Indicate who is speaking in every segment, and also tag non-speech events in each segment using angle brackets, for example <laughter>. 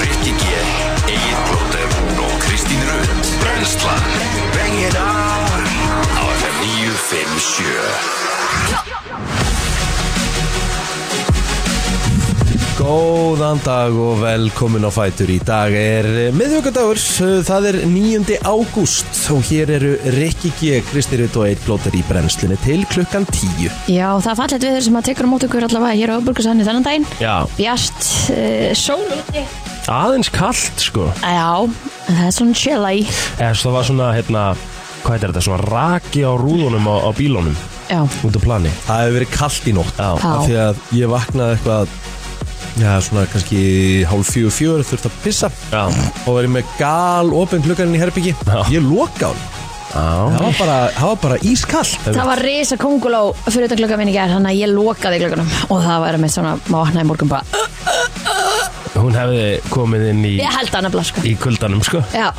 Speaker 1: Rikki G, Egil Blóter og Kristín Rund Brenslan Bang it on Á FM 957
Speaker 2: Góðan dag og velkomin á Fætur Í dag er miðvíkudagur, það er 9. ágúst og hér eru Rikki G, Kristi Rutt og Eitt Blóter í brennslunni til klukkan 10
Speaker 3: Já, það er fallet við þeir sem að tekur á mót okkur allavega hér á Öburgursanni þennan daginn
Speaker 4: Já,
Speaker 3: Bjart, uh, sól úti
Speaker 4: aðeins kallt sko
Speaker 3: Já, en það er svona chilly
Speaker 4: Eða svo það var svona, hérna, hvað er þetta, svona raki á rúðunum á, á bílunum
Speaker 3: Já,
Speaker 4: út á plani
Speaker 2: Það hefur verið kallt í nótt
Speaker 4: Já.
Speaker 3: Já.
Speaker 2: af því að ég vaknaði eitthvað Já, svona kannski hálf fjögur fjögur þurfti að pissa
Speaker 4: Já,
Speaker 2: og verið með gal opinn glugganinn í herbyggi
Speaker 4: Já.
Speaker 2: Ég loka hann,
Speaker 4: já,
Speaker 2: það var bara, það var bara ískallt
Speaker 3: það var risa konguló fyrir þetta klukka minn í gær Þannig að ég lokaði klukkanum Og það var með svona, maður vaknaði í morgun bara "Ugh."
Speaker 4: hún hefði komið inn í,
Speaker 3: Ég held það nefnilega sko
Speaker 4: í kuldanum sko
Speaker 3: Já,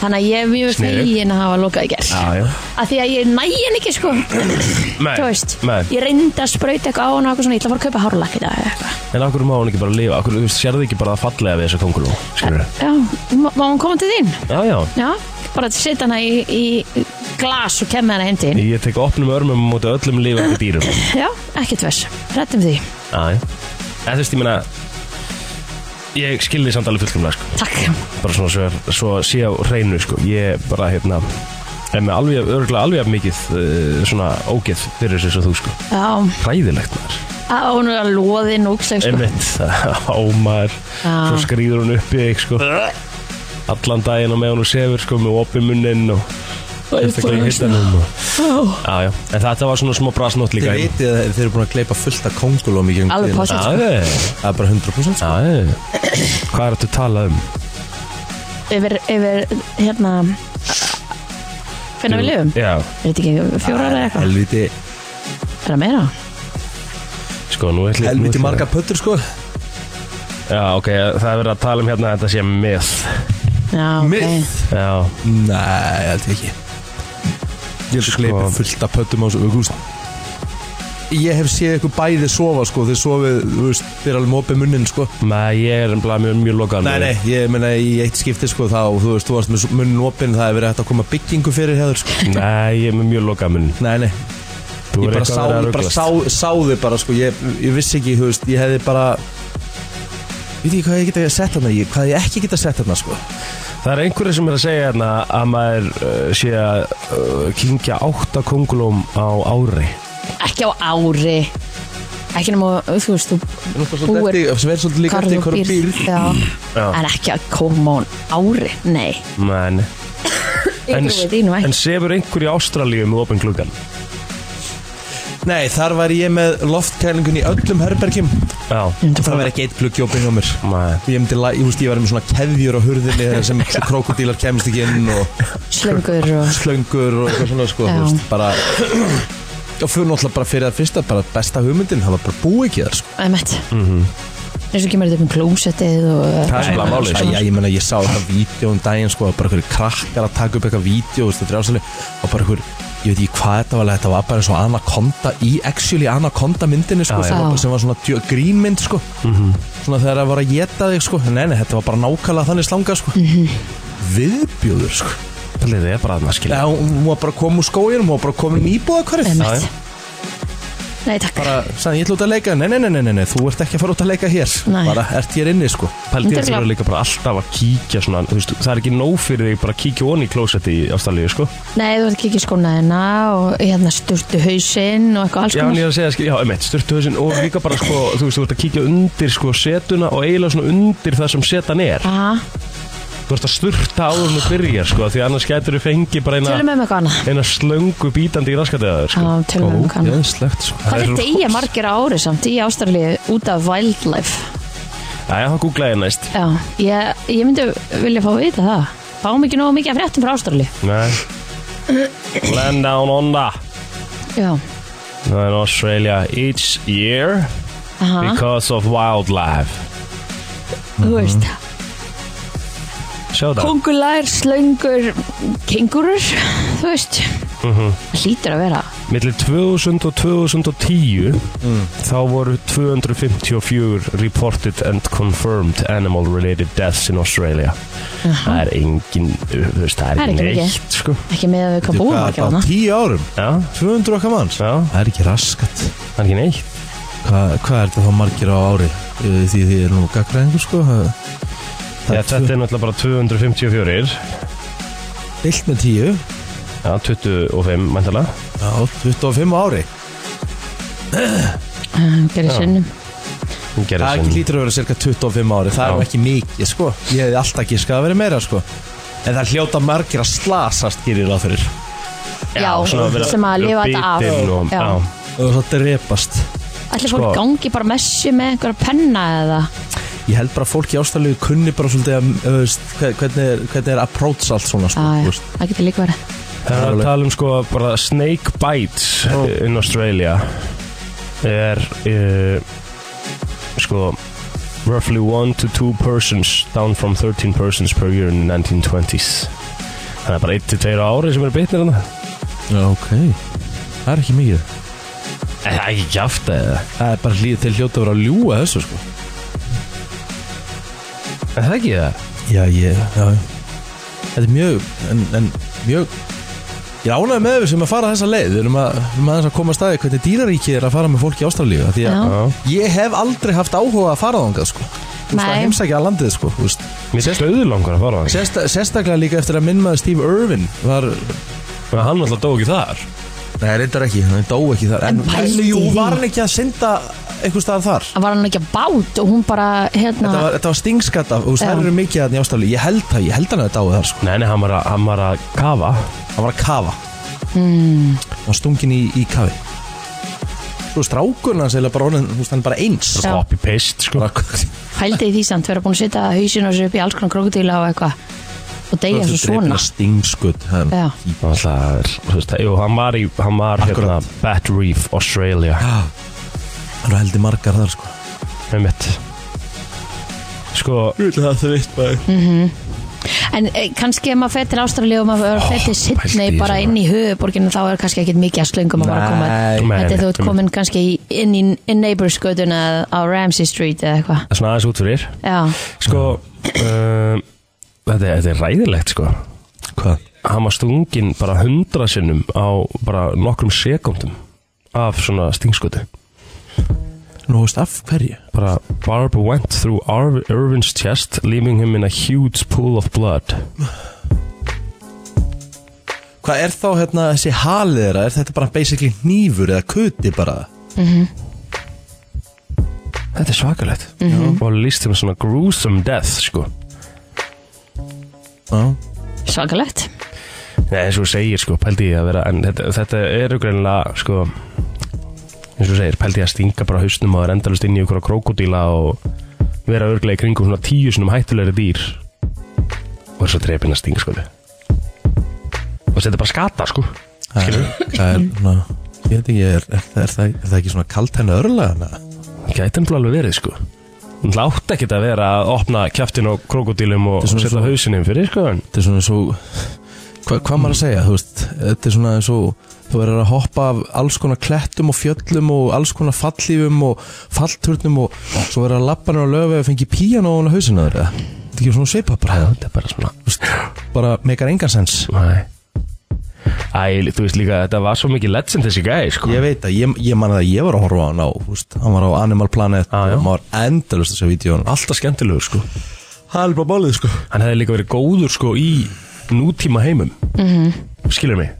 Speaker 3: þannig að ég er mjög
Speaker 4: Sniðugt.
Speaker 3: fegin að hafa lokað í gær
Speaker 4: Já, já
Speaker 3: Af því að ég næði henni ekki sko
Speaker 4: Nei,
Speaker 3: Þú veist,
Speaker 4: nei.
Speaker 3: ég reyndi að sprauta eitthvað á hana og eitthvað svona, ég ætla að fara að kaupa hárlakk í dag eða eitthvað.
Speaker 4: En okkur má hún ekki bara lifa, okkur, þú veist, sérðu ekki bara það fallega við þessa kongulú, skilur
Speaker 3: Já, má má hún koma til þín?
Speaker 4: Já, já,
Speaker 3: Já, bara að setja hana í, í glas og kemja hana hendi
Speaker 4: ég tek opnum örmum á móti öllum lifandi dýrum Já,
Speaker 3: Já, ekkert vers, rættum því
Speaker 4: já, en þú veist, ég meina, ég skilði samt alveg fullkomlega sko
Speaker 3: Takk
Speaker 4: bara svona svo, svo sé á hreinu sko. ég bara hérna er með alveg, örgulega alveg jafn mikið uh, svona ógeð fyrir þessu sem þú sko
Speaker 3: Já,
Speaker 4: hræðilegt maður
Speaker 3: á, hún er að loðin og úksleg sko.
Speaker 4: einmitt, <laughs> á maður
Speaker 3: Já.
Speaker 4: svo skrýður hún upp í þig sko allan daginn á meðan hún sefur sko með opið munnin og sérstaklega í hittanum og... já, já. en þetta var svona smá brasnót
Speaker 2: Þið
Speaker 4: líka
Speaker 2: veitir að þeir eru búin að kleipa fullt af kongulóm í gegnum
Speaker 3: Alveg
Speaker 2: tíðina.
Speaker 3: pottþétt.
Speaker 4: já, já,
Speaker 2: Það er bara 100% sko.
Speaker 4: já. hvað er þetta að tala um
Speaker 3: Yfir, yfir, hérna Hvernig við lifum?
Speaker 4: já,
Speaker 3: Ég veit ekki, fjórar eða eitthvað
Speaker 2: Helviti,
Speaker 3: Er það meira?
Speaker 4: sko nú ætli nú ætli-
Speaker 2: helviti marga pöttur sko
Speaker 4: já, ok, það er verið að tala um hérna að þetta sé með
Speaker 3: Já, ok
Speaker 2: Mið.
Speaker 4: já,
Speaker 2: Nei, ég held ekki Ég held
Speaker 4: Sko-
Speaker 2: sko fullt af pöttum á þessu august Ég hef séð ykkur bæði sofa sko Þeir sofið, þú veist, þeir alveg mópið munnin sko
Speaker 4: Nei, ég er bara mjög, mjög lokaður
Speaker 2: Nei, nei, ég meina í eitt skipti sko þá Þú veist, þú varst með munnin opinn Það hefur verið hægt að koma byggingu fyrir hefur sko
Speaker 4: Nei, ég er með mjög lokaður mun
Speaker 2: Nei, nei,
Speaker 4: Þú
Speaker 2: ég
Speaker 4: er
Speaker 2: bara
Speaker 4: eitthvað
Speaker 2: sá,
Speaker 4: að vera
Speaker 2: ég
Speaker 4: að
Speaker 2: bara
Speaker 4: rugglast
Speaker 2: sá, sá þau bara sko ég, ég vissi ekki, þú veist, ég hefði bara Við ekki hvað ég geta sett þarna ég, Hvað ég ekki geta sett þarna sko
Speaker 4: Það er einhverju sem er að segja hérna að maður uh, sé að uh, kingja átta kongulóm á ári
Speaker 3: Ekki á ári Ekki nema, þú veist, þú
Speaker 2: Þú veist, svolítið
Speaker 3: Búir.
Speaker 2: eftir- Sem er svolítið líka
Speaker 3: hvar
Speaker 2: eftir
Speaker 3: þú
Speaker 2: hverju býr
Speaker 3: Já,
Speaker 4: Já.
Speaker 3: en ekki að koma á ári Nei,
Speaker 4: Men,
Speaker 3: ég
Speaker 4: en,
Speaker 3: grúið þínu ekki
Speaker 4: en sefur einhverju í Ástralíu með opinn klukkan
Speaker 2: Nei, þar var ég með loftkælingun í öllum herbergjum
Speaker 4: Já,
Speaker 2: Það verði ekki eitt gluggi opinn hjá mér
Speaker 4: Nei.
Speaker 2: Ég, myndi, la- ég, veist, ég var með svona keðjur á hurðinni þar sem krokodílar kemst ekki inn og
Speaker 3: Slöngur og
Speaker 2: slöngur og eitthvað svona sko,
Speaker 3: Já.
Speaker 2: þú veist, bara og fyrir náttúrulega bara fyrir að fyrsta bara besta hugmyndin, það var bara búið ekki þar sko.
Speaker 3: Æmett mm -hmm. Eins og kemur þetta upp um klósettið og
Speaker 4: Mhm.
Speaker 3: uh,
Speaker 4: Það er svona
Speaker 2: Nei,
Speaker 4: málið,
Speaker 2: nei,
Speaker 4: sko.
Speaker 2: Já, ég meina, ég sá þetta vídeo um daginn sko, bara einhverju krakkar að taka upp eitthvað vídeo þú veist, þetta er ástæðlega, og bara einhverju ég veit ekki hvað þetta var, þetta var bara eins og Anaconda í actually Anaconda myndinni sko,
Speaker 4: Já, Mhm. já.
Speaker 2: sem,
Speaker 3: Já.
Speaker 2: var, sem var svona djö- grínmynd sko, svona þegar það var að geta þig sko, nei, nei, þetta var bara nákvæmlega þannig slanga sko,
Speaker 3: Mhm.
Speaker 2: viðbjóður sko,
Speaker 4: það er bara þarna skilja
Speaker 2: Nei, hún hún var bara að koma úr skóinum, hún var bara að koma um íbúðakvarð
Speaker 4: Já,
Speaker 3: Einmitt.
Speaker 4: já.
Speaker 3: Nei, takk
Speaker 2: bara, sagði, ég ætla út að leika, nei, nei, nei, nei, nei, nei, þú ert ekki að fara út að leika hér,
Speaker 3: Nei.
Speaker 2: bara ert hér inni sko,
Speaker 4: Pældi ég
Speaker 3: Þetta er
Speaker 4: að það
Speaker 3: klart.
Speaker 4: er líka bara alltaf að kíkja svona, þú veist, það er ekki nóg fyrir þig bara að kíkja onni í klósetti í Ástralíu sko.
Speaker 3: Nei, þú ert ekki ekki skónaðina og hérna sturtu hausinn og eitthvað alls
Speaker 4: Já, en ég
Speaker 3: konar
Speaker 4: er að segja, skil- já, emett, styrtuhauðsinn og líka bara, sko, þú veist, þú ert að kíkja undir, sko, setuna og eiginlega svona undir það sem setan er.
Speaker 3: Aha,
Speaker 4: Þú ert að styrta áður með byrjar, sko, því annars getur þú fengið bara
Speaker 3: tölum
Speaker 4: eina,
Speaker 3: við um eitthvað annað
Speaker 4: eina slöngu bítandi í raskatæðaður,
Speaker 3: Já,
Speaker 4: sko.
Speaker 3: tölum við um eitthvað annað
Speaker 2: ógeðslegt sko,
Speaker 3: Hvað er
Speaker 4: Það er
Speaker 3: deyja margir á ári samt í Ástralíu út af wildlife?
Speaker 4: Æja, það googla ég næst.
Speaker 3: Já, ég, ég myndi vilja fá að vita það Fáum ekki nógu mikið af fréttum frá Ástralíu
Speaker 4: Nei. Land down under.
Speaker 3: Já,
Speaker 4: Það er Australia each year
Speaker 3: aha,
Speaker 4: because of wildlife.
Speaker 3: þú veist
Speaker 4: Sjá það. Mhm.
Speaker 3: Kongulær, slöngur, kengurur, þú veist Það hlýtur að vera
Speaker 4: Millir 2000 og 2010
Speaker 2: Mm.
Speaker 4: þá voru 254 reported and confirmed animal related deaths in Australia Það er engin, þú veist,
Speaker 3: Það er
Speaker 4: það er
Speaker 3: ekki
Speaker 4: engin
Speaker 3: mikið.
Speaker 4: neitt sko.
Speaker 3: Ekki með að við hvað búum að gera
Speaker 2: á
Speaker 3: hana
Speaker 2: tíu árum?
Speaker 4: Já,
Speaker 2: 200 okkar manns?
Speaker 4: já,
Speaker 2: Það er ekki raskat
Speaker 4: það er ekki neitt
Speaker 2: Hva, Hvað er þetta þá margir á ári? Eh, Því því er nú gaggræðingur sko Það það
Speaker 4: Já,
Speaker 2: er
Speaker 4: Þetta er náttúrulega bara 254
Speaker 2: deilt með 10
Speaker 4: Já, 25 mæntalega
Speaker 2: Já, 25 á ári
Speaker 3: Gerið
Speaker 4: Já.
Speaker 3: Eh, sinnum
Speaker 2: Það
Speaker 4: Það
Speaker 2: er ekki lítur að vera cirka 25 ári Það er
Speaker 4: Já.
Speaker 2: nú ekki mikið sko Ég hefði alltaf giskað að vera meira sko En það hljóta margir að slasast gerir ráð fyrir
Speaker 3: Já, sem að lifa þetta af.
Speaker 4: og,
Speaker 3: Já.
Speaker 4: já.
Speaker 2: Og svo drepast
Speaker 3: Allir fólk
Speaker 4: Sko.
Speaker 3: gangi bara messi með einhverja penna eða
Speaker 2: Ég held bara að fólk í ástæðlegu kunni bara svolítið að þú veist, hve- hvernig er, hvernig er approach allt svona sko,
Speaker 3: Ah, Já,
Speaker 2: þú
Speaker 3: já,
Speaker 2: veist.
Speaker 3: það getur líka verið
Speaker 4: Það er að tala um sko bara snake bites
Speaker 2: Ó.
Speaker 4: in Australia er uh, sko roughly 1 to 2 persons down from 13 persons per year in the 1920s Það er bara 1 til 2 ári sem eru bitnir hann
Speaker 2: Já, ok Það er ekki mikið
Speaker 4: Það er ekki kjafta eða
Speaker 2: Það er bara hlýð til hljóta að vera að ljúga þessu sko
Speaker 4: Er það ekki það?
Speaker 2: Já, ég, já já. Þetta er mjög, en, en mjög Ég ánaði með við sem að fara þessa leið Við erum að, við erum aðeins að koma að staði hvernig dýraríki er að fara með fólk í ástæðlegu Því að
Speaker 3: Já.
Speaker 2: ég hef aldrei haft áhuga að fara þangað sko Þú veist að
Speaker 3: Nei.
Speaker 2: heimsækja að landið sko þú veist.
Speaker 4: Mér sést auður langar að fara það
Speaker 2: Sérsta, Sérstaklega líka eftir að minn maður Steve Irwin var
Speaker 4: Men hann alltaf dó ekki þar
Speaker 2: Nei, reyndar ekki, hann dó ekki þar En,
Speaker 3: En pældi
Speaker 2: jú,
Speaker 3: því.
Speaker 2: var hann ekki að synda einhvers staðar þar?
Speaker 3: Það var hann ekki að bát og hún bara hérna
Speaker 2: Þetta var, þetta var stingskata, þú veist,
Speaker 3: Já.
Speaker 2: það eru mikið að njástafli Ég held það, ég held hann að dáið þar sko
Speaker 4: Nei, nei, hann var að, hann var að kafa
Speaker 2: Hann var að kafa mm.
Speaker 3: Hmm.
Speaker 2: Hann var stungin í, í kafi Svo strákurinn hans eða bara honum, þú veist, hann er bara eins
Speaker 3: Já.
Speaker 4: Copy-paste sko
Speaker 2: Bara,
Speaker 3: Pældi í því samt, vera búin að setja hausinu og sér upp í alls konar krokodíla og eitthvað og deyja svo svona
Speaker 2: Stingskutt
Speaker 3: Já.
Speaker 4: Og Það er, þú veist, jú, hann var í, hann var hérna
Speaker 2: Akkurat.
Speaker 4: Bat Reef, Australia
Speaker 2: Það eru heldur margar þar sko
Speaker 4: með mitt sko
Speaker 2: Þú veist, það þvitt bara
Speaker 3: En e, kannski ef maður fer til Ástralíu og maður fer til
Speaker 4: pældi
Speaker 3: Sydney
Speaker 4: í
Speaker 3: bara
Speaker 4: þessu
Speaker 3: inn í höfuborginu þá er kannski ekkit mikið að slöngum að fara að koma
Speaker 2: Nei.
Speaker 4: Nei,
Speaker 3: Þetta er
Speaker 4: nei,
Speaker 3: þú ert
Speaker 4: einmitt.
Speaker 3: komin kannski í- inn í in neighbors göduna á Ramsey Street eða eitthvað
Speaker 4: það er svona aðeins út fyrir
Speaker 3: Já,
Speaker 4: sko um, þetta, er- þetta er ræðilegt sko
Speaker 2: Hvað?
Speaker 4: hann var stungin bara hundra sinnum á bara nokkrum sekundum af svona stingskutu
Speaker 2: Nú veist, af hverju?
Speaker 4: bara Barb went through Ar Irvin's chest leaving him in a huge pool of blood
Speaker 2: Hvað er þá hérna þessi halið þeirra? Er þetta bara basically nýfur eða kuti bara?
Speaker 4: þetta er svakalegt
Speaker 3: Mhm.
Speaker 4: og líst þeim svona gruesome death sko
Speaker 2: Já
Speaker 3: svakalegt
Speaker 4: Nei, eins og þú segir sko, pældi ég að vera en þetta, þetta eru greinilega sko eins og þú segir, pældi ég að stinga bara hausnum og er endalust inn í ykkur krokodíla og vera örglega í kringum svona tíu sinum hættulegri dýr og er svo drepinn að stinga sko og þetta er bara skata sko
Speaker 2: Það er, það er, ná, ég veit ekki, er, er, er, það, er það ekki svona kalt henni örlega?
Speaker 4: gæti hann alveg verið sko hún látt ekkert að vera að opna kjaftin á krokodílum og
Speaker 2: Þetta er svona
Speaker 4: setja
Speaker 2: svo-
Speaker 4: hausinum fyrir sko en
Speaker 2: Þetta er svona svo, hva, hvað maður að segja, þú veist, þetta er svona eins og þú verður að hoppa af alls konar klettum og fjöllum og alls konar fallífum og fallturnum og svo verður að lappa henni á löfi og fengi píjan á henni hausinu þeirra. Þetta er ekki svona svipað bara,
Speaker 4: þetta er bara svona
Speaker 2: þú veist, bara meikar engan sens.
Speaker 4: Æ. Æ, þú veist líka þetta var svo mikið legend þessi gæði sko
Speaker 2: Ég veit að ég, ég man að ég var að horfa á hann á, þú veist, hann var á Animal Planet
Speaker 4: Já, já.
Speaker 2: og maður endalust þessu vídeo.
Speaker 4: alltaf skemmtilegur sko
Speaker 2: Það er bara bálið, sko.
Speaker 4: hann hefði líka verið góður sko í nútíma heimum mm skilur mig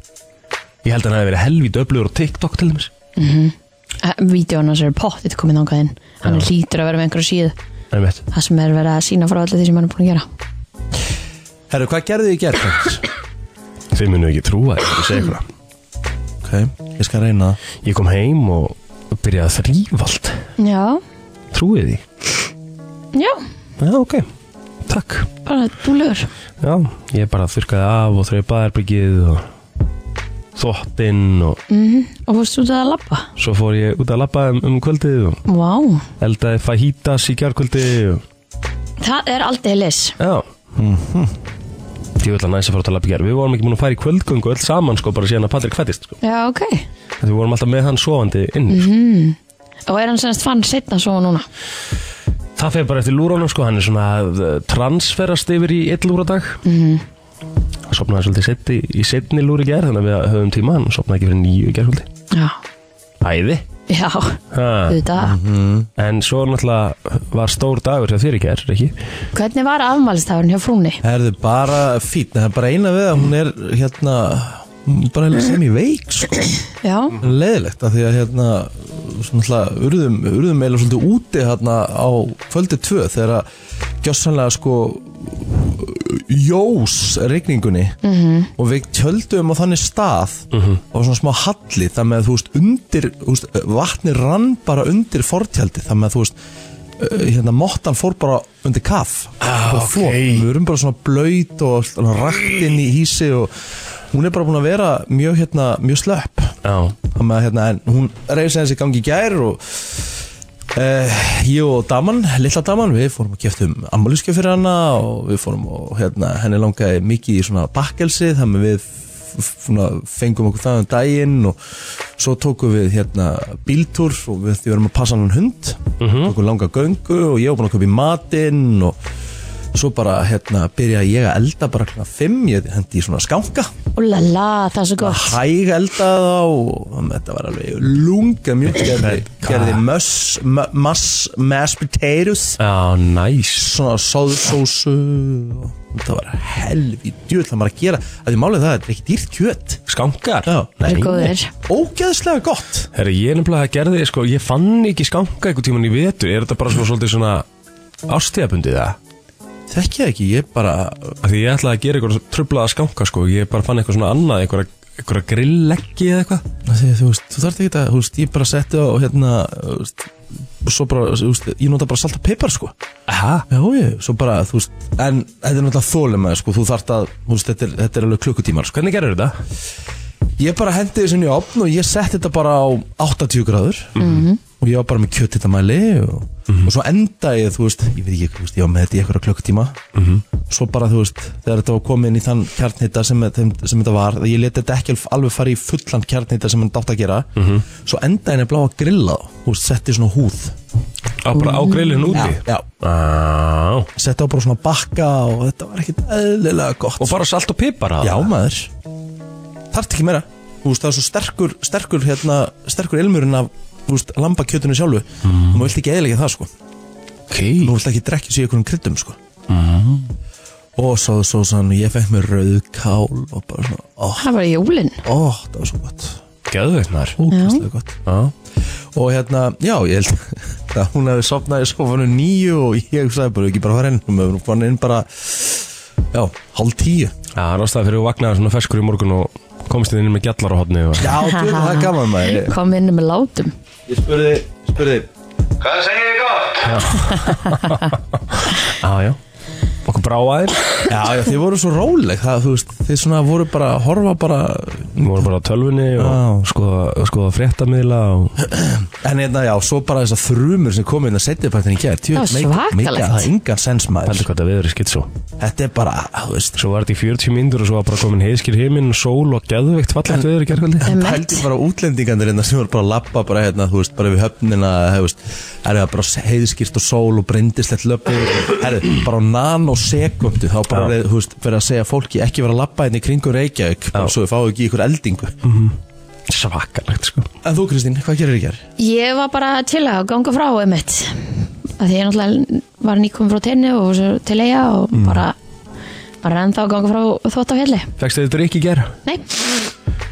Speaker 4: ég held að hann hefði verið helvít öflugur á TikTok til dæmis
Speaker 3: Eh, Vídeóna sem er pottið komin ángað inn Hann
Speaker 4: Já.
Speaker 3: lítur að vera með einhverju síð
Speaker 4: en veit
Speaker 3: Það sem er verið að sína frá öllu því sem hann er búin að gera
Speaker 2: Herru, hvað gerðu ég gerð?
Speaker 4: þið munu ekki trúa þér ég segi eitthvað
Speaker 2: ok, ég skal reyna það.
Speaker 4: ég kom heim og byrjaði að þrýfa allt
Speaker 3: Já,
Speaker 4: trúið því
Speaker 3: já,
Speaker 4: já ok takk
Speaker 3: bara dúlegur
Speaker 4: já ég bara þurkaði af og þreif baðarbyggið og þottinn og
Speaker 3: Og fórst út að labba
Speaker 4: svo fór ég út að labba um, um kvöldið og
Speaker 3: Vá,
Speaker 4: eldaði fajitas í kjarkvöldið og
Speaker 3: það er aldrei lis
Speaker 4: Mhm. Já mm -hmm. djúvill að næsa fór að labba í gerð Við vorum ekki múin að fara í kvöldgöngu öll saman sko bara síðan að Patrik fættist sko
Speaker 3: Já, ok.
Speaker 4: Þetta Við vorum alltaf með hann sofandi inni sko.
Speaker 3: Og er hann semst fann setna svo núna?
Speaker 4: Það fer bara eftir lúrónum sko, hann er svona að eh, transferast yfir í einn lúradag mm -hmm. Sopnaði svolítið seti, í setni lúri gerð þannig að við höfum tíma, hann sopnaði ekki fyrir nýju gerð
Speaker 3: Já.
Speaker 4: Æði
Speaker 3: Já,
Speaker 4: ha.
Speaker 3: auðvitað.
Speaker 4: Mhm. En svo náttúrulega var stór dagur hjá þér í gerð, ekki?
Speaker 3: Hvernig var afmælstafurinn hjá frúnni?
Speaker 2: Herðu bara fín, það er bara eina við að hún er hérna hún er bara sem í veik sko.
Speaker 3: Já,
Speaker 4: Mhm.
Speaker 2: leðilegt að því að hérna svona alltaf urðum, urðum eða svolítið úti hérna á kvöldi tvö þegar að gjossanlega sko jós rigningunni -hmm. og við tjöldum á þannig stað
Speaker 4: Mhm.
Speaker 2: -hmm. og svona smá halli þar með þú veist undir þú veist, vatni rann bara undir fortjaldi þar með þú veist eh, hérna mottan fór bara undir kaff
Speaker 4: Ah,
Speaker 2: og flop.
Speaker 4: ok.
Speaker 2: við erum bara svona blöyt og svona rakt inn í hísi og hún er bara búin að vera mjög hérna mjög slöpp
Speaker 4: Já,
Speaker 2: Þannig að hérna, en hún reyði þessi gangi í gær og uh, ég og daman, lilla daman, við fórum að keftum ammaliðskjöf fyrir hana og við fórum og hérna, henni langaði mikið í svona bakkelsi þannig að við f- svona, fengum okkur það um daginn og svo tókum við hérna bíltúr og við því verðum að passa hann hund tókum langa göngu og ég var búin að köpa í matinn og svo bara hérna byrjaði ég að elda bara klokkan fimm, ég hendi í svona skanka
Speaker 3: úlala, það er svo gott.
Speaker 4: Ah,
Speaker 2: hæg eldaði þá og þetta var alveg lunga mjög gerði, gerði möss, mö- mass, mass potatoes
Speaker 4: já, næs
Speaker 2: svona sóðsósu og þetta var helvi djúið það maður að gera að því málið það er ekki dýrt kjöt
Speaker 4: Skankar?
Speaker 2: Já.
Speaker 3: Það
Speaker 4: Nei.
Speaker 3: er góðir.
Speaker 2: ógeðslega gott
Speaker 4: Herra, ég er nefnilega að gerði, sko, ég fann ekki skanka einhvern tíman í vetur, er þetta bara svona svolítið svona ástíðabundið það?
Speaker 2: þekki það ekki, ég bara
Speaker 4: Af því ég ætlaði að gera eitthvað trublaða skanka, sko, ég bara fann eitthvað svona annað, eitthvað, eitthvað grillleggi eða eitthvað.
Speaker 2: því, þú veist, þú þarf ekki að, þú veist, ég bara setti á hérna, þú veist, og svo bara, þú veist, ég nota bara salt og pipar sko
Speaker 4: Aha.
Speaker 2: Já, ég, svo bara, þú veist, en þetta er náttúrulega þólema, sko, þú þarft að, þú veist, þetta er, þetta er alveg klukkutímar, sko.
Speaker 4: Hvernig gerir þetta?
Speaker 2: Ég bara hendi þessu inn í opn og ég setti þetta bara á 80 gráður og ég var bara með kjötitamæli og, og svo enda ég, þú veist, ég veit ekki, þú veist, ég var með þetta í eitthvað klukkutíma svo bara, þú veist, þegar þetta var komið inn í þann kjarnhita sem, sem, sem þetta var ég leti þetta ekki alveg fara í fullan kjarnhita sem hann dátt að gera svo enda henni blá að grilla þá, þú veist, setti svona húð
Speaker 4: Á, bara á grillinu úti?
Speaker 2: Mm. Já,
Speaker 4: Á.
Speaker 2: setti á bara svona bakka og þetta var ekkit eðlilega gott
Speaker 4: Og bara salt og pipar að
Speaker 2: Já maður Þarft ekki meira Þú veist það er svo sterkur Sterkur hérna Sterkur ilmurinn af Þú veist lambakjötunni sjálfu Og maður vilt ekki eðilega það sko
Speaker 4: Ok.
Speaker 2: Nú vilt ekki drekja sér einhverjum kryddum sko Og svo svo sann Ég fekk mér rauðkál Og bara svona Ó,
Speaker 3: Það er bara jólinn.
Speaker 2: ó það var svo gott
Speaker 4: Gjöðveitnar.
Speaker 2: Úkvæmstlega gott
Speaker 4: Já.
Speaker 2: Og hérna Já ég held <laughs> að Hún hefði sofnað í sofanum nýju Og ég sagði bara Ekki bara fara inn Hún hefði fann inn bara Já, hálf tíu
Speaker 4: Já, það er ástæða fyrir að vaknaði svona feskur í morgun og komst inn með gjallar á hodni og...
Speaker 2: Já, þú veit það er gaman maður Ég-
Speaker 3: Kom inn með látum.
Speaker 2: Ég spurði, spurði
Speaker 1: Hvað segir ég gott?
Speaker 4: Já, já. Okkur brá aðeins.
Speaker 2: Já, já, þið voru svo róleg það, þú veist, þið svona voru bara að horfa bara
Speaker 4: Við vorum bara á tölvunni og
Speaker 2: Já.
Speaker 4: skoða, skoða fréttamiðla og
Speaker 2: En hérna, já, svo bara þessar þrumur sem komið inn að setja partin í gær
Speaker 3: Það var svakalegt.
Speaker 2: Það er engan sens
Speaker 4: heldur
Speaker 2: maður
Speaker 4: hvað þetta veður er skitt svo.
Speaker 2: Þetta er bara, þú veist
Speaker 4: Svo var þetta í 40 mínútur og svo var bara komin heiðskir heiminn, sól og geðveikt fallegt veður í gerðkvöldi.
Speaker 3: Emmett.
Speaker 2: Pældi bara útlendingandir hérna sem voru bara að lappa bara hérna, þú veist, bara við höfnina þú veist, er það bara heiðskýrt og sól og brindislegt löpu, er bara á nanosekundu, þá bara,
Speaker 4: Já.
Speaker 2: er, þú veist, verið að segja fólki ekki vera að lappa hérna í kringum Reykjavík bara
Speaker 4: Já.
Speaker 2: svo við fáum ekki ykkur eldingu
Speaker 4: Svakalegt sko.
Speaker 2: En þú Kristín, hvað gerir í gær?
Speaker 3: Ég var bara til að ganga frá einmitt að því ég náttúrulega var nýkomin frá tenni og svo til eiga og
Speaker 2: Mm.
Speaker 3: bara bara ennþá að ganga frá þvótt á helli
Speaker 4: Fekstu þið drikk í gerð?
Speaker 3: Nei,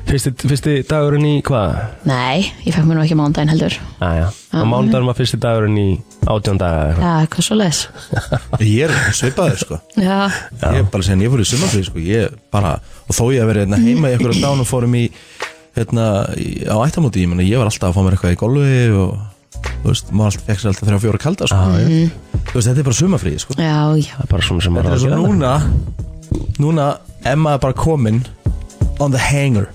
Speaker 4: Fyrsti, fyrsti dagurinn í hvað?
Speaker 3: nei, ég fekk mér nú ekki mánudaginn heldur
Speaker 4: Æja,
Speaker 2: Ah.
Speaker 4: á mánudagurinn var fyrsti dagurinn í átjón daga eða eitthvað.
Speaker 3: Já, hvað svo les
Speaker 2: Ég er svipaður sko
Speaker 3: Já,
Speaker 2: Ég er bara að segja, ég fór í sumarfrið sko, ég bara, og þó ég að vera hérna, heima í <laughs> einhverja dán og fórum í, hérna, í- á ættamóti, ég meina, ég var alltaf að fá mér eitthvað í golfi og, þú veist, maður alltaf fekk sér alltaf þrjá fjóra kalda, sko. Þú veist, þetta er bara sumarfrið, sko.
Speaker 3: já, já,
Speaker 4: Það er bara svona
Speaker 2: Þetta
Speaker 4: sem maður á
Speaker 2: er
Speaker 4: að
Speaker 2: svo
Speaker 4: gera.
Speaker 2: núna, núna, Emma er bara komin on the hanger.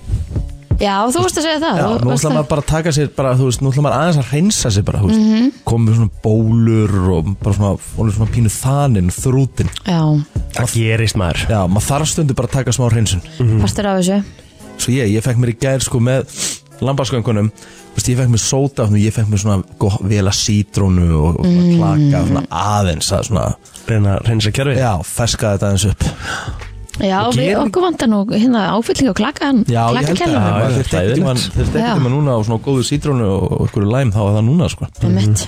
Speaker 3: Já, þú veist að segja það
Speaker 2: Já,
Speaker 3: þú,
Speaker 2: nú
Speaker 3: varst
Speaker 2: ætla
Speaker 3: að-
Speaker 2: maður bara að taka sér bara, þú veist, nú ætla maður aðeins að reynsa sér bara, þú veist, mm komið svona bólur og bara svona, og svona pínu þaninn, þrútin.
Speaker 3: Já,
Speaker 4: Það gerist maður
Speaker 2: Já, maður þarf stundu bara að taka smá reynsun.
Speaker 3: fastur af þessu
Speaker 2: Svo ég, ég fekk mér í gær sko með lambasköngunum, þú veist, ég fekk mér sóta, ég fekk mér svona gott, vel að sítrónu og, og svona klaka, svona aðeins að svona,
Speaker 4: Reyna að reynsa kerfið
Speaker 2: já, feska þetta aðeins upp.
Speaker 3: Já, við
Speaker 4: gerir-
Speaker 3: okkur vantar nú hérna áfylling og klakkan
Speaker 2: Já, ég held að
Speaker 3: klakkakerfinu.
Speaker 2: maður
Speaker 4: Já,
Speaker 2: þurfti ekkert tímann-
Speaker 4: hræðilegt.
Speaker 2: þurfti
Speaker 3: Já.
Speaker 2: ekkert um að núna á svona góðu sítrónu og, og ykkur læm þá er það núna sko.
Speaker 3: Einmitt.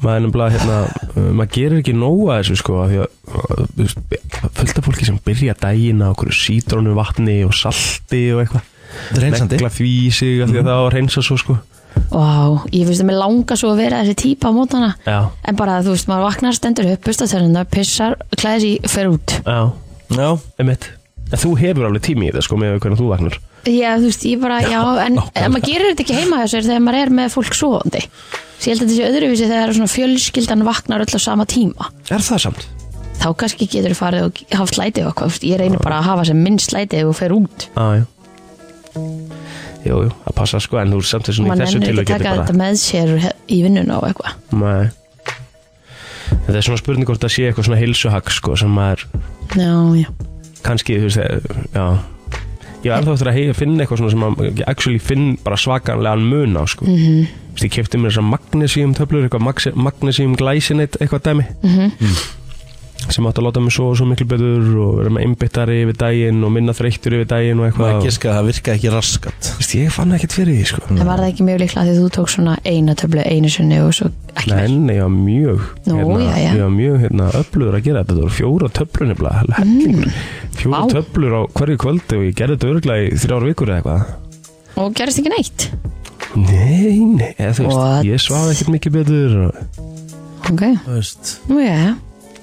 Speaker 4: maður er nefnilega hérna, uh, maður gerir ekki nóga þessu sko af því að uh, þú veist, fullt af fólki sem byrja daginn á okkur sítrónu vatni og salti og eitthvað
Speaker 2: Þetta er reynsandi.
Speaker 4: negla því í sig af því
Speaker 2: Mhm.
Speaker 4: að það á að reynsa svo sko
Speaker 3: Vá, ég finnst að mér langa svo að vera þessi típa á mótana
Speaker 4: já,
Speaker 3: En bara, þú veist, maður vaknar, stendur upp, bustar törnuna, pissar, klæðir í, fer út
Speaker 4: já,
Speaker 2: Já,
Speaker 4: emitt en þú hefur alveg tími í það sko með hvernig þú vagnar
Speaker 3: Já, þú veist, ég bara, já, en,
Speaker 2: nákvæmlega.
Speaker 3: en maður gerir þetta ekki heima hjá sér þegar maður er með fólk svoandi Svo ég held að þetta sé öðruvísi þegar það er svona fjölskyldan vaknar öll á sama tíma
Speaker 4: er það samt?
Speaker 3: Þá kannski getur þú farið og haft slætið og hvað, ég reynir bara að hafa sem minn slætið og fer út
Speaker 4: já, já jú, jú, það passa sko en þú er samt þessum í
Speaker 3: Man
Speaker 4: þessu
Speaker 3: nennir
Speaker 4: tilög
Speaker 3: ekki að
Speaker 4: getur
Speaker 3: taka
Speaker 4: bara
Speaker 3: þetta með sér í vinnuna og eitthvað
Speaker 4: Nei. þetta er svona spurning hvort það sé eitthvað svona hilsuhag sko sem maður
Speaker 3: Já, já,
Speaker 4: kannski, þú veist, eh, já ég var ennþá eftir að heyja, finna eitthvað svona sem að ég actually finn bara svakanlegan mun á sko.
Speaker 3: Mhm.
Speaker 4: þú veist, ég kefti mér þessar magnesium töflur, eitthvað max- magnesium glycinate eitthvað dæmi
Speaker 3: Mhm.
Speaker 4: Mm. sem átti að láta mig svo, svo miklu betur og vera með einbyttari yfir daginn og minna þreyttur yfir daginn og eitthvað
Speaker 2: maður
Speaker 4: Þú
Speaker 2: gíska að það virka ekki raskat.
Speaker 4: veist, ég fann ekkert fyrir því sko.
Speaker 3: en var það ekki mjög líklega því þú tók svona eina töflu einu sinni og svo ekki
Speaker 4: Nei,
Speaker 3: meir
Speaker 4: nei, ég var mjög
Speaker 3: Nú, já, já.
Speaker 4: Ég var mjög hérna, öflugur að gera þetta Þetta voru fjóra töflur nefnilega hellingur. Fjóra
Speaker 3: Mm. Vá.
Speaker 4: töflur á hverju kvöldi og ég gerði þetta örgulega í þrjár vikur eða eitthvað
Speaker 3: og gerist ekki neitt
Speaker 4: Nei, nei, eða þú veist,
Speaker 3: What?
Speaker 4: ég svaf ekkert mikið betur og-
Speaker 3: Ok,
Speaker 2: Þú veist,
Speaker 3: nú já,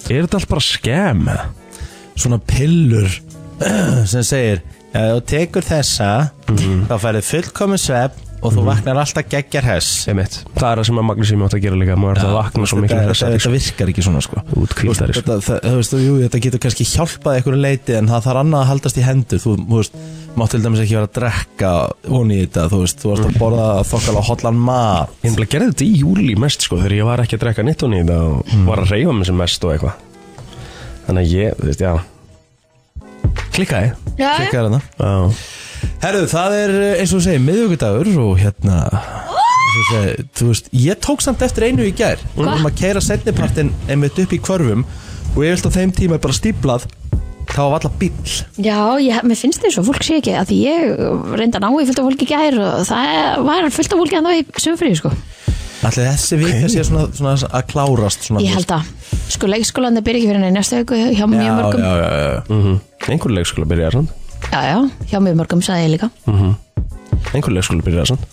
Speaker 4: Er þetta allt bara skem?
Speaker 2: svona pillur <clears throat> sem segir, ef þú tekur þessa, þá færið fullkomin svepp og þú vaknar alltaf geggjar hess.
Speaker 4: Einmitt, það er það sem að Magnus sem átt að gera líka Maður er það að vakna svo mikið
Speaker 2: þetta, þetta,
Speaker 4: þessari
Speaker 2: þetta virkar ekki svona sko.
Speaker 4: útkvíldari sko.
Speaker 2: Þetta, það, þú veist, jú, þetta getur kannski hjálpað einhverju leiti en það þarf annað að haldast í hendur þú, þú veist, mátt til dæmis ekki vera að drekka von í þetta, þú veist, þú varst
Speaker 4: Mm.
Speaker 2: að borða þokkala hotlan mat
Speaker 4: Ég nefnilega gerði þetta í júli mest sko Þegar ég var ekki að drekka nittun í það og var að reyfa mig sem mest og eitthvað Þannig að ég, þú veist, já Klikkaði
Speaker 3: já, já.
Speaker 2: Klikkaðu þarna.
Speaker 4: Já,
Speaker 2: Herðu, það er eh, eins og þú segir miðvíkudagur og hérna eins og þú segir, þú veist, ég tók samt eftir einu í gær Við vorum að keira setnipartin einmitt upp í kvörfum og ég vilt á þeim tíma bara stíplað þá var alltaf bíll
Speaker 3: Já, ég, mér finnst eins og fólk sé ekki að því ég reynda að ná í fullt af fólki í gær og það var fullt af fólki að ná í sömfríu sko.
Speaker 2: Allir þessi vika sé svona, svona að klárast svona,
Speaker 3: Ég held að sko leikskólandi byrja ekki fyrir henni næstu viku hjá
Speaker 2: Já,
Speaker 3: mjög mörgum
Speaker 2: já, já, já.
Speaker 4: mm einhver leikskóla byrjaði sann
Speaker 3: já, já, hjá mjög mörgum sagði ég líka
Speaker 4: Einhver leikskóla byrjaði sann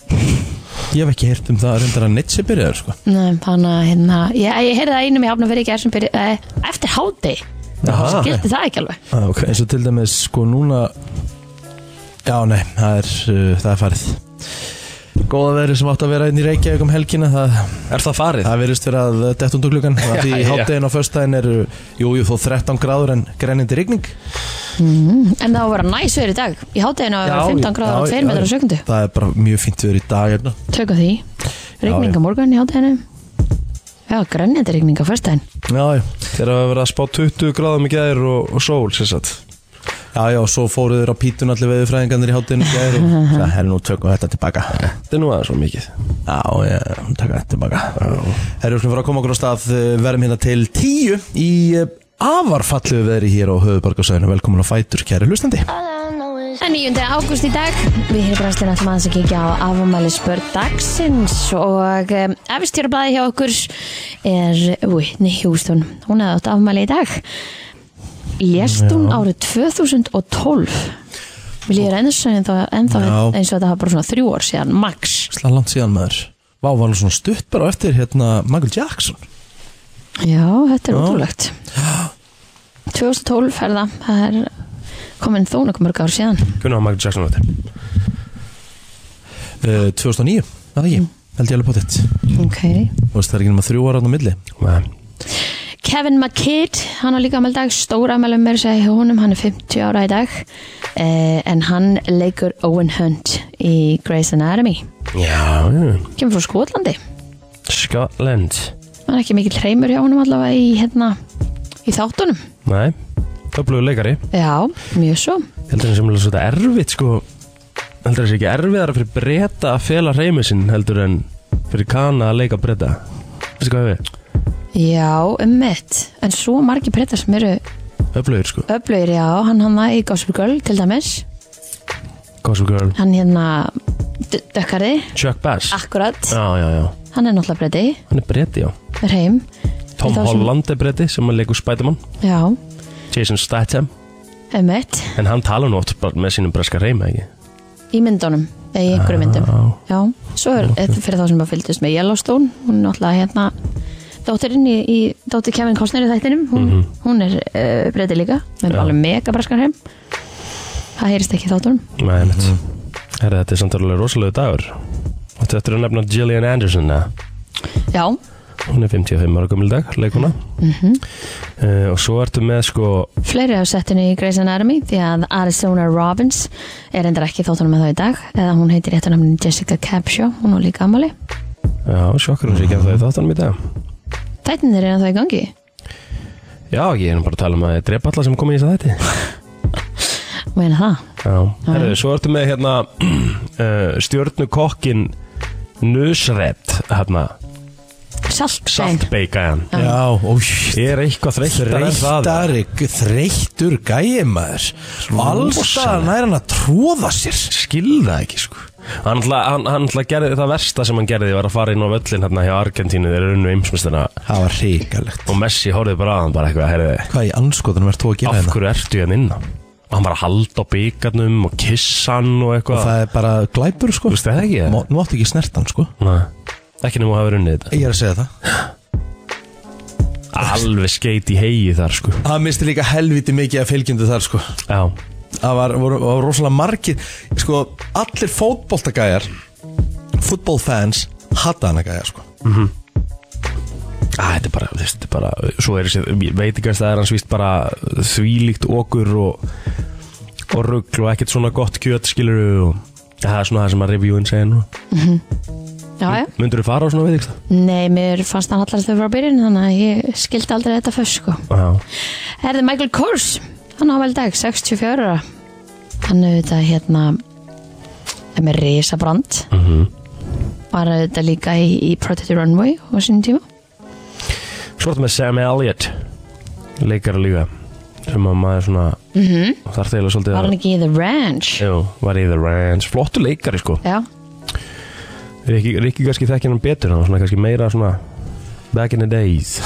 Speaker 2: Ég hef ekki heyrt um það að reyndar að neitt sé byrjaður sko.
Speaker 3: Nei, þannig að hérna, ég, ég heyrði það einum í hafna fyrir í gær sem byrja eh, eftir háti
Speaker 2: Aha.
Speaker 3: skildi það ekki alveg
Speaker 2: ah, okay. Eins og til dæmis sko núna Já nei, það er, uh, það er farið Góða verið sem átt að vera inn í Reykjavík um helgina Það,
Speaker 4: Er það farið?
Speaker 2: það verist vera að dettum klukkan
Speaker 3: <laughs>
Speaker 2: Það því
Speaker 4: Já, já.
Speaker 2: háttegin á föstudaginn er Jú, jú, þó 13 gráður en grennindi rigning
Speaker 3: en það á að vera næs verið í dag í hátiðinu á að vera 15 gráður og
Speaker 2: já,
Speaker 3: 2 metrar á
Speaker 2: já.
Speaker 3: sekundu
Speaker 2: Það er bara mjög fínt verið í dag hérna.
Speaker 3: tökum því,
Speaker 2: Já, já.
Speaker 3: rigning á morgun í hátiðinu já, grænjandi rigning á fyrstæðin
Speaker 2: Já, já,
Speaker 4: Þegar að vera að spá 20 gráðum í gæðir og, og sól sér satt
Speaker 2: já, já, svo fóruður á pítun allir veðurfræðingarnir í hátteginu Það
Speaker 3: <laughs>
Speaker 2: er nú tökum þetta tilbaka
Speaker 4: Þetta er nú aðeins svo mikið
Speaker 2: Já, ég taka þetta tilbaka Herru, við skulum fara að koma okkur á stað eh, verðum hérna til tíu í eh, afarfallu veðri hér á höfuborgarsæðinu Velkomin á Fætur, kæri hlustandi
Speaker 3: En 9. ágúst í dag, við hér í brennslinu ætlum aðeins að kíkja á afamæli spörð dagsins og um, efstjórablaði hjá okkur er Whitney Houston, hún hefði átt afmæli í dag. Lést hún árið 2012. Vil ég reynda svo ennþá, ennþá
Speaker 2: Já.
Speaker 3: eins og þetta hafa bara svona þrjú ár síðan, max.
Speaker 2: Slá langt síðan maður Vá, var hann svona stutt bara á eftir hérna Michael Jackson
Speaker 3: Já, þetta er ótrúlegt. 2012 er það, það er komin þó nokkuð mörg ár síðan.
Speaker 4: Hvernig á Michael Jackson þetta?
Speaker 2: uh, 2009, það er ekki, held ég alveg potið
Speaker 3: Ok.
Speaker 2: Þú veist, það er ekki nema þrjú ára á milli
Speaker 4: Nei.
Speaker 3: Kevin McKidd, hann á líka amal dag stóra amalum mér segi hjá honum, hann er 50 ára í dag eh, en hann leikur Owen Hunt í Grey's Anatomy
Speaker 4: Já, já.
Speaker 3: kemur frá Skotlandi
Speaker 4: Scotland
Speaker 3: hann er ekki mikill hreimur hjá honum allavega í, hérna, í þáttunum
Speaker 4: Nei, öflugur leikari
Speaker 3: já, mjög svo
Speaker 4: Heldur hann sem er svona erfitt sko Heldur hann sé ekki erfiðara fyrir breyta að fela reymi sinn heldur en fyrir kana að leika breyta Veistu hvað ég við?
Speaker 3: já, ummitt, en svo margir brettar sem eru
Speaker 4: Öflugur sko
Speaker 3: öflugir, já, hann hann í Gossip Girl til dæmis,
Speaker 4: Gossip Girl
Speaker 3: hann hérna d- dökkari,
Speaker 4: Chuck Bass
Speaker 3: akkurat
Speaker 4: Já, já, já
Speaker 3: hann er náttúrulega bretti,
Speaker 4: Hann er breyti, já
Speaker 3: hreim
Speaker 4: Tom
Speaker 3: Þá sem-
Speaker 4: Holland er breyti sem að leikur Spiderman
Speaker 3: já, um
Speaker 4: Jason Statham
Speaker 3: ummitt
Speaker 4: En hann tala nú oft bara með sínum breska reyma, ekki?
Speaker 3: í myndunum, eða í einhverjum myndum já, svo er þetta fyrir þá sem að fylgdist með Yellowstone, hún er náttúrulega hérna dóttirinn í, í dóttir Kevin Costner í þættinum, hún, hún er uh, breyti líka, með alveg mega braskan hreim það heyrist ekki í þáttunum
Speaker 4: Nei, einmitt
Speaker 3: Mhm.
Speaker 4: Herra, þetta er samt alveg rosalega dagur Þetta eftir að nefna Gillian Anderson eða?
Speaker 3: já,
Speaker 4: Hún er 55 ára gömul í dag, leikuna uh, Og svo ertu með sko
Speaker 3: fleiri af settinu í Grey's Anatomy því að Arizona Robbins er endur ekki í þáttunum með þá í dag eða hún heitir réttu namni Jessica Capshaw hún er líka ammali,
Speaker 4: Já, sjokkur hún sé ekki að það í þáttanum í dag
Speaker 3: þættinir er ennþá í gangi
Speaker 4: Já, ég er nú bara að tala um að ég drepa alla sem kom í þess að þetta
Speaker 3: meina það,
Speaker 4: Já, herru, svo ertu með hérna <clears throat> uh, Stjörnukokkin Nusret hérna,
Speaker 3: salt,
Speaker 4: Saltbeikaðan
Speaker 2: Já, ósj
Speaker 4: Ég er eitthvað þreyttar en það
Speaker 2: Þreyttari, þreyttur gæmaður og allstað nær hann að tróða sér
Speaker 4: skil það ekki sko hann ætla, hann, hann ætla gerði það versta sem hann gerði var að fara inn á völlin hérna hjá Argentínu þeir eru unnu heimsmyndstuna
Speaker 2: Það var hrikalegt
Speaker 4: og Messi horfið bara að hann bara eitthvað herri,
Speaker 2: Hvað í anskotunum ert þú að gera
Speaker 4: af
Speaker 2: hérna?
Speaker 4: hverju ertu hérna innan og hann bara að halda á byggarnum og kissa hann og
Speaker 2: Og
Speaker 4: eitthvað
Speaker 2: það er bara glæpur sko
Speaker 4: þú veist það ekki
Speaker 2: Má- Nú áttu ekki snertan sko
Speaker 4: Nei. ekki nema að hafa runnið
Speaker 2: Ég er að segja það
Speaker 4: þetta alveg skeit í hegi þar sko
Speaker 2: Það misti líka helviti mikið af fylgjendu þar sko
Speaker 4: já,
Speaker 2: Það var, voru, var rosalega margir Sko, allir fótboltagæjar Fútbolfans Hatta hana gæjar sko
Speaker 4: Æ, þetta er bara, þú veist, þetta er bara svo er þessi, ég veit ekki að það er hans víst bara þvílíkt okkur og, og ruggl og ekkert svona gott kjöt skilur og það er svona það sem að reviewin segja nú
Speaker 3: já, já.
Speaker 4: Myndur þú fara á svona veit ekki
Speaker 3: Nei, mér fannst hann allar þau frá byrjun þannig að ég skildi aldrei þetta fyrst sko.
Speaker 4: það?
Speaker 3: Herði Michael Kors hann á vel dag, 64 ára hann auðvitað hérna er með risabrand mm var auðvitað líka í, í Protected Runway á sínum tíma
Speaker 4: Svo ertu með Sam Elliott leikara líka sem að maður svona þarf þeirlega svolítið
Speaker 3: var
Speaker 4: að
Speaker 3: hann ekki í The Ranch
Speaker 4: Jú, var í The Ranch, flottu leikari sko
Speaker 3: já,
Speaker 4: Rikki, Rikki kannski þekkir hann betur hann var svona kannski meira svona back in the days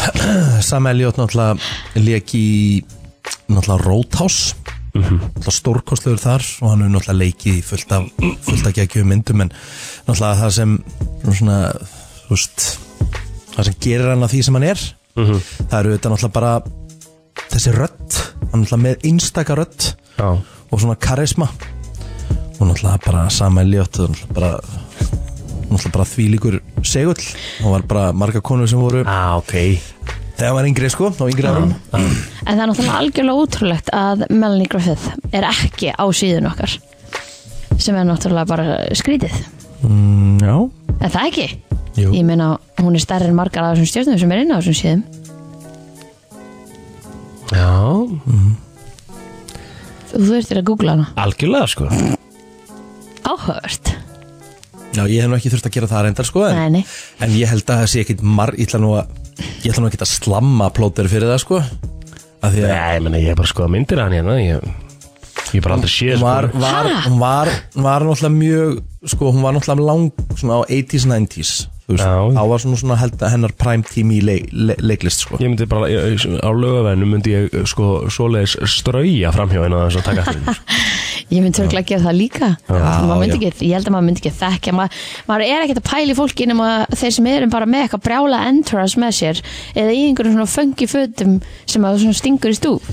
Speaker 2: Sam Elliot náttúrulega leik í náttúrulega Roadhouse náttúrulega stórkostlegur þar og hann hefur náttúrulega leikið í fullt af fullt af geggjum myndum en náttúrulega það sem svona, þú veist það sem gerir hann að því sem hann er það eru þetta náttúrulega bara þessi rödd, hann er náttúrulega með einstaka rödd
Speaker 4: Já,
Speaker 2: og svona karisma og náttúrulega bara Sam Elliot og náttúrulega bara náttúrulega bara þvílíkur segull og var bara marga konur sem voru
Speaker 4: ah, ok
Speaker 2: þegar hann var yngri sko, á yngri árum
Speaker 3: en það er náttúrulega algjörlega útrúlegt að Melanie Griffith er ekki á síðun okkar sem er náttúrulega bara skrítið
Speaker 2: Mm, já,
Speaker 3: er það ekki?
Speaker 2: jú.
Speaker 3: Ég meina, hún er stærri en margar af þessum stjórnum sem er inn á þessum síðum
Speaker 4: Já,
Speaker 3: Þú þurftir að googla hana
Speaker 4: algjörlega sko
Speaker 3: Áhört
Speaker 2: já ég hef nú ekki þurft að gera það reyndar sko en,
Speaker 3: Nei, nei
Speaker 2: en ég held að það sé ekkit marg ég ætla nú að ég ætla nú ekki að slamma plóter fyrir það sko að því að
Speaker 4: Nei, ég meina, ég er bara sko að myndir hann hérna Ég ég bara aldrei séð
Speaker 2: hún
Speaker 4: sko
Speaker 2: var, var, hún var, hún var náttúrulega mjög sko, hún var náttúrulega lang svona á 80s, 90s þú veist,
Speaker 4: Já.
Speaker 2: þá var svona, svona held, hennar prime tími í leik, le, leiklist sko
Speaker 4: Ég myndi bara, ég, ég- á lögavæðinu myndi ég eh, sko svoleiðis strauja framhjóðin að þess að taka sko. þeim
Speaker 3: Ég myndi örgulega að gera það líka Maður myndi
Speaker 2: já.
Speaker 3: ekki, Ég held að maður myndi ekki þekkja Maður, maður er ekkert að pæla í fólki nema þeir sem eru bara með eitthvað brjála entourage með sér eða í einhverjum svona fengi fötum sem að þú svona stingur í stú
Speaker 4: <laughs>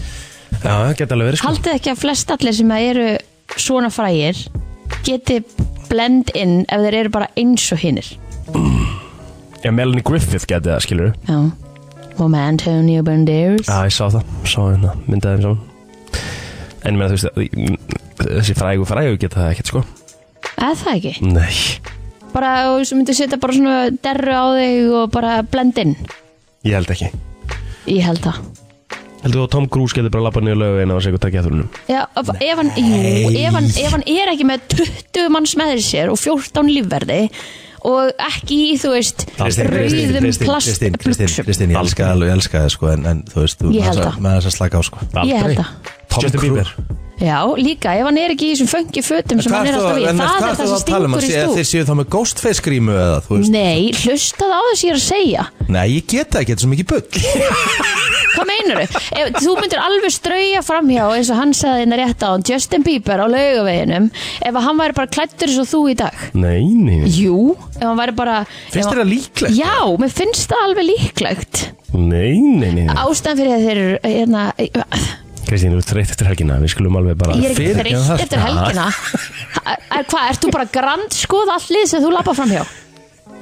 Speaker 4: Já, það geta alveg verið sko
Speaker 3: Haldið ekki að flest allir sem að eru svona frægir geti blend inn ef þeir eru bara eins og hinnir
Speaker 4: Já, Melanie Griffith geti það, skilur
Speaker 3: Já, og með Antonio Banderas
Speaker 4: Já, ég sá það, sá hérna, myndaði þeim saman En ég meina, þú veist, þessi frægu frægu geta það ekkert, sko
Speaker 3: eða það ekki
Speaker 4: Nei,
Speaker 3: bara og þú myndir setja bara svona derru á þig og bara blendin
Speaker 4: ég held ekki
Speaker 3: ég held það
Speaker 4: Heldur þú að Tom Cruise getur bara labbað niður lögu eina og segja hvað takkja þrunum?
Speaker 3: Já, ef, ef, hann, jú, ef, hann, ef hann er ekki með 20 manns með sér og 14 lífverði og ekki í, þú veist, rauðum
Speaker 2: Kristín, Kristín,
Speaker 3: plastbluksum
Speaker 2: Kristín, ég elska það alveg, ég elska það sko en, en þú veist, þú
Speaker 3: Ég held
Speaker 2: maður
Speaker 3: það.
Speaker 2: maður þess að slaka á sko
Speaker 3: Ég held það
Speaker 4: Tom
Speaker 2: Justin
Speaker 4: Cruise.
Speaker 2: Bieber.
Speaker 3: Já, líka, ef hann er ekki í þessum föngi fötum sem
Speaker 2: Hvað
Speaker 3: hann er
Speaker 2: ertu
Speaker 3: alltaf
Speaker 2: að-
Speaker 3: í
Speaker 2: en hvað
Speaker 3: Það er
Speaker 2: ertu að
Speaker 3: það sem
Speaker 2: tala um? Að
Speaker 3: stingur í
Speaker 2: sé- að
Speaker 3: stúk
Speaker 2: Þeir séu þá með ghostface grímu eða þú veist
Speaker 3: Nei, hlustaðu á þess ég er að segja
Speaker 2: Nei, ég get það ekki, þetta er svo mikið bull
Speaker 3: <laughs> Hvað meinar þau? Þú myndir alveg strauja framhjá eins og hann sagði hérna rétt á hann Justin Bieber á laugaveginum ef að hann væri bara klættur eins og þú í dag
Speaker 4: Nei, nei,
Speaker 3: Jú, ef hann væri bara ef
Speaker 2: Finnst
Speaker 3: hann-
Speaker 2: þér það líklegt?
Speaker 3: Já, mér finnst það alveg líklegt
Speaker 4: nei, nei, nei, nei.
Speaker 3: Ástæðan fyrir að þeir eru hérna,
Speaker 4: Kristín, þú ert þreytt eftir helgina, við skulum alveg bara
Speaker 3: Ég er ekki
Speaker 2: Fyrir- Já, það-
Speaker 3: þreytt eftir helgina Ha- er, Hvað, ert þú bara grand skoð allir sem þú lappa framhjá?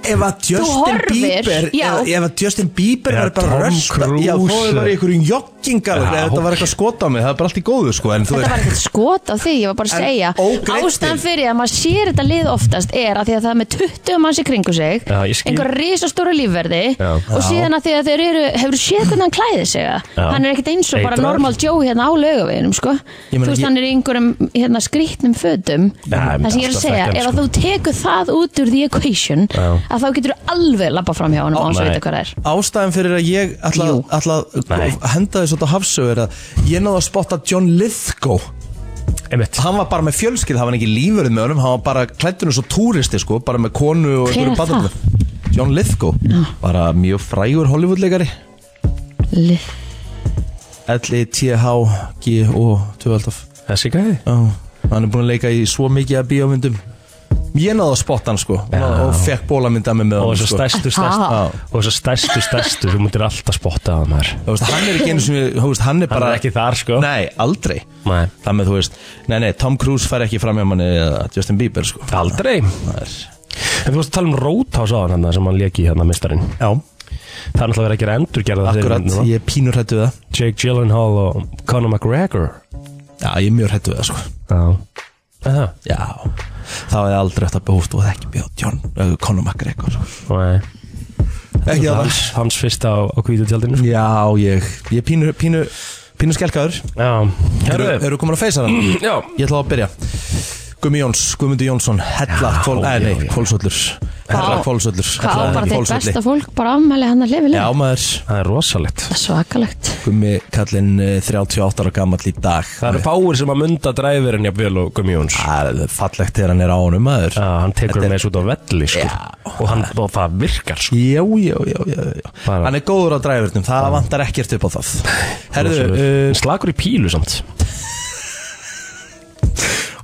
Speaker 2: Ef að Justin
Speaker 3: horfir,
Speaker 2: Bieber
Speaker 3: já.
Speaker 2: ef- Ef að Justin Bieber
Speaker 4: Eða
Speaker 2: var bara
Speaker 4: Tom
Speaker 2: rösta
Speaker 4: Cruise.
Speaker 2: Já, þá er bara í einhverjum joggingar
Speaker 4: Já.
Speaker 2: Ef þetta var eitthvað skot á mig, það er bara allt í góðu sko En þú
Speaker 3: Þetta var
Speaker 2: veist,
Speaker 3: ekkert skot á því, ég var bara að
Speaker 2: En
Speaker 3: segja
Speaker 2: ógreiddir.
Speaker 3: Ástæðan fyrir að maður sér þetta lið oftast er að því að það er með 20 manns í kringu sig
Speaker 4: Já, ég skil.
Speaker 3: einhver risastóra lífverði
Speaker 4: Já.
Speaker 3: og síðan að því að þeir eru, hefur séð hvernig hann klæði sig eða?
Speaker 4: Já.
Speaker 3: hann er ekkert eins og bara
Speaker 4: Eitraður.
Speaker 3: normal Joe hérna á laugaveginum sko.
Speaker 2: Ég meina,
Speaker 3: þú veist
Speaker 2: ég-
Speaker 3: hann er í einhverjum hérna, skrýtnum fötum
Speaker 4: Já, ég myndi
Speaker 3: það sem ég er að
Speaker 4: alltaf
Speaker 3: segja
Speaker 4: þekkja hann,
Speaker 3: er að
Speaker 4: sko.
Speaker 3: þú tekur það út úr the equation
Speaker 4: Já.
Speaker 3: að þá getur þú alveg labba fram hjá hann og hans
Speaker 4: nei.
Speaker 3: veit hvað það er
Speaker 2: ástæðan fyrir að ég ætla
Speaker 3: Jú.
Speaker 2: ætla
Speaker 4: Nei.
Speaker 2: að henda þessu út á hafsögu er að Ég náðu að spotta John Lithgow
Speaker 4: Einmitt.
Speaker 2: Hann var bara með fjölskyld, hann var ekki lífurinn með honum Hann var bara klættunum svo túristi sko Bara með konu og
Speaker 3: Hver er
Speaker 2: einhverjum
Speaker 3: það?
Speaker 2: barnum. John Lithgow, bara mjög frægur Hollywoodleikari
Speaker 3: Lið-
Speaker 2: L-I-T-H-G-O 12
Speaker 4: Þessi gæði
Speaker 2: Já, hann er búin að leika í svo mikið að bíómyndum Ég náði að spotta hann sko
Speaker 4: Já.
Speaker 2: og fekk bólamynda með með
Speaker 4: Og
Speaker 2: hann
Speaker 4: þessu
Speaker 2: sko.
Speaker 4: stærstu,
Speaker 3: Ha.
Speaker 4: stærstu Og þessu stærstu, stærstu, þú mútir alltaf spotta það maður
Speaker 2: Þú veist, Hann er ekki einu sem við, veist, hann er
Speaker 4: Hann
Speaker 2: bara
Speaker 4: er ekki þar, sko
Speaker 2: Nei, aldrei
Speaker 4: Nei.
Speaker 2: Það með þú veist, nei nei, Tom Cruise fær ekki fram hjá manni eða Justin Bieber sko
Speaker 4: Aldrei En
Speaker 2: Það er,
Speaker 4: þú varst að tala um Róthás á hann sem hann leki hérna mistarinn
Speaker 2: Já,
Speaker 4: Það er náttúrulega verið að gera endurgerða
Speaker 2: akkurat,
Speaker 4: þeirra,
Speaker 2: ég er pínur hættu við það
Speaker 4: Jake Gyllenhaal og Conor McGregor
Speaker 2: Já, ég er mjög hættu við það sko
Speaker 4: Já Er Það
Speaker 2: Já, þá hefði aldrei eftir að búst og það ekki bjóð John, uh, Conor McGregor sko.
Speaker 4: Nei.
Speaker 2: Ekki það var
Speaker 4: hans, hans fyrsta á, á hvítu tjaldinu
Speaker 2: Já, ég, ég er pínur, pínur, pínur skelkaður
Speaker 4: Já
Speaker 2: Eru,
Speaker 4: Herðu
Speaker 2: eru komin að feysa hann?
Speaker 4: <clears throat> Já
Speaker 2: Ég ætla að byrja Gumi Jóns, Guðmundur Jónsson, Hella
Speaker 4: Já,
Speaker 2: kvól,
Speaker 4: já,
Speaker 2: Nei, nei,
Speaker 4: já.
Speaker 2: kvólsöllur Herra
Speaker 3: Hvað á-
Speaker 2: kvólsöllur
Speaker 3: Hvað á
Speaker 2: Hella
Speaker 3: bara til
Speaker 2: Hvolsvöllur.
Speaker 3: besta fólk bara afmæli hann að lifi
Speaker 2: Já maður,
Speaker 4: Það er rosalegt
Speaker 3: Svakalegt
Speaker 2: Gumi kallinn eh, 38 ára gamall í dag
Speaker 4: Það eru fáir sem að munda dræfirinn jafnvel og Gummi Jóns
Speaker 2: Það er fallegt þegar hann er á honum maður
Speaker 4: Já, hann tekur
Speaker 2: Þetta er-
Speaker 4: hann eins út á velli sko. og, hann, og það virkar sko.
Speaker 2: Jú, jú, jú, jú, jú.
Speaker 4: Bara-
Speaker 2: Hann er góður á dræfurnum, það vantar ekkert upp á það Herðu, eh,
Speaker 4: Rosalegt. Slakur í pílu samt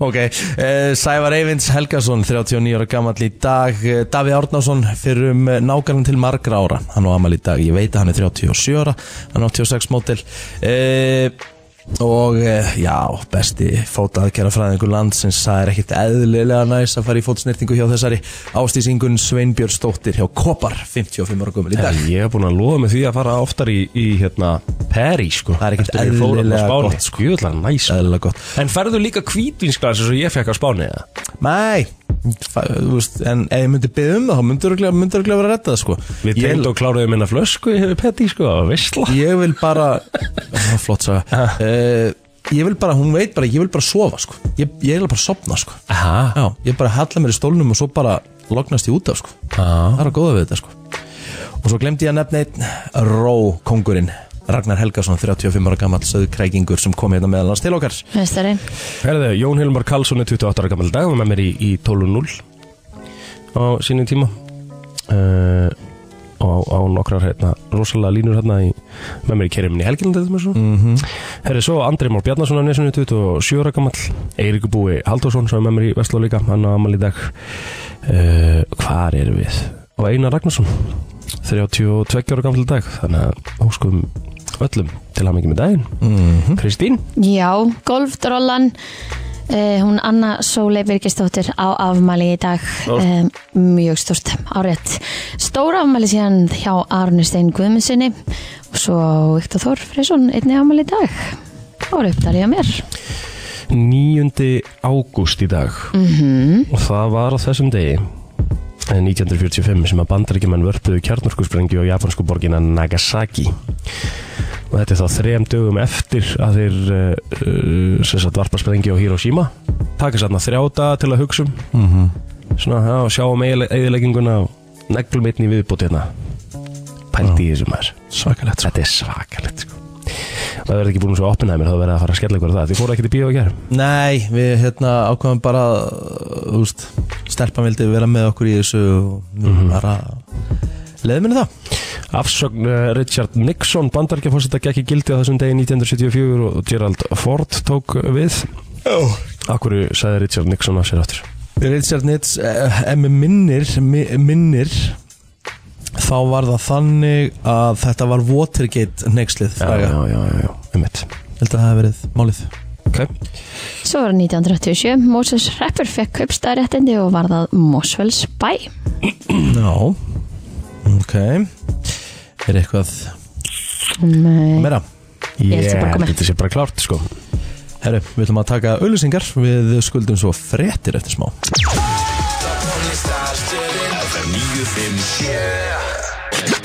Speaker 2: Ok, eh, Sævar Eyvinds Helgason, 39 ára gammal í dag Eh, Davíð Árnason fyrir um nákvæmlega til margra ára Hann á amal í dag, ég veit að hann er 37 ára Hann er 86 mótil eh, Og eh, já, besti fótaðkjara fræðingur landsins Það er ekkert eðlilega næs að fara í fótsnýrtingu hjá þessari Ástísingun Sveinbjörn Stóttir hjá Kopar, 55 ára gömul í dag
Speaker 4: Herri, Ég hef búin að lofa mig því að fara oftar í, í hérna, Peri sko.
Speaker 2: Það er ekkert
Speaker 4: Eftir ég fór þarna á
Speaker 2: eðlilega
Speaker 4: Spáni.
Speaker 2: gott, sko.
Speaker 4: Jöfnlega næs
Speaker 2: Eðlilega gott
Speaker 4: En ferðu líka kvítvinsglas eins og ég fekk á Spáni eða?
Speaker 2: Nei, fa- þú veist, en ef ég myndi byggja um það þá myndur örugglega vera að redda það sko
Speaker 4: Við
Speaker 2: Ég-
Speaker 4: tegnd og kláruðum minna flösku yfir Peti sko, það var veistla
Speaker 2: ég vil <laughs> bara Það er Ah, flott saga uh, ég vil bara, hún veit bara, ég vil bara sofa sko. ég, ég vil bara sopna sko.
Speaker 4: Aha,
Speaker 2: Já, ég bara halla mér í stólnum og svo bara lognast ég út af sko.
Speaker 4: Já.
Speaker 2: það er að góða við þetta sko. og svo glemdi ég að nefna einn Ró kongurinn Ragnar Helgason, 35 ára gammal söðkrækingur sem kom hérna meðal hans til okkar
Speaker 3: Mestarinn
Speaker 4: herðu, Jón Hilmar Karlsson er 28 ára gammal dag og með mér í, í 12.0 á sínum tíma uh, og á nokkrar hérna, rosalega línur hérna í, með mér í kerjuminn í helginu þetta með svo mm
Speaker 2: Mhm,
Speaker 4: -hmm. herðu, svo Andri Már Bjarnason á nesunni 27 ára gammal Eiríku Búi Haldursson sem er með mér í Vestló líka, hann á amal í dag uh, hvar erum við? og Einar Ragnarsson 32 ára gammal dag þannig að óskum öllum til hamingi með daginn
Speaker 2: Mhm.
Speaker 4: Kristín
Speaker 3: Já, golfdrollan Uh, hún Anna Sólei Birgisdóttir á afmæli í dag
Speaker 4: Stórt.
Speaker 3: um, mjög stort árétt stóra afmæli síðan hjá Arne Stein Guðmundssoni Svo Viktor Þór Freysson, einnig ámæli í dag Það var uppdalið að mér
Speaker 4: 9. ágúst í dag -hmm. og það var á þessum degi eh, 1945 sem að bandaríkjumann vörpuðu kjarnorkusprengju á japansku borgina Nagasaki og þetta er þá þrem dögum eftir að þeir uh, uh, sem sagt varpa sprengju á Hiroshima taka þarna þrjá daga til að hugsa um
Speaker 2: mhm.
Speaker 4: svona já, og sjá um eðilegginguna og neglum einni viðbúti hérna pælt í þessu maður
Speaker 2: Svakalegt
Speaker 4: þetta er svakalegt sko. og það verður ekki búin svo oppenhæmir þá verður að fara að skella ykkur á það þið fóru ekki til bíó að gera
Speaker 2: Nei, við hérna ákvæðum bara uh, þú veist, stelpan vildi vera með okkur í þessu og við bara leiðum minni það
Speaker 4: Afsögn eh, Richard Nixon bandarkefósita gekk í gildi á þessum degi 1974 og Gerald Ford tók við
Speaker 2: oh.
Speaker 4: Akkur sagði Richard Nixon af sér aftur
Speaker 2: Richard Nitz, eh, ef mig minnir mi- minnir þá var það þannig að þetta var Watergate neykslið
Speaker 4: Já, já,
Speaker 2: fræga.
Speaker 4: já, já, já, einmitt
Speaker 2: held að það hef verið málið
Speaker 4: Ok,
Speaker 3: Svo var 1987, Moses Rapper fekk kaupstæðaréttindi og var það Mosfells bæ
Speaker 2: Já, ok Er eitthvað
Speaker 3: Nei,
Speaker 2: meira?
Speaker 3: Ég held sé bara komið.
Speaker 4: þetta sé bara klárt sko
Speaker 2: Herru, við ætlum að taka auðlýsingar Við skuldum svo fréttir eftir smá
Speaker 1: FM 957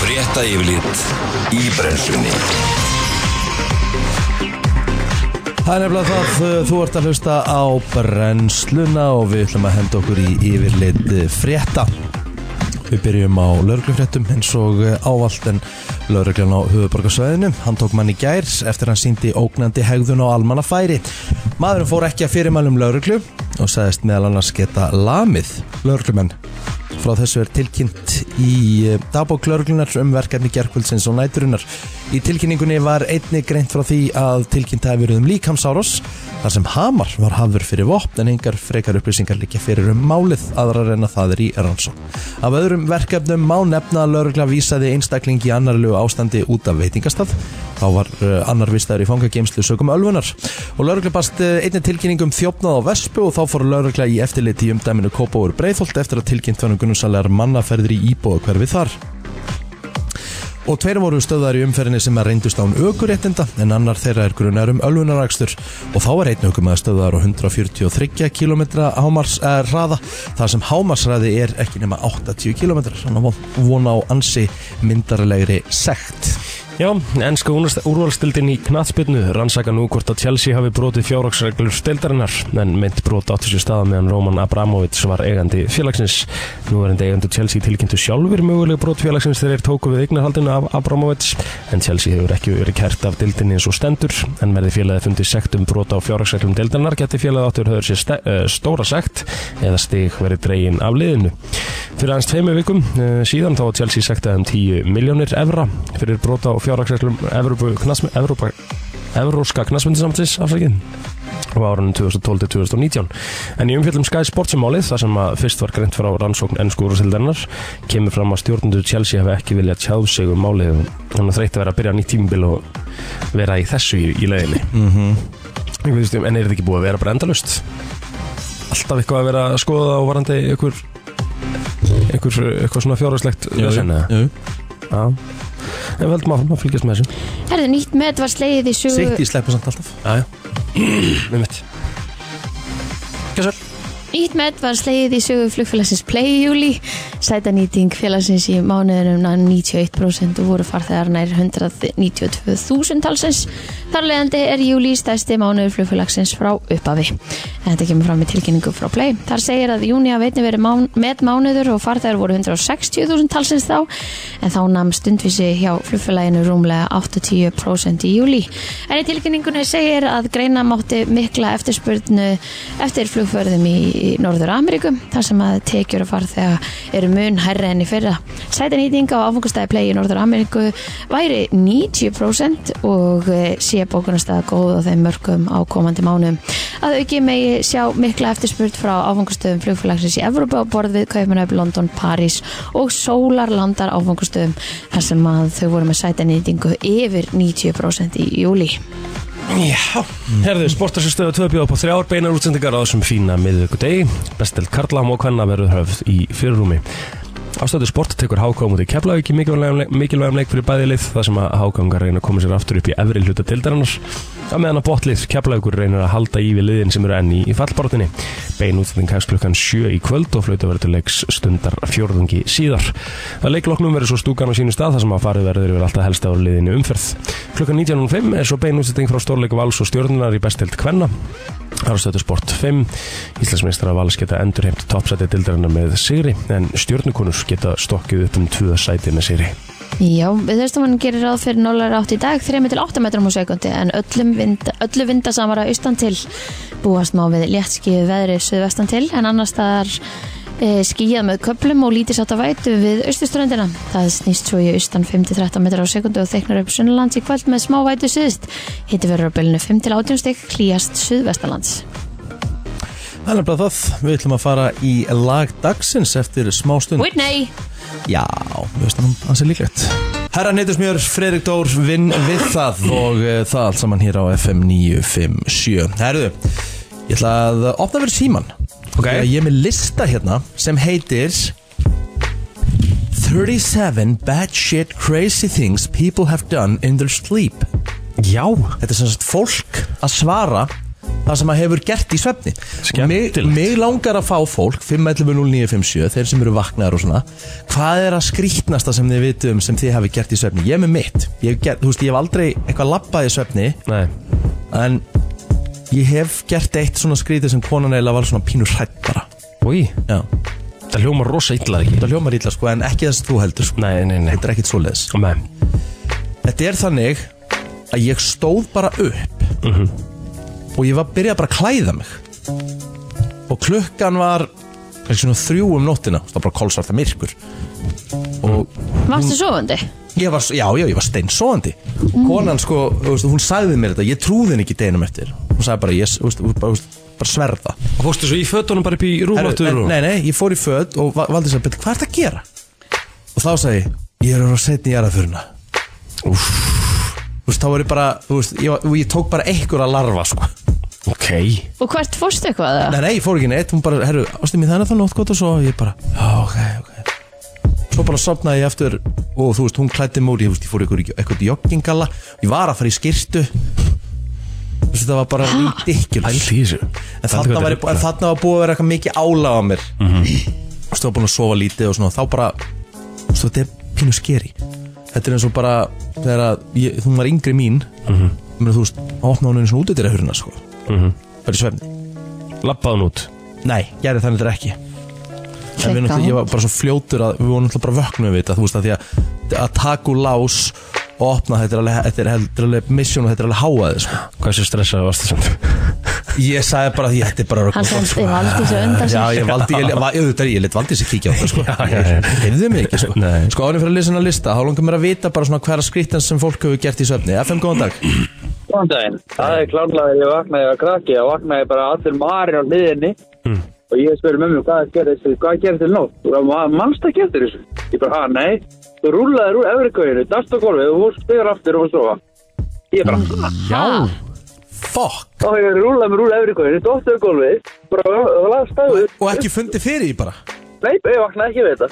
Speaker 1: Frétta yfirlit í brennslunni
Speaker 2: Það er nefnilega það, uh, þú ert að hlusta á brennsluna og við ætlum að henda okkur í yfirlit uh, frétta. Við byrjum á lauruglufréttum eins og uh, ávallt en lauruglan á höfuborgarsvæðinu. Hann tók mann í gær eftir hann síndi ógnandi hegðun á almannafæri. Maðurinn fór ekki að fyrirmælum lauruglu og sagðist meðal annars geta lamið lauruglumenn. Frá þessu er tilkynnt í eh, dagbók lauruglunar um verkefni gerkvöldsins og næturunar. Í tilkynningunni var einni greint frá því að tilkynnt hafi verið um líkamsáros, þar sem hamar var hafur fyrir vopn en engar frekar upplýsingar líka fyrir um málið aðrar en að það er í rannsókn. Af öðrum verkefnum má nefna að laurugla vísaði einstakling í annarlegu ástandi út af veitingastað. Þá var eh, annar vistaður í fangageimslu sögum ölfunar. Og laurugla bast eh, einni tilkynningum þjófnað á Vespu og þá fór laurugla í eftirliti í umdæminu Kópáur Breitholt eftir að tilkynnt var um gunnumsalegar mannaferðir í íbúa hverfi þar. Og tveir voru stöðar í umferðinni sem að reyndust án aukuréttinda en annar þeirra er grunar um ölvunarakstur og þá er einn aukum að stöðar á 143 km hámars, eh, hraða þar sem hámarsræði er ekki nema 80 km þannig að vona á ansi myndarlegri sekt.
Speaker 4: Já, ennska úrvalstildin í knatsbyrnu rannsaka nú hvort að Chelsea hafi brotið fjárhagsreglur stildarinnar en mynd brot áttu sér staða meðan Roman Abramovic var eigandi félagsins. Nú er endi eigandi Chelsea tilkynntu sjálfur möguleg brot félagsins þegar þeir tóku við eignarhaldinu af Abramovic en Chelsea hefur ekki verið kært af dildinni eins og stendur en verði félagið fundið sekt um brot á fjárhagsreglum dildarinnar geti félagið áttur höfður sér ste- eh, stóra sekt eða stig verið dregin af liðinu. Fyrir aðeins tveimur vikum eh, síðan þá var Chelsea sektaði um 10 miljónir evra fyrir brota á fjárhagsreglum Evrópu, knasmi, Evrópa, Evróska knasmyndisamtis afsækinn á árunum 2012-2019 en í umfjöldum Sky Sports um málið þar sem að fyrst var greint frá rannsókn ennsku úrvarsdeildarinnar kemur fram að stjórnundur Chelsea hafi ekki viljað tjáð sig um málið þannig að þreytti að vera að byrja nýtt tímabil og vera í þessu í, í leiðinni mm -hmm. en er þetta ekki búið að vera bara endalust alltaf eitthvað að vera að skoða og varandi ykkur ykkur, eitthvað svona fjárhagslegt vesen, eða?
Speaker 2: Jú.
Speaker 4: Já. En veldum áfram að fylgjast með þessu
Speaker 3: herðu nýtt met var slegið í sögu
Speaker 2: Sitt í sleppu samt alltaf.
Speaker 4: Já, já Með mitt
Speaker 3: Nýtt met var slegið í sögu flugfélagsins Play í júli. Sætanýting félagsins í mánuðinum náði 91% og voru farþegar nær 192.000 talsins. Þar leiðandi er júli stærsti mánuður flugfélagsins frá uppafi. En þetta kemur fram í tilkynningu frá Play. Þar segir að júni hafi einnig verið mán, met mánuður og farþegar voru 160.000 talsins þá en þá nam stundvísi hjá flugfélaginu rúmlega 80% í júli. En í tilkynningunni segir að greina mátti mikla eftirspurnu eftir flugförðum í í Norður Ameríku þar sem að tekjur að fara þegar eru mun hærri enn í fyrra. Sætanýting á áfangustæði play í Norður Ameríku væri 90% og eh, sé bókunarstæða góð á þeim mörgum á komandi mánum. Að auki megi sjá mikla eftirspurt frá áfangastöðum flugfélagsins í Evrópa og borð við Kaupanöf, London, París og sólarlandar áfangastöðum þar sem að þau voru með sætanýtingu yfir 90% í júli.
Speaker 4: Já, herðu, sportarstöðu töfbjóð upp á þrjár beinar útsendingar á þessum fína miðvöku degi. Bestelt Karla og Kvenna verður höfð í fyrirrúmi. Ástættu sport tekur hákáum út í Keflavík í mikilvægum leik, mikilvægum leik fyrir bæði lið þar sem að hákáungar reyna að koma sér aftur upp í efri hluta dildarannars á meðan að botlið Keflavíkur reynir að halda í við liðin sem eru enn í, í fallbortinni Bein útsending hægst klukkan 7 í kvöld og flauta verður til leiks stundar fjórðungi síðar Það leikloknum verður svo stúkan á sínu stað þar sem að farið verður yfir alltaf helst á liðinu umferð Klukkan 19.05 er svo bein útsending frá stórleik vals og stjórnunar í bestild kvenna Harastöðu Sport 5 Íslandsmeistra Vals geta endurheimt toppsæti dildarinnar með sigri en stjórnukonur geta stokkið upp um tvö sæti með sigri
Speaker 3: Já, við þessum hann gerir ráð fyrir 0 átt í dag, 3-8 metrum á sekundi en öllum vind, öllu vindasamara austan til búast má við léttskíu veðri suðvestan til en annars staðar e, skíjað með köplum og lítið sátt að vætu við austuströndina. Það snýst svo í austan 5-13 metrar á sekundu og þeiknar upp sunnalands í kvöld með smá vætu suðist. Hitti verður á bylunu 5-18 stygg, klíjast suðvestanlands.
Speaker 2: Það er nefnilega það, við ætlum að fara í lag dagsins eftir smá stund
Speaker 3: Whitney!
Speaker 2: Já, við veist hann hans er líklegt Herra Neytusmjör, Fredrik Dór, vinn við það og uh, það allt saman hér á FM 957 Herðu, ég ætla að opna fyrir síman
Speaker 4: Ok.
Speaker 2: Ég er með lista hérna sem heitir 37 bad shit crazy things people have done in their sleep
Speaker 4: Já
Speaker 2: Þetta er sem sagt fólk að svara það sem að hefur gert í svefni Og mig,
Speaker 4: Skemmtilegt.
Speaker 2: mig langar að fá fólk 511-0957, þeir sem eru vaknaðar og svona hvað er að skrýtnasta sem þið vitum um sem þið hafi gert í svefni ég er með mitt, ég hef, gert, þú veist, ég hef aldrei eitthvað labbað í svefni
Speaker 4: Nei
Speaker 2: en ég hef gert eitt svona skrýtið sem konan eiginlega var svona pínur hrætt bara
Speaker 4: Úi,
Speaker 2: Já,
Speaker 4: það hljóma rosa illa ekki
Speaker 2: það hljómar ítla sko en ekki þess að þú heldur sko
Speaker 4: Nei, nei, nei
Speaker 2: þetta er ekkit svoleiðis
Speaker 4: Nei
Speaker 2: Þetta er þannig að ég stóð bara upp og ég var byrjað bara að klæða mig og klukkan var kannski svona þrjú um nóttina það var bara kólsvarta myrkur og
Speaker 3: Varstu sofandi?
Speaker 2: ég var, já, já, ég var steinsóðandi og konan sko, þú veist, hún sagði mér þetta ég trúði henni ekki deginum eftir hún sagði bara, ég, þú veist, þú- bara, þú veist, bara sverða
Speaker 4: Og fórstu svo í fötunum bara upp í
Speaker 2: Herru,
Speaker 4: rúmáttur
Speaker 2: en- Nei, nei, ég fór í föt og va- valdi þess að hvað er þetta að gera? Og þá sagði ég, ég er að vera setni í jarðaföruna Þú veist, þá var ég bara, þú veist, ég, var- og ég tók bara einhver að larfa, sko
Speaker 4: Ok
Speaker 3: Og hvert fórstu eitthvað? eða?
Speaker 2: Nei, nei, ég fór ekki neitt, hún bara, herru, ástum ég þannig að það nótt gott og svo Ég bara, já, ok, ok Svo bara sopnaði ég aftur og þú veist, hún klæddi múr, ég, þú veist, ég fór ykkur, eitthvað joggingalla Ég var að fara í skyrtu Þú veist, það var bara ridiculous
Speaker 4: Pældi í þessu
Speaker 2: En þarna var, en þarna var búið að vera eitthvað mikið álag á mér mm -hmm. Þú búin að sofa lítið og svona Þá bara, þú veist, þetta er pínu skeri Þetta er eins og bara Þegar að ég, þú var yngri mín mm -hmm. meni, Þú veist, þá opnaði hún einu svona útidir að hurna sko. Það er í svefni
Speaker 4: Lappaðan út
Speaker 2: Nei, gerði þannig þetta ekki En við
Speaker 3: Klikka
Speaker 2: náttúrulega, ég
Speaker 3: hún.
Speaker 2: var bara svo fljótur að Við vorum náttúrulega bara vöknum við þetta Þú veist, að því að, að taka úr lás Og opna, þetta er alveg, þetta er, þetta er alveg mission Og þetta er alveg háaði sko.
Speaker 4: Hvað sem stressaði varstu samt
Speaker 2: Ég sagði bara því að þetta er bara
Speaker 3: Hann
Speaker 2: gott,
Speaker 3: sendi Valdísi á undan sér.
Speaker 2: Já, ég valdi, ég, va- auðvitað er ég lit valdi sér kíkja á það sko.
Speaker 4: <laughs> já, já.
Speaker 2: Heyrðu mig ekki sko
Speaker 4: Nei.
Speaker 2: Sko ánum fyrir að lesa hennar lista, þá langar mér að vita bara svona hverja skrittan sem fólk hefur gert í söfni FM, góðan dag
Speaker 5: Góðan daginn. Það er klárlega þegar ég vaknaði að krakki og vaknaði bara allir marir á hliðinni
Speaker 2: Hmm.
Speaker 5: og ég spurði mömmu hvað gerðist hvað gerðist til nótt og það var mannst að geta þessu. Ég bara, ha, nei, þú rúlaðir úr efri kvæðinu, dast á gólfið og hún spyrir aftur og sofa. Ég bara,
Speaker 2: Hmm.
Speaker 5: ha,
Speaker 3: Ha?
Speaker 2: Fuck,
Speaker 5: þá hefur ég rúlað mér úr efri kvæðinu, dottur á gólfið, bara, og lagði staðu.
Speaker 2: og ekki fundið fyrir því bara
Speaker 5: Nei, ég vaknaði ekki við þetta.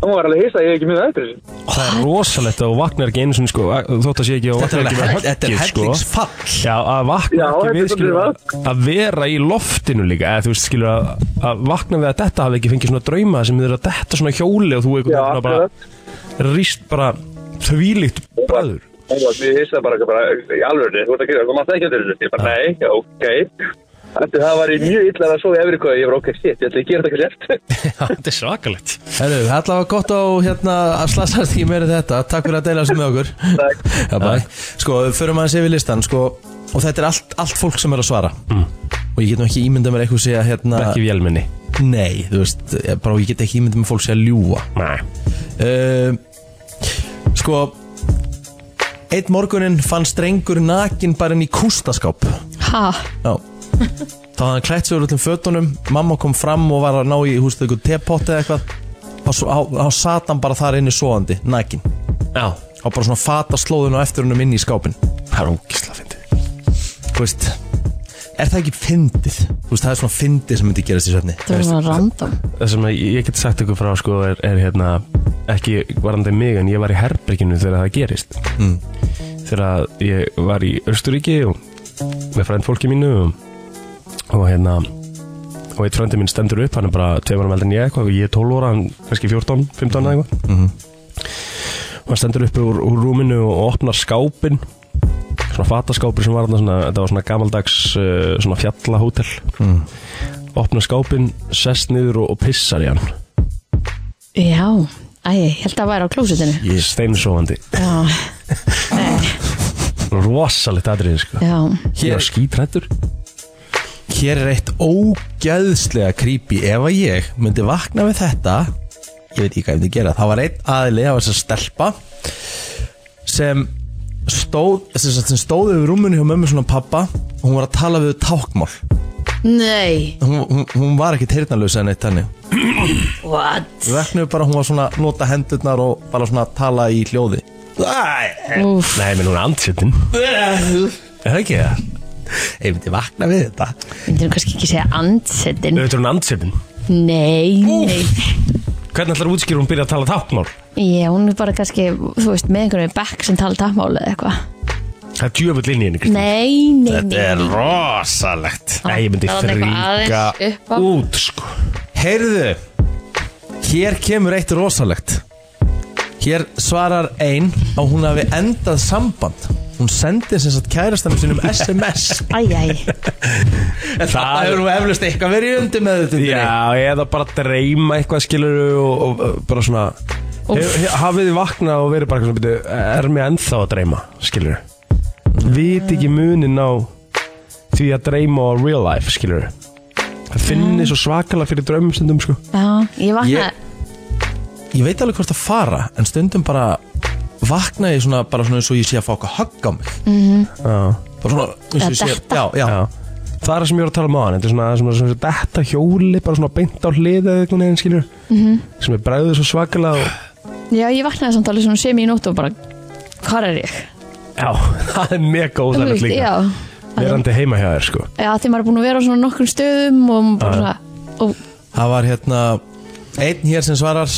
Speaker 5: Hún var alveg hissa, ég hef ekki mjög eftir þessu.
Speaker 4: Það er rosalegt að þú vaknar ekki einu sinni sko Þótt að sé ekki og
Speaker 2: Þetta er
Speaker 4: vaknar ekki
Speaker 2: alveg,
Speaker 4: með
Speaker 2: þetta er
Speaker 4: höggið sko
Speaker 2: hellingsfall
Speaker 4: Já, að vakna
Speaker 5: Já, þetta er
Speaker 4: ekki við
Speaker 5: svolítið
Speaker 4: skilur
Speaker 5: vatn.
Speaker 4: að- að vera í loftinu líka eða þú veist skilur að, að vakna við að detta hafi ekki fengið svona drauma sem þið eru að detta svona hjóli og þú eitthvað
Speaker 5: Já,
Speaker 4: svona bara rýst bara þvílíkt bræður
Speaker 5: Hún var mjög hissa bara, bara í alvörni, þú ert að gera, þú mannst ekki að þessu. Ég bara, nei, já, ok. Þannig það var í mjög illa að sofa í efri kvæði, ég bara, ok, shit, ég ætla að gera þetta ekki eftir.
Speaker 4: Þetta er svakalegt
Speaker 2: Herru, þetta var gott á hérna að slasast ekki meira þetta Takk fyrir að deila þessu með okkur
Speaker 5: Takk.
Speaker 2: Já, bæ. Sko, förum aðeins yfir listan sko, og þetta er allt, allt fólk sem er að svara
Speaker 4: Mm.
Speaker 2: og ég get nú ekki ímyndað mér eitthvað sé að hérna,
Speaker 4: Ekki vélminni
Speaker 2: nei, þú veist ég- bara ég get ekki ímyndað mér fólk sé að ljúa
Speaker 4: Nei
Speaker 2: uh, Sko Eitt morgunin fann strengur nakin bara inn í kústaskáp
Speaker 3: <laughs> Ha?
Speaker 2: Já Þá hafði hann klætt sig úr öllum fötunum Mamma kom fram og var að ná í hústu eitthvað tepotti eða eitthvað Þá svo- Þá þá sat hann bara þar inni svoandi, nakin
Speaker 4: Já,
Speaker 2: Þá bara svona fata slóðun á eftir húnum inn í skápin
Speaker 4: það er ógisla fyndið
Speaker 2: Þú veist er það ekki fyndið? Þú veist, það er svona fyndið sem myndi gerast í svefni
Speaker 3: Það var svona random
Speaker 4: það sem ég ég get sagt ykkur frá sko er, er hérna ekki varandi mig en ég var í herberginu þegar það gerist
Speaker 2: Mm.
Speaker 4: þegar ég var í Östuríki og með frænd fólki mínu og, og hérna og eitt frændi minn stendur upp hann er bara tveimur meldin ég eitthvað ég er 12 óra, hann kannski 14, 15 eða eitthvað og hann stendur upp úr, úr rúminu og opnar skápin svona fataskápur sem var þarna svona, þetta var svona gamaldags uh, svona fjallahótel
Speaker 2: Mm.
Speaker 4: opnar skápin, sest niður og, og pissar í hann
Speaker 3: Já, æ, ég held að það væri á klósutinu
Speaker 4: yes. steinsofandi
Speaker 3: Já,
Speaker 4: rosalegt aðrið sko.
Speaker 3: já,
Speaker 4: ég var skítrættur
Speaker 2: Hér er eitt ógæðslega creepy ef að ég myndi vakna við þetta ég veit ekki hvað ég myndi gera það var einn aðli, það var þess að stelpa sem stóð, sem, sagt, sem stóð yfir rúminu hjá mömmu svona pappa og hún var að tala við tákmál
Speaker 3: nei
Speaker 2: hún, hún, hún var ekki teirnalösa en eitt þannig
Speaker 3: What?
Speaker 2: við veknum bara, hún var svona að nota hendurnar og bara svona að tala í hljóði
Speaker 3: Úf,
Speaker 4: nei, menn hún er andsettin er það ekki það?
Speaker 2: ég myndi vakna við þetta
Speaker 3: myndir hún kannski ekki segja andsetin
Speaker 4: auðvitað er hún andsettin
Speaker 3: Nei, nei
Speaker 4: hvernig ætlar útskýr hún byrja að tala táknmál?
Speaker 3: Já, hún er bara kannski, þú veist, með einhverjum í bekk sem tala tapmál eða eitthvað
Speaker 4: það er djöfull inn í henni Kristín.
Speaker 3: Nei, nei, nei
Speaker 4: þetta er rosalegt nei, ég myndi
Speaker 3: Það er eitthvað
Speaker 4: fríka
Speaker 3: aðeins upp á.
Speaker 4: út sko.
Speaker 2: heyrðu, hér kemur eitt rosalegt hér svarar ein að hún hafi endað samband hún sendi sem sagt kærastanum <laughs> sínum SMS
Speaker 3: Æ, æ, <laughs>
Speaker 2: En það hefur nú eflust eitthvað verið undir með þetta
Speaker 4: já, eða bara dreyma eitthvað skilur og, og, og bara svona hef, hef- hafið þið vaknað og verið bara eitthvað svona "Bíddu, er mér ennþá að dreyma skilur vit ekki munin á því að dreyma og real life skilur það finnir svo svakalega fyrir draumum stundum sko
Speaker 3: já, ég vakna
Speaker 2: Ég- ég veit alveg hvort að fara en stundum bara vakna ég svona bara svona eins og ég sé að fá eitthvað högg á mig mm -hmm. bara svona eins og ég sé
Speaker 3: Mhm. Eða detta.
Speaker 2: já, já.
Speaker 4: já. það er það sem ég var að tala um á hann þetta er svona, svona, svona, svona detta hjóli bara svona beint á hliða eða eitthvað neginn skilur sem er bræðið svo svakalega og...
Speaker 3: Já, ég vaknaði samt alveg svona sem í nótt og bara Hvar er ég?
Speaker 4: já, <laughs> það er mega
Speaker 3: Þú
Speaker 4: óþægilegt
Speaker 3: veist,
Speaker 4: líka
Speaker 3: já
Speaker 4: verandi heima hjá þér sko
Speaker 3: Já, þegar maður er búin að vera á svona nokkrum stöðum og maður bara svona og,
Speaker 2: það var hérna einn hér sem svarar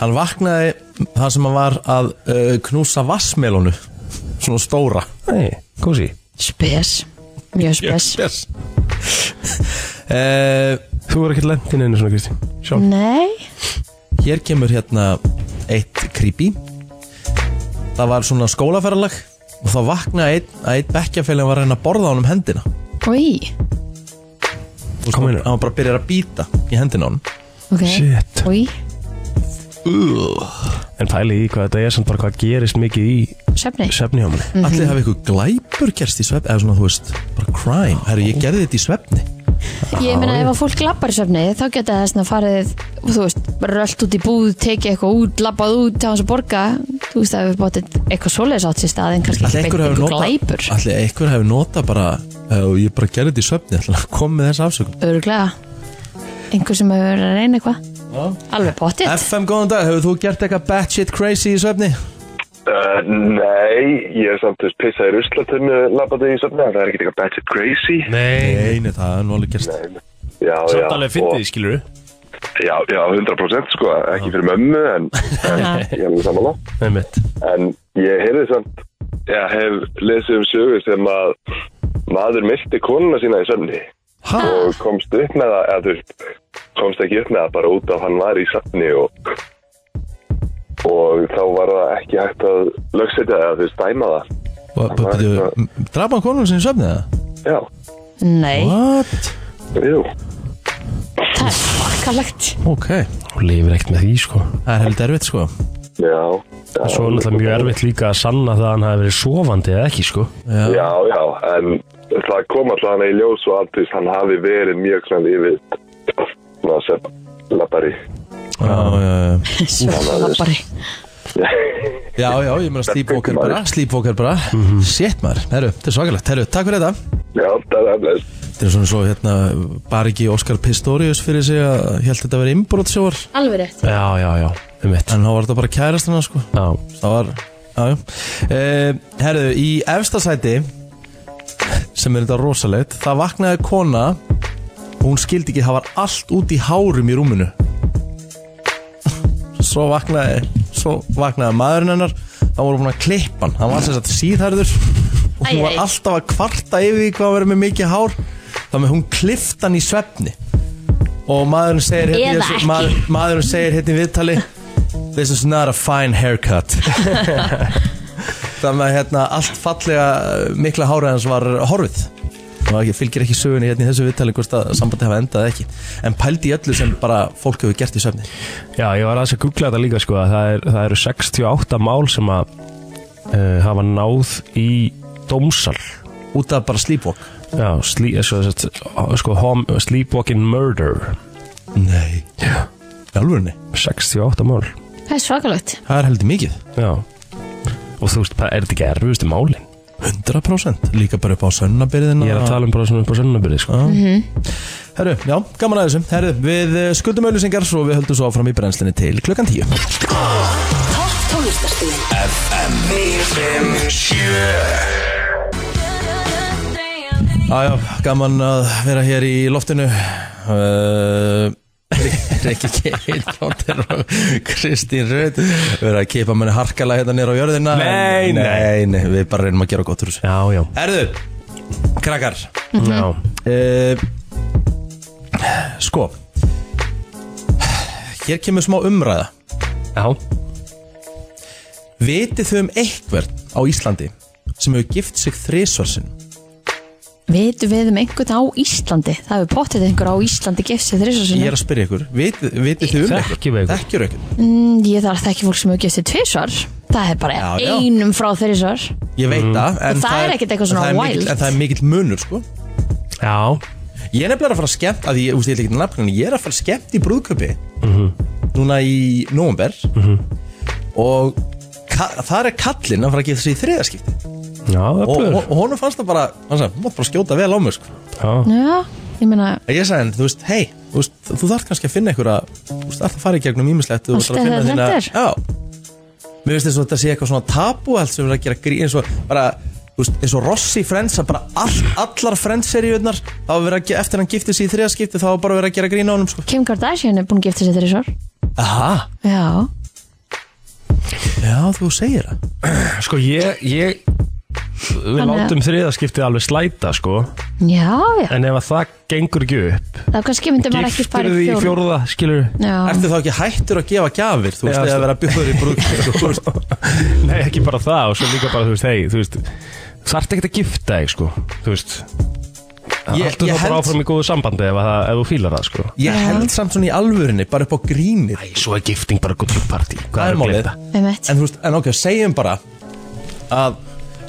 Speaker 2: hann vaknaði þar sem hann var að uh, knúsa vassmelónu svona stóra
Speaker 4: nei, kósi
Speaker 3: Spes, mjög spes
Speaker 2: yes. uh,
Speaker 4: Þú er ekkert lent inn einu svona Kristi Sjálf
Speaker 3: Nei,
Speaker 2: hér kemur hérna eitt creepy það var svona skólaferðalag og þá vaknaði einn að einn bekkjafélagin var að reyna að borða honum hendina
Speaker 3: oi,
Speaker 2: Þú veist,
Speaker 4: Kom inn.
Speaker 2: hann bara byrjar að býta í hendina á honum
Speaker 3: Mhm. ok
Speaker 4: Shit.
Speaker 3: Oi,
Speaker 4: En pæli í hvað þetta er samt bara hvað gerist mikið í
Speaker 3: svefni
Speaker 4: svefni á manni
Speaker 2: Allir hafi ykkur glæpur gerst í svefni Eða svona þú veist, bara crime Herru, ég gerði þetta í svefni
Speaker 3: Ég meina ef að fólk lappar í svefni þá geta það svona farið, þú veist rölt út í búð, tekið eitthvað út, lappað út til hans að borga, þú veist það hefur bótið eitthvað svoleiðis átt sér stað en kannski
Speaker 2: Allir
Speaker 3: ekki
Speaker 2: einhver hafi
Speaker 3: beint einhver
Speaker 2: nota
Speaker 3: glæpur
Speaker 2: Allir einhver hafi nota bara uh, Ég bara gerði þetta í svefni Allir að koma með þessa afsökun
Speaker 3: öruglega, einhver sem hefur verið að reyna eitthvað, alveg bótið
Speaker 2: FM, góðan dag, hefur þú gert eitthvað batshit crazy í svefni?
Speaker 6: Uh, nei, ég er samt þess pissað í ruslatunnu labbaði í söfna, það er ekki eitthvað batshit crazy.
Speaker 4: Nei
Speaker 2: Einu, það er nú alveg gerst
Speaker 6: Já, já.
Speaker 4: Samt alveg fyndið því skilur
Speaker 6: og- Já, já, 100% sko, ekki fyrir mömmu en,
Speaker 4: <laughs>
Speaker 6: en ég er alveg samanlega.
Speaker 4: Nei mitt
Speaker 6: En ég heyrði samt, ég hef lesið um sögu sem að maður myrti konuna sína í söfni
Speaker 2: Ha?
Speaker 6: og komst upp með það, eða þú veist, komst ekki upp með það bara út af hann var í söfni og og þá var það ekki hægt að lögsetja það, þú veist, dæma það.
Speaker 2: Og- b- byrju, m- Drap hann konun sinni í svefni það?
Speaker 6: Já,
Speaker 3: Nei,
Speaker 2: What?
Speaker 6: jú.
Speaker 3: það er fokkalegt
Speaker 2: Ok,
Speaker 4: Hún lifir ekkert með því sko
Speaker 2: það er heldur erfitt sko
Speaker 6: Já. já.
Speaker 4: Svo er náttúrulega mjög erfitt líka að sanna það að hann hafi verið sofandi eða ekki sko
Speaker 6: Já, já, en það kom allavega í ljós og allt þess hann hafi verið mjög svona yfir <laughs> svona sem lappari.
Speaker 2: Já, já, já
Speaker 3: Svefni lappari
Speaker 2: Já, já, ég meina sleepwalker bara Sleepwalker bara Shit maður, herru, þetta er svakalegt Herru, takk fyrir þetta
Speaker 6: Já, það er bless.
Speaker 2: Þetta er svona svo hérna Bar ekki Óskar Pistorius fyrir sig að Helt þetta að vera innbrotsjóar
Speaker 3: Alveg rétt
Speaker 4: Já, já, já Einmitt
Speaker 2: En þá var þetta bara kærast hennar sko
Speaker 4: Já
Speaker 2: Eh, Það var, já, já uh, Herru, í efsta sæti sem er þetta rosalegt það vaknaði kona og hún skildi ekki, það var allt út í hárum í rúminu <laughs> svo vaknaði svo vaknaði maðurinn hennar þá voru búin að klippa hann, hann var sem sagt síðhærður og
Speaker 3: Æ,
Speaker 2: hún var
Speaker 3: æ.
Speaker 2: alltaf að kvarta yfir því hvað verið með mikið hár þannig að hún klifta hann í svefni og maðurinn segir hérna í
Speaker 3: Eða
Speaker 2: þessu-
Speaker 3: ekki.
Speaker 2: maður, maðurinn segir hérna í viðtali this is not a fine
Speaker 3: <laughs>
Speaker 2: haircut þannig að hérna allt fallega mikla hárið hans var horfið og ekki, fylgir ekki sögunni hérna í þessu viðtali hvort að sambandi hafa endað eða ekki en pældi í öllu sem bara fólk hefur gert í söfni
Speaker 4: Já, ég var aðeins að googla þetta líka sko að það, er, það eru 68 mál sem að uh, hafa náð í dómsal
Speaker 2: út af bara sleepwalk
Speaker 4: Já, slí, svo, svo, sko, home, sleepwalking murder
Speaker 2: Nei
Speaker 4: Já.
Speaker 2: Alvörni
Speaker 4: 68 mál
Speaker 3: Það er svakalögt
Speaker 2: Það er heldur mikið
Speaker 4: Já Og þú veist, hvað er þetta ekki erfiðustu málin?
Speaker 2: 100% Líka bara upp á sönnabyrðina
Speaker 4: Ég er að tala um bara svona upp á sönnabyrði sko.
Speaker 2: Herru, já, gaman að þessu Herru, við eh, skuldum auðlýsingar Svo við höldum svo áfram í brennslinni til klukkan 10
Speaker 7: Topp tónlistarstíðin
Speaker 2: Jájá, gaman að vera hér í loftinu uh, Rikki Keil Plóter og Kristín Röð Verða að kipa manni harkalega hérna nýra á jörðina
Speaker 4: Nei,
Speaker 2: En- nei, nei, við bara reynum að gera gott úr þessu
Speaker 4: Já, já,
Speaker 2: Herðu, krakkar
Speaker 4: já
Speaker 2: uh, Sko Hér kemur smá umræða
Speaker 4: Já,
Speaker 2: Vitið þau um einhvern á Íslandi sem hefur gift sig þrisvarsinn
Speaker 3: Vitum við um einhvern á Íslandi Það hefur pottið einhver á Íslandi gefsið þrjusar
Speaker 2: Ég
Speaker 3: sinni
Speaker 2: er að spyrja ykkur, vitið, vitið þau um
Speaker 4: Þekkjum við einhvern?
Speaker 2: Þekkjur ykkur
Speaker 3: Mm, Ég þarf þekki fólk sem hefur gefsið tvisvar Það er bara
Speaker 2: Já, já.
Speaker 3: einum frá þrjusar
Speaker 2: Ég veit það, en
Speaker 3: Og það er ekkert eitthvað
Speaker 2: en það
Speaker 3: svona
Speaker 2: er mikill-
Speaker 3: wild.
Speaker 2: En það er mikill munur sko
Speaker 4: já,
Speaker 2: Ég er nefnilega að fara að skemmt að ég, úst, ég, ekki nafn, ég er að fara skemmt í brúðköpi Núna í nómber Og ka, það er kallinn að fara að geta sig í þriðaskipti
Speaker 4: já,
Speaker 2: og,
Speaker 4: öflugur
Speaker 2: og, og honum fannst það bara Hann sagði, þú mátt bara skjóta vel á mig sko
Speaker 4: Já,
Speaker 3: Já, ég meina
Speaker 2: Ég sagði henni, þú veist, hei, þú, veist, þú þarf kannski að finna einhver að Þú veist, alltaf farið gegnum ímislegt
Speaker 3: Allt er það þrennt er.
Speaker 2: Já Mér finnst þess að þetta sé eitthvað svona tabu Allt sem er að gera grín eins og bara þú veist, eins og Rossi Friends að bara all, allar Friends-seríunar þá var verið að ge- eftir hann giftið sér í þriðaskipti þá var bara verið að gera grín á honum sko.
Speaker 3: Kim Kardashian er búin að gifta sig þrjusar
Speaker 2: Aha,
Speaker 3: Já,
Speaker 2: já þú segir það
Speaker 4: sko ég, ég Við
Speaker 3: Þannig að-
Speaker 4: látum þriðaskiptið alveg slæta sko
Speaker 3: já, já
Speaker 4: En ef að það gengur ekki upp
Speaker 3: Það er kannski myndi maður ekki
Speaker 4: Giftir
Speaker 3: fara
Speaker 4: því
Speaker 3: í
Speaker 4: í
Speaker 3: fjór
Speaker 4: fjórða, skilur
Speaker 3: Já,
Speaker 2: Ertu þá ekki hættur að gefa gjafir þú veist,
Speaker 4: Já,
Speaker 2: eða
Speaker 4: sko.
Speaker 2: vera byggur í <laughs> sko, brúð
Speaker 4: <laughs> Nei, ekki bara það og svo líka bara, þú veist, hei, þú veist Þarft ekkert að gifta þig, sko, þú veist
Speaker 2: Ég-
Speaker 4: Haltu
Speaker 2: ég
Speaker 4: þá bara
Speaker 2: held-
Speaker 4: áfram í góðu sambandi ef, að það, ef þú fílar það, sko
Speaker 2: Ég held samt svona í alvörinni, bara upp á grínir
Speaker 4: Æ, svo er gifting bara good party
Speaker 2: Það er málið
Speaker 3: með mitt
Speaker 2: En þú veist, en ok, segjum bara að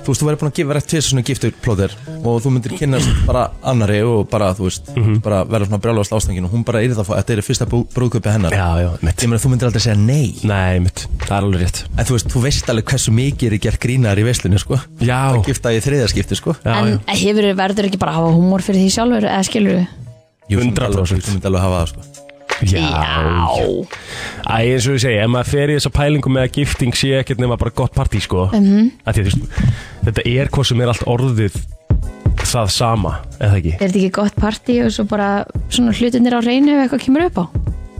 Speaker 2: þú veist, þú verður búin að gefa rétt tvisar svona giftur plóðir og þú myndir kynast bara annari og bara, þú veist, bara verður svona brjálast ástangin og hún bara er það, þetta er fyrsta brú, brúðköpi hennar.
Speaker 4: Já, já, mitt
Speaker 2: Ég meina, þú myndir aldrei segja nei.
Speaker 4: Nei, mitt, það er alveg rétt
Speaker 2: En þú veist, þú veist alveg hversu mikið er gert grínar í veslunni, sko.
Speaker 4: Já,
Speaker 2: Að gifta í þriðaskipti, sko.
Speaker 4: já,
Speaker 3: En
Speaker 4: já
Speaker 3: hefur verður ekki bara að hafa húmór fyrir því sjálfur eða skilur við?
Speaker 2: Jú, þú myndir alveg-
Speaker 4: 100%.
Speaker 2: Þú myndir alveg hafa það, sko.
Speaker 4: Já Æ, eins og ég segi, ef maður fer í þessa pælingu með að gifting sé ekkert nema bara gott partí, sko mm
Speaker 3: Mhm.
Speaker 4: -hmm. því, þú veist, Þetta er hvað sem er allt orðið það sama, eða ekki?
Speaker 3: Er þetta ekki gott partí og svo bara svona hlutinir á reynu ef eitthvað kemur upp á?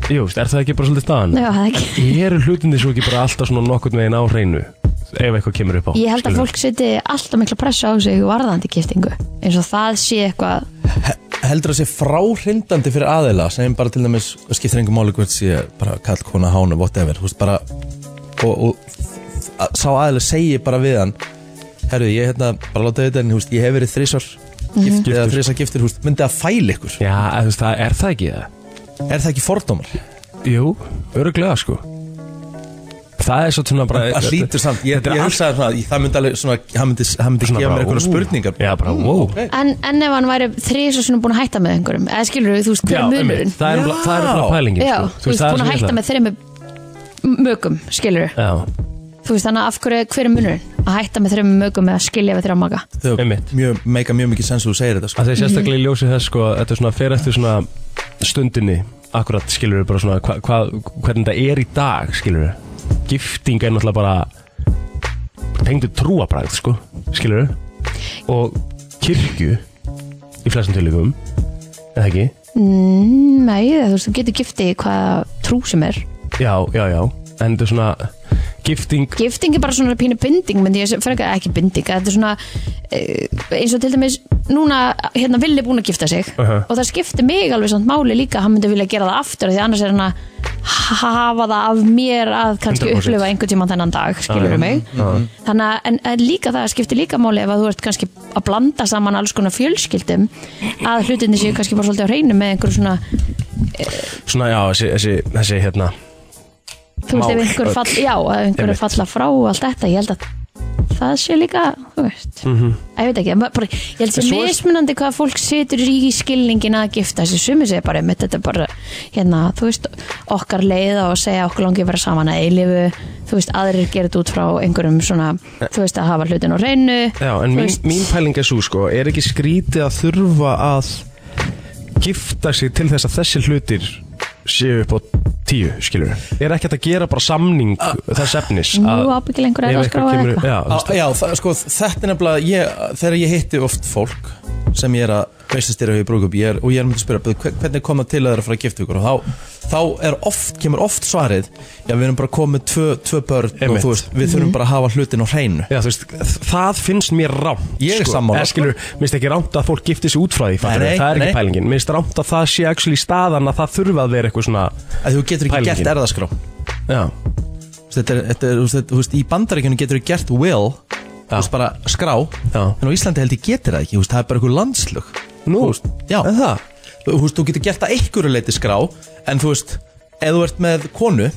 Speaker 4: Jú, veist, er það ekki bara svolítið staðan?
Speaker 3: Já, það er ekki
Speaker 4: Eru hlutinni svo ekki bara alltaf svona nokkurn veginn á hreinu ef eitthvað kemur upp á?
Speaker 3: Ég held að
Speaker 4: skilurðu?
Speaker 3: fólk seti alltaf mikla pressa á sig varðandi giftingu eins og það sé eitthvað
Speaker 2: Heldur það sé fráhrindandi fyrir aðeila, segjum bara til dæmis, skiptir engum máli hvert sé bara kall, kona, hánu, whatever, þú veist, bara, og, og að- sá aðeila segi bara við hann herru, ég hérna, bara láta þetta en þú veist, ég hef verið þrísar gift, eða þrísar giftur, þú veist, myndi að fæla ykkur
Speaker 4: Já, en þú veist, það er það ekki það?
Speaker 2: er það ekki fordómar?
Speaker 4: Jú, öruglega sko Það er svo svona bara
Speaker 2: Það hlýtur samt, ég,
Speaker 4: Þetta er
Speaker 2: ég
Speaker 4: allt-
Speaker 2: hugsaði svona, ég- það myndi alveg svona, hann myndi, hann myndi gefa
Speaker 4: Svona
Speaker 2: mér
Speaker 4: bara,
Speaker 2: einhverja
Speaker 4: ú.
Speaker 2: spurningar
Speaker 4: Já, bara,
Speaker 2: Mm,
Speaker 4: wow.
Speaker 2: ok.
Speaker 3: en, en ef hann væri þrís og svona búin að hætta með einhverjum eða skilur þú veist, hver
Speaker 4: Já,
Speaker 3: er
Speaker 4: einmitt,
Speaker 3: munurinn?
Speaker 4: það er nefnilega- það er bara pælingin
Speaker 3: Já,
Speaker 4: sko.
Speaker 3: þú veist,
Speaker 4: það er
Speaker 3: búin að
Speaker 4: svo
Speaker 3: hætta
Speaker 4: það.
Speaker 3: með þreim mögum, skilur
Speaker 4: Já,
Speaker 3: þú veist, þannig að af hverju, hver er munurinn? Að hætta með þreim mögum eða skilja við þrjá maga
Speaker 2: Þau
Speaker 4: Einmitt.
Speaker 2: mjög, meika mjög mikið sens að þú segir þetta sko.
Speaker 4: að þeir sérstaklega í ljósi þess sko Þetta er svona fer eftir svona stundinni Akkurat skilur við bara svona hva, hva, Hvernig þetta er í dag skilur við Gifting er náttúrulega bara Tengdu trúabræð sko Skilur við Og kirkju í flestum tilvíkum eða ekki?
Speaker 3: Mm, Nei, þú veist, þú getur giftið í hvaða trú sem er
Speaker 4: Já, já, já en þetta er svona gifting
Speaker 3: Gifting er bara svona pínu binding myndi ég fyrir ekki binding þetta er svona eh, eins og til dæmis núna hérna villi búin að gifta sig
Speaker 4: Aha.
Speaker 3: og það skiptir mig alveg samt máli líka hann myndi vilja gera það aftur því annars er hann að hafa það af mér að kannski
Speaker 4: 100%.
Speaker 3: upplifa einhvern tíma þennan dag skilur
Speaker 4: Já, já.
Speaker 3: mig þannig að en, en líka það skiptir líka máli ef að þú ert kannski að blanda saman alls konar fjölskyldum að hlutinni séu kannski bara svolítið á hreinu með einhver svona
Speaker 4: svona, já, þessi, þessi, þessi hérna
Speaker 3: þú veist ef
Speaker 4: Mál
Speaker 3: einhver
Speaker 4: öll.
Speaker 3: fall, já, ef einhver
Speaker 4: Einmitt.
Speaker 3: falla frá og allt þetta, ég held að það sé líka, þú veist ég veit ekki, bara, bara- ég held
Speaker 4: Mhm. En
Speaker 3: sé
Speaker 4: svo er-
Speaker 3: mismunandi hvað fólk setur í skilningin að gifta þessi sumi segir bara, mitt þetta er bara hérna, þú veist, okkar leið og segja okkur langi að vera saman að eilifu þú veist, aðrir gera þetta út frá einhverjum svona, þú veist, að hafa hlutin á reynu
Speaker 4: Eh. Já, en mín, mín pæling er svo sko Er ekki skrítið að þurfa að Gifta sig til þess að þessi hlutir Séu upp á tíu, skilur Er ekki hægt að gera bara samning Þess efnis
Speaker 3: Ah. Nú, ábyggilega einhver er að
Speaker 4: ef
Speaker 3: skráa
Speaker 4: kemur-
Speaker 3: eitthvað.
Speaker 4: Já, þú
Speaker 2: Á,
Speaker 4: veist,
Speaker 2: Já, það, sko, þetta er nefnilega ég, þegar ég hitti oft fólk sem ég er að veistastýra við brúkup ég er, og ég er myndið að spyrja, "Bíddu, hve- hvernig kom það til að það er að fara að gifta ykkur og þá, þá er oft, kemur oft svarið já, við erum bara komið tvö, tvö börn
Speaker 4: Einmitt.
Speaker 2: og þú veist, við þurfum bara að hafa hlutin á hreinu
Speaker 4: já, þú veist, það finnst mér rámt
Speaker 2: Ég er
Speaker 4: sko.
Speaker 2: sammála,
Speaker 4: Eða, skilur, Mér finnst ekki rámt að fólk gifti sig út frá því fattarðu?
Speaker 2: Nei, nei,
Speaker 4: Það er
Speaker 2: nei.
Speaker 4: ekki pælingin Mér finnst rámt að það sé actually staðan að það þurfa að vera eitthvað svona
Speaker 2: að þú getur ekki
Speaker 4: Pælingin.
Speaker 2: gert erðaskrá
Speaker 4: Já,
Speaker 2: þetta er, þetta er, þú veist, þetta- þú veist, í bandaríkjunum getur þú gert will þú veist, bara skrá
Speaker 4: Já.
Speaker 2: en á Íslandi held ég getur það ekki, þú veist, það er bara eitthvað landslög
Speaker 4: nú,
Speaker 2: Já,
Speaker 4: en það
Speaker 2: þú veist, þú getur gert það einhverju leiti skrá En þú veist, ef þú ert með konu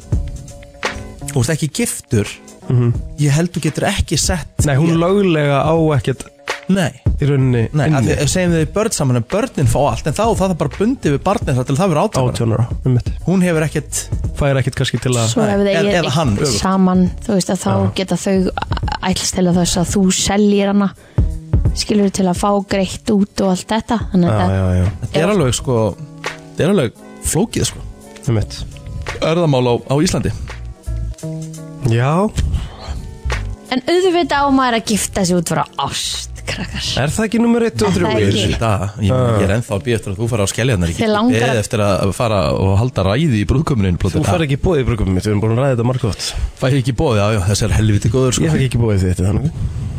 Speaker 2: Þú ert ekki giftur Ég held þú getur ekki sett
Speaker 4: Mhm. Nei, hún löglega á ekkert
Speaker 2: Nei,
Speaker 4: í rauninni
Speaker 2: nei
Speaker 4: inni.
Speaker 2: af því að segjum þau börn saman En börnin fá allt En þá það er bara bundið við barnið þar til það verður átjónara
Speaker 4: átjónara um mitt
Speaker 2: Hún hefur ekkert
Speaker 4: fær ekkert kannski til að
Speaker 3: Svo ef
Speaker 2: Nei,
Speaker 3: það
Speaker 2: eða-
Speaker 3: er
Speaker 2: eða hann, öfugt.
Speaker 3: saman þú veist að þá geta þau ætlast til að þess að þú seljir hana skilur til að fá greitt út og allt þetta þannig að
Speaker 4: já,
Speaker 3: þetta-
Speaker 4: já, já,
Speaker 2: Þetta er alveg sko Þetta er alveg flókið sko
Speaker 4: um mitt
Speaker 2: Örðamál á, á Íslandi
Speaker 4: já,
Speaker 3: en auðvitað á maður að gifta sig út frá ást krakkar
Speaker 4: er það ekki nummer 1 og
Speaker 3: Er það
Speaker 4: 3
Speaker 3: ekki?
Speaker 2: Ég, ég, ég er ennþá að býja eftir að þú fara á skelljarnar
Speaker 3: Þig langar að-
Speaker 2: Eða eftir að fara og halda ræði í brúðkömmunin
Speaker 4: þú fær ekki bóðið í brugum mitt, við erum búin að ræða þetta margótt
Speaker 2: Fæ ég ekki bóði, já, já, þessi er helviti góður sko.
Speaker 4: ég fæk ekki bóðið þetta þannig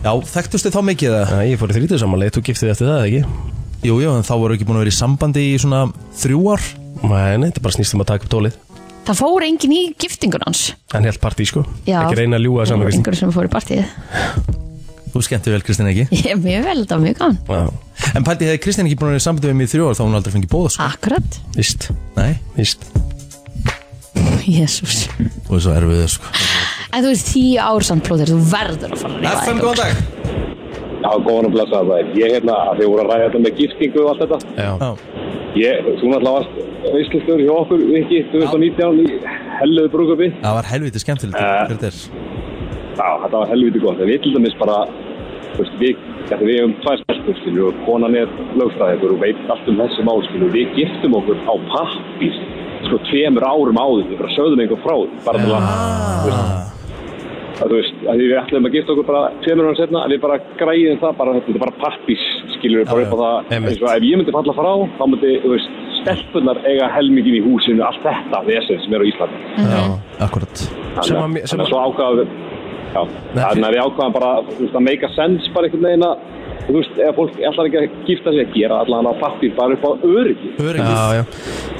Speaker 2: Já, þekktustu þá mikið það?
Speaker 4: Æ, ég fór í þrítið samanlega, þú giftið eftir það ekki
Speaker 2: Jú, jú, en þá voru ekki búin að vera í sambandi í svona þrjú ár
Speaker 4: Nei, nei, þetta bara snýst um að taka upp tólið
Speaker 3: það fór engin í giftingun hans
Speaker 4: En helt partí sko,
Speaker 3: Já.
Speaker 4: ekki reyna að ljúga saman Kristín.
Speaker 3: einhver sem fór í partíð
Speaker 2: Þú skemmti vel Kristín ekki
Speaker 3: ég er mjög vel, þetta var mjög gaman
Speaker 4: Já,
Speaker 2: En pældi, hefði Kristín ekki búin að vera í sambandi við mig í þrjú ár þá hún aldrei fengið bóða sko
Speaker 3: akkurat, <laughs>
Speaker 4: víst,
Speaker 2: Nei,
Speaker 4: víst
Speaker 3: jésús
Speaker 2: og svo erum við sko
Speaker 3: en þú ert tíu ár samt plóðir, þú verður að fara að rífa þetta úr.
Speaker 2: dag
Speaker 6: Já, góðan og blessa það. Ég hérna, þið voru að ræða þetta með giftingu og allt þetta.
Speaker 4: Já,
Speaker 2: Já,
Speaker 6: Ég, þú náttúrulega varst veistlustjóri hjá okkur, Viki, 2019 í helluðu brúkupi.
Speaker 2: það var helviti skemmtilegt
Speaker 6: Eh.
Speaker 2: Hver þetta er
Speaker 6: Já, þetta var helviti gott. En við til dæmis bara, þú veist, við, þetta við hefum tvær stelpur, skilju, og konan er lögfræðingur og veit allt um þessi mál, skilju. Við giftum okkur á pappís, sko, tveimur árum áður, við bara sögðum einhver frá, því, bara til að, þú veist, að þú veist, að því við ætlum að gifta okkur bara tveimur ára setna, að við bara græðum það bara, þetta er bara pappís, skilur við bara
Speaker 2: Já,
Speaker 6: upp á
Speaker 2: já,
Speaker 6: það,
Speaker 4: einmitt.
Speaker 6: eins og ef ég myndi falla frá, þá myndi, þú veist, stelpunar eiga helmingin í húsinu, allt þetta vesen sem er á Íslandi.
Speaker 2: Já, akkurat
Speaker 4: Sem að
Speaker 6: Þannig
Speaker 4: mér-
Speaker 6: að-
Speaker 4: sem að-
Speaker 6: þannig að svo ákvaðum við, já, þannig að við ákvaðum bara, þú veist, að make a sense bara einhvern veginn að, þú veist, ef fólk ætlar ekki að gifta sig að gera allan á pappir bara upp á öryggi.
Speaker 2: Öryggið.
Speaker 4: Já, já,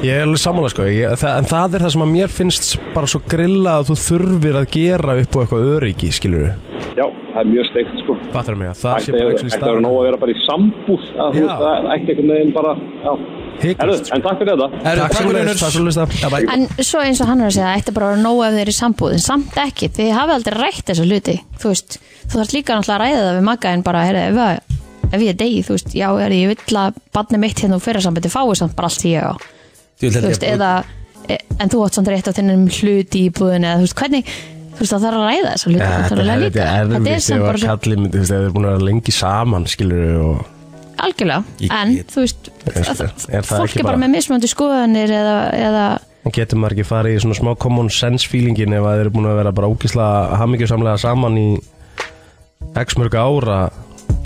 Speaker 4: ég er alveg sammála sko ég, það, En það er það sem að mér finnst bara svo grilla að þú þurfir að gera upp á eitthvað öryggi, skilur við
Speaker 6: Já, það er mjög steikt, sko.
Speaker 4: Fattar mig að það
Speaker 6: Ætti
Speaker 4: sé bara
Speaker 6: ætti
Speaker 4: ekki
Speaker 6: að vera nóg að vera bara í sambúð, að þú
Speaker 4: Já.
Speaker 6: veist, það er ekki einhvern veginn bara, já. Herðu,
Speaker 4: Hiklaust, sko.
Speaker 6: En takk fyrir þetta.
Speaker 2: Herru,
Speaker 4: Takk
Speaker 2: takk fyrir,
Speaker 4: sömuleiðis,
Speaker 2: Unnur.
Speaker 4: takk sömuleiðis, takk.
Speaker 2: Já, bæ.
Speaker 3: En svo eins og hann er að segja það ætti bara að vera nóg ef þeir eru í sambúð en samt ekki, þið hafa aldrei rætt þessa hluti þú veist, þú þarf líka náttúrulega að ræða það við maga en bara, heyrðu, ef, að- ef ég er degi þú veist, já, er ég vill að barni mitt hérna og fyrir sambandi fái samt bara allt því ég á
Speaker 2: Ég vil held
Speaker 3: þú
Speaker 2: ég
Speaker 3: veist,
Speaker 2: að-
Speaker 3: eða e- en þú átt samt rétt á þennum hluti í búðinu eða þú veist, hvernig, þú veist, það þarf að ræða þessa hluti
Speaker 4: Ja, Þetta
Speaker 3: náttúrulega
Speaker 4: er
Speaker 3: líka.
Speaker 4: þetta er
Speaker 3: Þetta er
Speaker 4: erfitt
Speaker 3: samt
Speaker 4: ef
Speaker 3: bara
Speaker 4: að
Speaker 3: svo
Speaker 4: kalli myndi, þú veist, ef þið er búin að vera lengi saman, skilur við og
Speaker 3: algjörlega,
Speaker 2: Ég
Speaker 3: en
Speaker 2: get-
Speaker 3: þú veist,
Speaker 4: veist
Speaker 3: að-
Speaker 4: það. Er það
Speaker 3: fólk
Speaker 4: ekki
Speaker 3: er bara
Speaker 4: bara-
Speaker 3: með mismöndi skoðanir eða, eða
Speaker 4: En getur maður ekki farið í svona smá common sense feelingin ef að þið eru búin að vera bara ógislega hamingjusamlega saman í x mörg ára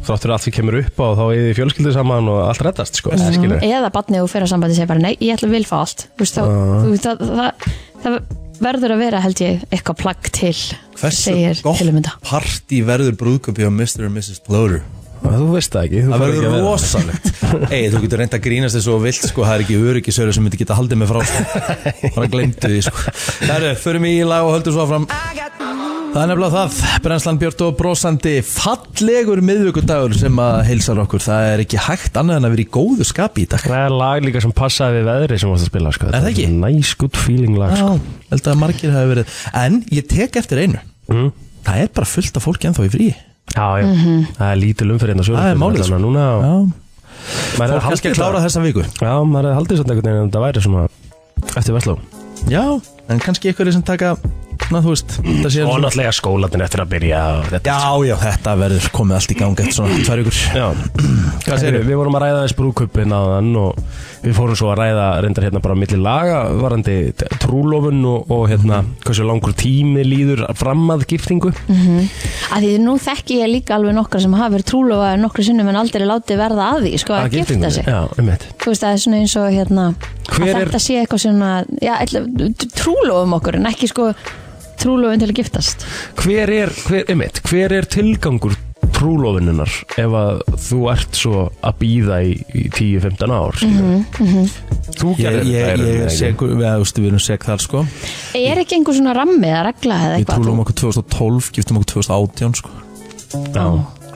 Speaker 4: þráttur allt sem kemur upp á þá eða fjölskyldu saman og allt reddast sko,
Speaker 3: Mhm.
Speaker 4: mm -hmm.
Speaker 3: eða barnið og fyrir á sambandi segir bara nei, ég ætla að vil fá allt þú veist, þá, þú, það, það, það, verður að vera held ég eitthvað plagg til
Speaker 2: Hversu
Speaker 3: segir til
Speaker 2: gott
Speaker 3: um þetta
Speaker 2: partí verður brúðköpi á Mr. and Mrs. Bloater?
Speaker 4: þú veist það ekki þú
Speaker 2: Það
Speaker 4: færð ekki
Speaker 2: verður
Speaker 4: að vera-
Speaker 2: rosalegt
Speaker 4: <laughs>
Speaker 2: Ei, þú getur reynd að grínast þessu og vilt sko, það er ekki öryggisöru sem myndi geta haldið mig frá
Speaker 4: <laughs>
Speaker 2: sko. bara glemdu því sko. Herru, förum í lag og höldum svo áfram Það er nefnilega það, Brenslan Björn og brosandi fallegur miðvikudagur sem að heilsar okkur Það er ekki hægt annað en að vera í góðu skapi í dag
Speaker 4: það er lag líka sem passaði við veðri sem varst að spila sko.
Speaker 2: Er það ekki?
Speaker 4: nice good feeling lag
Speaker 2: Já,
Speaker 4: sko.
Speaker 2: held að margir hafi verið En ég tek eftir einu
Speaker 4: mm.
Speaker 2: Það er bara fullt af fólki ennþá í frí
Speaker 4: já, já.
Speaker 3: Mhm.
Speaker 4: það er lítil umferð hérna á
Speaker 2: Það er
Speaker 4: Suðurlandinu,
Speaker 2: málið,
Speaker 4: þannig
Speaker 2: sko.
Speaker 4: að núna
Speaker 2: Já,
Speaker 4: maður er
Speaker 2: fólk kannski
Speaker 4: haldið
Speaker 2: að klára þessa viku
Speaker 4: það- já, maður er haldið samt einhvern veginn en það væri svona eftir Vestló
Speaker 2: Já, en kannski ykkur sem taka Na, þú veist, það sé
Speaker 4: og náttúrulega skólatin eftir að byrja og þetta
Speaker 2: Já, já, þetta verður komið allt í gangi eftir svona tvær ykkur
Speaker 4: Já, hvað segir við? Við vorum að ræða þess brúkupin á þann og við fórum svo að ræða reyndar hérna bara milli laga varandi t- trúlofun og, og hérna hversu langur tími líður fram að giftingu
Speaker 3: að því nú þekki ég líka alveg nokkra sem hafa verið trúlofaður nokkra sinnum en aldrei látið verða að því sko, að,
Speaker 4: Að
Speaker 3: gifta
Speaker 4: giftingunni?
Speaker 3: sig
Speaker 4: Já, um þetta
Speaker 3: þú veist það er svona eins og hérna að
Speaker 4: Hver er-
Speaker 3: þetta sé eitthvað svona já, ætla, trúlofum okkur en ekki sko trúlofum til að giftast
Speaker 4: Hver er, hver, um hver er tilgangur trúlofununar ef að þú ert svo að býða í, í 10-15 ár mm
Speaker 3: Mhm,
Speaker 4: Þú
Speaker 2: Ég, ég,
Speaker 4: gerir þetta í
Speaker 2: ég,
Speaker 4: rauninni,
Speaker 2: er
Speaker 4: ekki?
Speaker 2: segur, við, þú veist, við erum seg þar sko
Speaker 3: er ekki einhver svona rammi eða regla eða
Speaker 2: Við
Speaker 3: eitthvað
Speaker 2: trúlum okkur 2012, giftum okkur 2018 sko
Speaker 4: Já.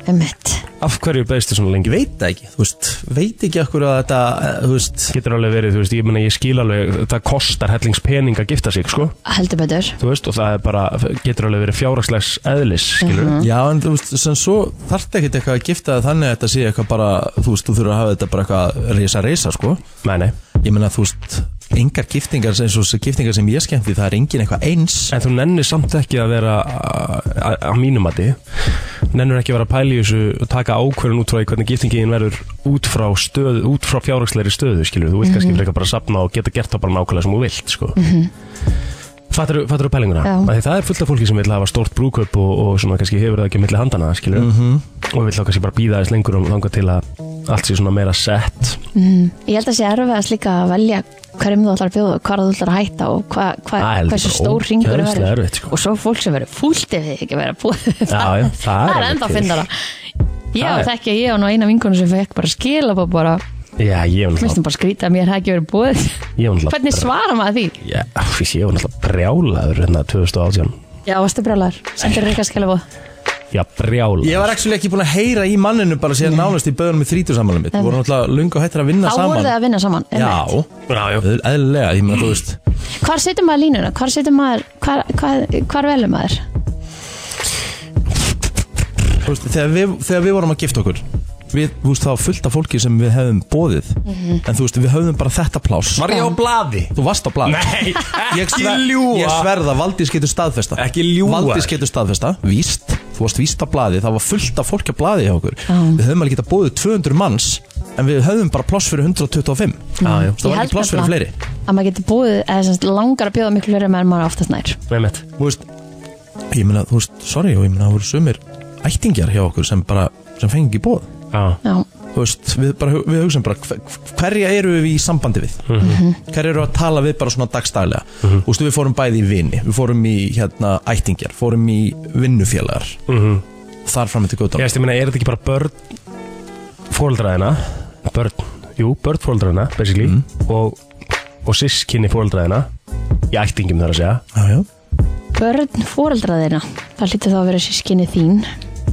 Speaker 3: Einmitt.
Speaker 4: Af hverju beðstu svona lengi?
Speaker 2: Ég veit það ekki, þú veist, veit ekki okkur að þetta, eh, þú veist
Speaker 4: Getur alveg verið, þú veist, ég meina ég skil alveg það kostar hellingspening að gifta sig, sko
Speaker 3: heldur betur
Speaker 4: þú veist, og það er bara, getur alveg verið fjárhagslegs eðlis, skilur
Speaker 3: Mm.
Speaker 2: Já, en þú veist, sem svo þarf ekkert eitthvað að gifta það þannig að þetta sé eitthvað bara, þú veist, þú þurfur að hafa þetta bara eitthvað reysa reysa sko
Speaker 4: Nei, nei,
Speaker 2: Ég meina, þú veist, engar giftingar eins og þessar giftingar sem ég skemmti, það er engin eitthvað eins
Speaker 4: en þú nennir samt ekki að vera a- a- á mínum að nennir ekki að vera að pæla í þessu og taka ákvörðun út frá því hvernig giftingin verður út frá stöðu, út frá fjárhagslegri stöðu skilur, þú vilt kannski
Speaker 3: Mhm.
Speaker 4: frekar bara sapna og geta gert það bara nákvæmlega sem þú vilt, sko mm -hmm. Fattur þú pælinguna?
Speaker 3: Já.
Speaker 4: Af því Það er fullt af fólki sem vil hafa stórt brúköp og, og svona kannski hefur það ekki milli handana, skilur
Speaker 3: Mhm.
Speaker 4: og vil þá kannski bara býða þess lengur og þanga til að allt sé svona meira sett
Speaker 3: ég held að sé erfiðast líka að velja hverjum þú ætlar að bjóða, hvað þú ætlar að hætta og hva, hva,
Speaker 4: Það er heldur
Speaker 3: hversu
Speaker 4: bara
Speaker 3: stór ringur
Speaker 4: ógeðslega
Speaker 3: verður
Speaker 4: erfitt, sko.
Speaker 3: og svo fólk sem verður fúlt ef þið ekki verður að búa það,
Speaker 4: Já, já, það er
Speaker 3: það er
Speaker 4: alveg
Speaker 3: ennþá
Speaker 4: til.
Speaker 3: fyndara ég
Speaker 4: Það
Speaker 3: á
Speaker 4: er-
Speaker 3: þekki að ég á nú eina vingunum sem fekk bara skilabóð bara,
Speaker 4: Já, ég hef
Speaker 3: mér
Speaker 4: náttúrulega
Speaker 3: finnst það bara skrýta að mér hafi ekki verið búið
Speaker 4: Ég var náttúrulega
Speaker 3: hvernig svara maður því?
Speaker 4: Já, fyrst ég var náttúrulega brjálaður hérna 2018
Speaker 3: Já, varstu brjálar, sendir eitthvað skilabóð
Speaker 4: Já, brjálaður
Speaker 2: Ég var ekki ekki búin að heyra í manninu bara síðan nánast í böðunum í þrítursamælum mitt. Við vorum alltaf lunga og hættir að vinna
Speaker 3: þá
Speaker 2: saman.
Speaker 3: voru þið að vinna saman einmitt.
Speaker 2: Já, já, eðlilega, ég meina þú veist.
Speaker 3: hvar setur maður línuna, hvar setur maður hvar, hvar, hvar velur maður
Speaker 2: Þú veist þegar, við, þegar við vorum að gifta okkur, við, þú veist, það var fullt af fólki sem við hefðum bóðið.
Speaker 4: Mhm.
Speaker 2: En þú veist, við höfðum bara þetta pláss.
Speaker 4: Var ég á blaði?
Speaker 2: Þú varst á blad.
Speaker 4: <laughs> Nei,
Speaker 2: ég
Speaker 4: ekki
Speaker 2: sver-
Speaker 4: ljúga
Speaker 2: Ég sverða, Valdís getur staðfesta.
Speaker 4: Ekki ljúga.
Speaker 2: Valdís getur staðfesta, víst. Þú varst víst á blaði, það var fullt af fólki á blaði hjá okkur. Við höfðum alveg getað bóðið 200 manns, en við höfðum bara pláss fyrir 125.
Speaker 4: Já, já
Speaker 2: Þú veist, það
Speaker 3: Ég
Speaker 2: var
Speaker 3: held
Speaker 2: ekki pláss fyrir
Speaker 3: nefnilega
Speaker 2: fleiri.
Speaker 3: að maður getur búið, eða sem sagt langar að bjóða miklu fleiri meðan maður oftast nær
Speaker 4: Nei, mitt
Speaker 2: þú veist, ég meina, þú veist, sorry, og ég meina, það voru sumir ættingjar hjá okkur sem bara, sem fengi ekki bóð.
Speaker 4: Já,
Speaker 3: Já,
Speaker 2: Þú veist, við bara, hu- við hugsaum bara, hver, hverja eru við í sambandi við?
Speaker 3: Mhm.
Speaker 2: Hverja eru að tala við bara svona dagstaglega? Þú veist, við fórum bæði í vini, við fórum í, hérna, ættingjar, fórum í vinnufélagar, þar fram eftir
Speaker 4: mhm. ég
Speaker 2: góðdán.
Speaker 4: veist, ég meina, er þetta ekki bara börn fóreldraðina Börn, jú, börn fóreldraðina, basically
Speaker 2: Mhm.
Speaker 4: og, og sískinni fóreldraðina Í ættingum þar að segja
Speaker 2: Já, já.
Speaker 3: börn fóreldra þeirna það hlýtur þá að vera sískinni þín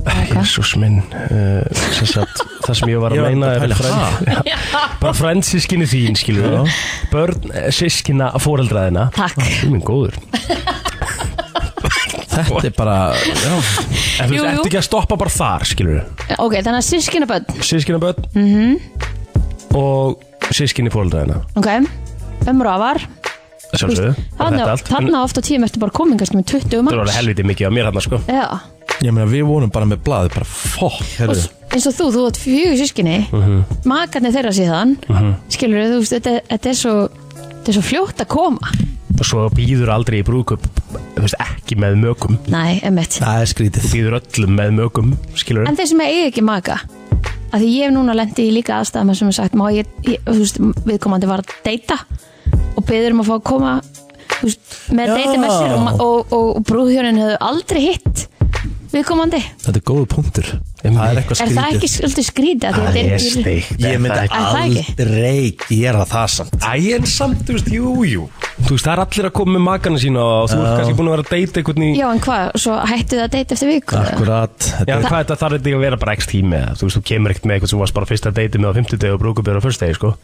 Speaker 4: Jésús minn uh, sem sagt, Það sem ég var
Speaker 2: Ég
Speaker 4: að
Speaker 2: var
Speaker 4: meina
Speaker 2: að
Speaker 4: er
Speaker 2: pæla,
Speaker 4: frænd, já, Bara frænd sískinni þín, skilur við Börn eh, sískina fóreldraðina
Speaker 3: Takk.
Speaker 4: Þú minn góður
Speaker 2: Þetta er bara, já,
Speaker 4: En þú
Speaker 3: Jú,
Speaker 4: veist,
Speaker 3: jú.
Speaker 4: ertu ekki að stoppa bara þar, skilur við
Speaker 3: Ok, þannig að sískinni börn
Speaker 4: Sískina börn
Speaker 3: Mhm.
Speaker 4: -hmm. Og sískinni fórhaldraðina
Speaker 3: Ok, ömur og afar
Speaker 4: Sjálfsögðu, og þetta allt En
Speaker 3: Þannig að ofta tíum eftir bara komin kannski með 20
Speaker 4: Það var alveg
Speaker 3: manns
Speaker 4: helviti mikið á mér þarna, sko
Speaker 3: Já,
Speaker 2: ég meina, við vorum bara með blaði, bara, fokk,
Speaker 3: og
Speaker 2: herru.
Speaker 3: s- eins og þú, þú átt fjögur sískinni
Speaker 4: Mhm.
Speaker 3: Makarnir þeirra síðan Skilur þú, veist, þetta, þetta er svo Þetta er svo fljótt að koma
Speaker 4: svo býður aldrei í brúðköp þú veist, ekki með mögum
Speaker 3: Nei, emmitt
Speaker 2: Það er skrítið
Speaker 4: býður öllum með mögum, skilur
Speaker 3: En þeir sem eiga ekki maka að því ég hef núna lendi í líka aðstæðum þar sem er sagt, má ég, ég þú veist, viðkomandi var að deyta og beður um að fá að koma þú veist, með
Speaker 2: Já.
Speaker 3: deyta með sér og, ma- og, og, og brúðhjónin hefðu aldrei hitt viðkomandi
Speaker 2: Þetta er góðu punktur Það er eitthvað
Speaker 3: er það
Speaker 2: skrítið
Speaker 3: ekki svolítið skrítið að því
Speaker 4: það
Speaker 3: þetta
Speaker 4: er
Speaker 3: er-
Speaker 4: steikt
Speaker 2: Ég myndi
Speaker 3: Er það ekki?
Speaker 2: aldrei gera það samt
Speaker 4: Æ, en samt, þú veist, jú, jú Þú veist, það er allir að koma með makana sína og þú ert kannski búin að vera að deyta einhvern í
Speaker 3: Já, en hvað, svo hættu það að deyta eftir viku eða?
Speaker 2: Akkurat
Speaker 4: Já,
Speaker 2: Þetta
Speaker 4: en hvað þetta þarf þetta ekki að vera bara x tími eða, Þú veist, þú kemur ekkert með eitthvað sem varst bara fyrsta deyti með á fimmtudegi og brúkubjör á fyrstegi, sko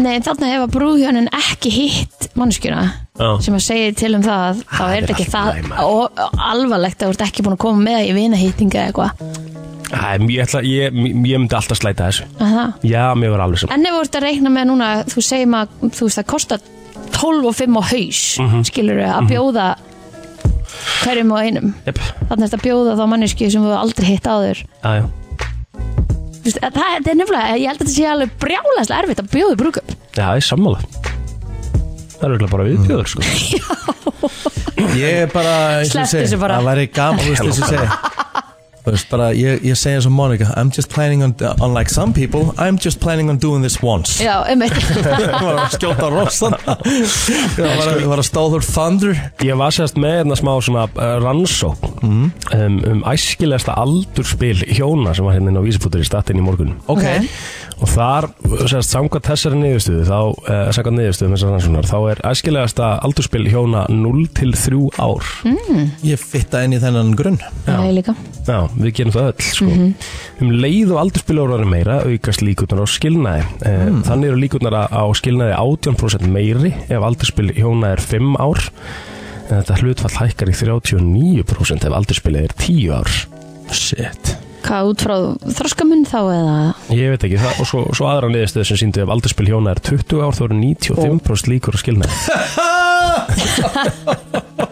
Speaker 3: Nei, en þarna hefur brúðhjónin ekki hitt mannskjuna
Speaker 4: Já.
Speaker 3: sem að segja til um það að þá
Speaker 4: Það
Speaker 3: er
Speaker 4: er
Speaker 3: þetta ekki
Speaker 4: allt
Speaker 3: það
Speaker 4: í lagi, maður.
Speaker 3: og, og alvarlegt að þú ert ekki búin að koma með í vinahýttinga eða eitthvað
Speaker 4: Æ, ég, ætla, ég, ég myndi alltaf slæta þessu
Speaker 3: Er það?
Speaker 4: Já, mér var alveg sem
Speaker 3: En ef þú ert að reikna með núna, þú segir maður, þú veist, það kostar 12 og 5 á haus, mm
Speaker 4: Mhm.
Speaker 3: skilur að bjóða hverjum og einum.
Speaker 4: Jep,
Speaker 3: Þannig er þetta að bjóða þá manneski sem við aldrei hitt áður.
Speaker 4: já, já
Speaker 3: Þú veist, að Það það er nefnilega, ég held að þetta sé alveg brjálæslega erfitt að bjóða brúkup.
Speaker 4: Já, það er sammála Það er örugglega bara viðbjöður, sko
Speaker 2: Ég er bara eins og ég
Speaker 3: Slepptu
Speaker 2: segi,
Speaker 3: þessu bara.
Speaker 2: Það væri gaman Þú veist þess að segja Þú veist bara Ég, ég segi eins og Monica I'm just planning on Unlike some people I'm just planning on doing this once
Speaker 3: Já, um eitt.
Speaker 2: <laughs>
Speaker 3: <laughs>
Speaker 2: Það var að skjóta rossan Það var að- var að stáður thunder
Speaker 4: Ég var sérst með hérna smá svona uh, rannsókn um, um æskilegasta aldurspil hjóna sem var hérna inn á vísifútur í statinn í morgun
Speaker 2: Ok
Speaker 3: Ok.
Speaker 4: og þar, sérst, samkvæmt þessari niðurstöðu þá, uh, samkvæmt niðurstöðu þessari rannsóknar þá er æskilegasta aldurspil hjóna 0 til 3 ár
Speaker 2: Ég fitta inn í þennan grunn
Speaker 3: Já, ég líka.
Speaker 4: Já, við gerum það öll sko. Um leið og aldurspil ára meira aukast líkurnar á skilnaði mm. Þannig eru líkurnar á- á skilnaði 18% meiri ef aldurspil hjóna er 5 ár en þetta hlutfall hækkar í 39% ef aldurspilið er 10 ár Shit
Speaker 3: Hvað út frá þroskamunn þá eða?
Speaker 4: Ég veit ekki, það, og svo, svo aðra niðurstöðu sem síndu ef aldurspil hjóna er 20 ár þá eru 95% líkur á skilnaði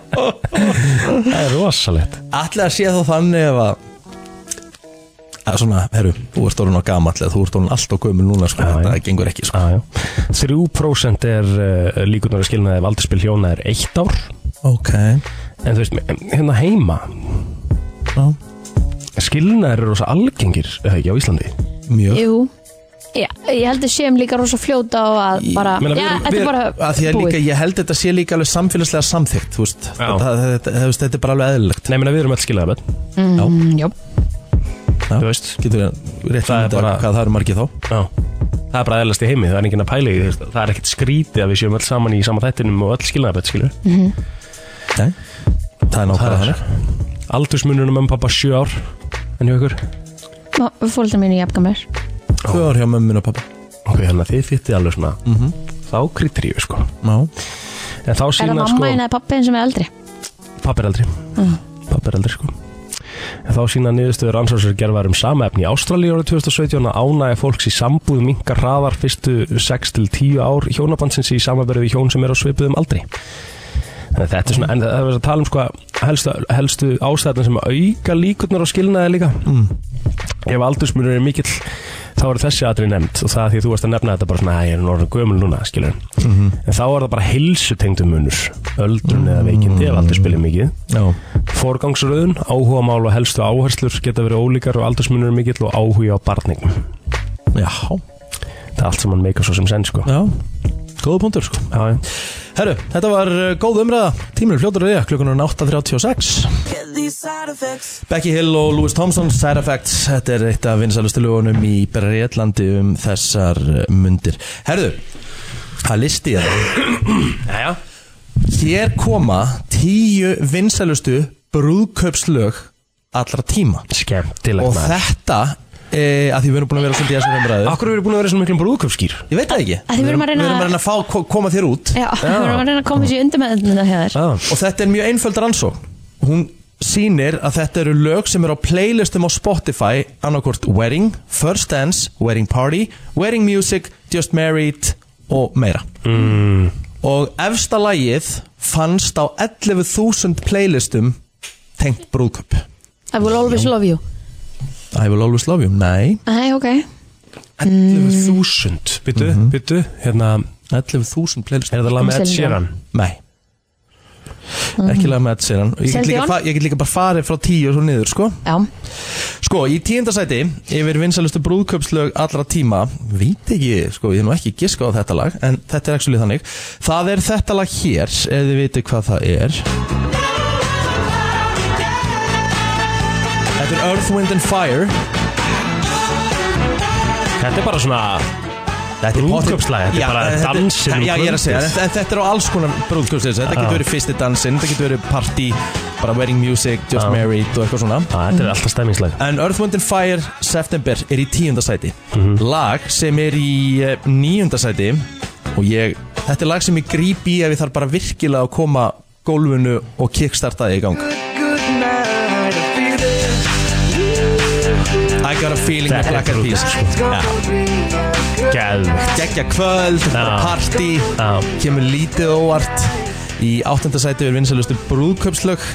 Speaker 4: Það er rosalegt
Speaker 2: Ætli að sé þá þannig ef að að svona, herru, þú ert orðin á gamall eða þú ert orðin allt á gömul núna sko,
Speaker 4: Já,
Speaker 2: þetta
Speaker 4: já.
Speaker 2: gengur ekki sko.
Speaker 4: Já, já. 3% er uh, líkurnar að skilnaði ef aldurspil hjóna er 1 ár
Speaker 2: ok,
Speaker 4: En þú veist, hérna heima
Speaker 2: já,
Speaker 4: Skilnaðir eru rosa algengir eða ekki á Íslandi
Speaker 2: mjög
Speaker 3: Jú. Já, ég held að séum líka rosa fljóta og að bara,
Speaker 4: meina, við
Speaker 3: já,
Speaker 4: erum-
Speaker 3: þetta er
Speaker 4: við erum-
Speaker 3: bara
Speaker 2: að því að líka, ég held þetta sé líka alveg samfélagslega samþygt, þú veist
Speaker 4: Já.
Speaker 2: þetta, þetta, þetta, þetta er bara alveg eðlilegt
Speaker 4: Nei, menna við erum öll skilnaðar börn
Speaker 3: Mm, jú.
Speaker 2: Já.
Speaker 4: Þú veist,
Speaker 2: getur við rétt
Speaker 4: Það er
Speaker 2: að bara...
Speaker 4: bara-
Speaker 2: hvað það eru margið þá
Speaker 4: já Það er bara eðlast í heimi, það er enginn að pæla í því þú veist. Það er ekkert skrítið að við séum öll saman í sama þættinum og öll skilnaðar börn, skilur
Speaker 2: Nei. það er nákvæmlega
Speaker 4: Það er-
Speaker 2: þannig
Speaker 4: Aldursmununum um pappa 7 ár En hjá ykkur
Speaker 3: Fólkna mínu jafngamir.
Speaker 2: þau var hjá mömmin og pappa
Speaker 4: Ok, þannig að þið fyttið alveg svona Þá kriteríu, sko
Speaker 2: já,
Speaker 4: En þá
Speaker 3: Er það
Speaker 4: sína,
Speaker 3: mamma
Speaker 4: sko,
Speaker 3: eina eða pappi sem er eldri?
Speaker 4: pappi er aldrei Pappi er aldrei, sko En þá sína niðurstöður ansvarsar gerðar um sama efni í Ástralíu árið 2017 að ánægja fólks í sambúð minkar hraðar fyrstu 6 til 10 ár hjónabandsins í samanverðu við hjón sem er á svipuðum aldri. Þannig að þetta er svona, en það er verið að tala um sko að helstu, helstu ástæðan sem auka líkurnar á skilnaði líka. Ef aldursmunur er mikill þá eru þessi aðri nefnd og það er því að þú varst að nefna þetta bara svona, "Æ, ég er nú orðin gömul núna, skilur. En þá er það bara heilsutengdum munur, öldrun eða veikindi ef aldurspil er mikið.
Speaker 2: já,
Speaker 4: Forgangsröðun, áhugamál og helstu áherslur geta verið ólíkar og aldursmunur er mikill og áhugi á barningum.
Speaker 2: já,
Speaker 4: Það er allt sem mann meika svo sem senn, sko.
Speaker 2: já. góða punktur sko
Speaker 4: Já, já.
Speaker 2: herru, þetta var uh, góð umræða tímur fljótur að reyja, klukkan er 8.36 Becky Hill og Louis Thompson, Side Effects Þetta er eitt af vinsælustu lögunum í Breitlandi um þessar uh, mundir Herðu, það listi ég það
Speaker 3: <clears throat>
Speaker 4: Jæja.
Speaker 2: Hér koma tíu vinsælustu brúðkaupslög allra tíma
Speaker 4: Skemmtilegt
Speaker 2: Og
Speaker 4: maður.
Speaker 2: þetta, e, að því við erum búin að vera svolítið í þessum umræðu
Speaker 4: Akkur eru búin að vera svona miklum brúðköpskýr?
Speaker 2: Ég veit það ekki
Speaker 3: Að því við erum að reyna-
Speaker 2: Við erum að reyna að fá, ko- koma þér út
Speaker 3: Já, við erum að reyna að koma þessu undir með þetta hjá þér
Speaker 4: Já.
Speaker 2: Og þetta er mjög einföld rannsókn Hún sýnir að þetta eru lög sem eru á playlistum á Spotify annarkvort Wedding, First Dance, Wedding Party, Wedding Music, Just Married og meira mm. Og efsta lagið fannst á 11.000 playlistum tengt brúðköp
Speaker 3: I will always love you
Speaker 2: I will always love you, nei
Speaker 3: Æ, ok
Speaker 2: Mhm.
Speaker 4: 11.000 Byttu, byttu, hérna
Speaker 2: 11.000 playlist
Speaker 4: Er það lag með
Speaker 3: Um
Speaker 4: Ed
Speaker 3: Celine
Speaker 4: Sheeran?
Speaker 2: Nei Ekki lag með Ed Sheeran Og ég get,
Speaker 3: Celine
Speaker 2: líka,
Speaker 3: Dion?
Speaker 2: fa- ég get líka bara farið frá 10 og svo niður sko
Speaker 3: Já,
Speaker 2: Sko, í tíundasæti yfir vinsalustu brúðköpslög allra tíma Veit ekki, sko, ég er nú ekki giska á þetta lag En þetta er ekki svolítið þannig Það er þetta lag hér, ef þið vitið hvað það er Þetta er Earth, Wind and Fire
Speaker 4: Þetta er bara svona
Speaker 2: Þetta er
Speaker 4: Brúðkaupslag, þetta er
Speaker 2: Já,
Speaker 4: bara
Speaker 2: þetta er-
Speaker 4: dansinn um
Speaker 2: Já, ég er að segja,
Speaker 4: kvöldið.
Speaker 2: en en þetta er á alls konar brúðkaupslega Þetta
Speaker 4: Já.
Speaker 2: getur verið fyrsti dansinn, þetta getur verið party Bara wedding music, just
Speaker 4: Já.
Speaker 2: married og eitthvað svona
Speaker 4: Á, Ah, Þetta er alltaf stemmingslega
Speaker 2: En Earth, Wind and Fire September er í tíunda sæti
Speaker 4: Mhm.
Speaker 2: Lag sem er í eh, níunda sæti Og ég, þetta er lag sem ég gríp í ef ég þarf bara virkilega að koma gólfinu og kickstarta þig í gang I got a feeling með
Speaker 4: Þetta er
Speaker 2: Black Eyed Peas
Speaker 4: brúðkaup, sko.
Speaker 2: Já.
Speaker 4: Gæðvegt
Speaker 2: Gekkja kvöld,
Speaker 4: Já.
Speaker 2: party
Speaker 4: Já.
Speaker 2: Kemur lítið óvart Í áttunda sæti er vinsalustu brúðköpslög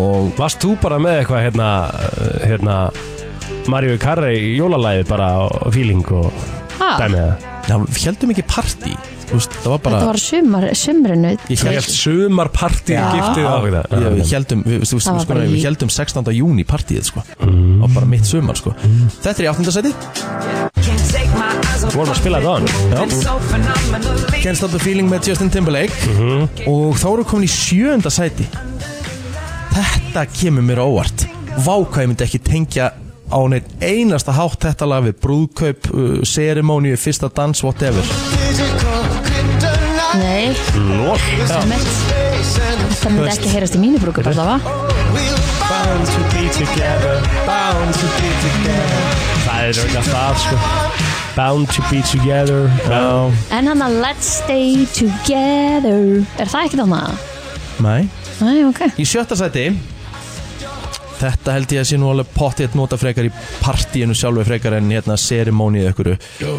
Speaker 2: Og
Speaker 4: Varst þú bara með eitthvað hérna, uh, hérna Mario Carrey jólalæði bara á feeling og
Speaker 3: Ha,
Speaker 4: dæmið það
Speaker 2: já, við heldum ekki party Þú veist, Það var bara
Speaker 3: þetta var sumar, sumrinu
Speaker 2: Ég
Speaker 4: Það er allt sumarpartið
Speaker 3: Já.
Speaker 4: giftið á þetta
Speaker 2: Já, við heldum, við, við, við,
Speaker 3: Það var
Speaker 2: sko,
Speaker 3: bara í-
Speaker 2: við heldum 16. júni partíið sko og bara mitt sumar sko Þetta er í 8. seti,
Speaker 4: Vorum að spila þetta á hann
Speaker 2: Can't Stop the Feeling með Justin Timberlake og þá erum við komin í 7. seti Þetta kemur mér á óvart Váka, ég myndi ekki tengja á neitt einasta hátt þetta lag við brúðkaup, uh, serimóníu, fyrsta dans, whatever
Speaker 3: Nei, það mitt Það myndi ekki heyrast í mínu brúku bara
Speaker 4: Það er auðvitað það sko Bound to be together Já
Speaker 3: En hann að Let's Stay Together Er það ekki þannig að?
Speaker 2: Nei
Speaker 3: Nei, ok
Speaker 2: Í sjötta sæti Þetta held ég að sé nú alveg pottið nota frekar í partíinu sjálfu frekar en hérna serimónið ykkur Er
Speaker 4: Já,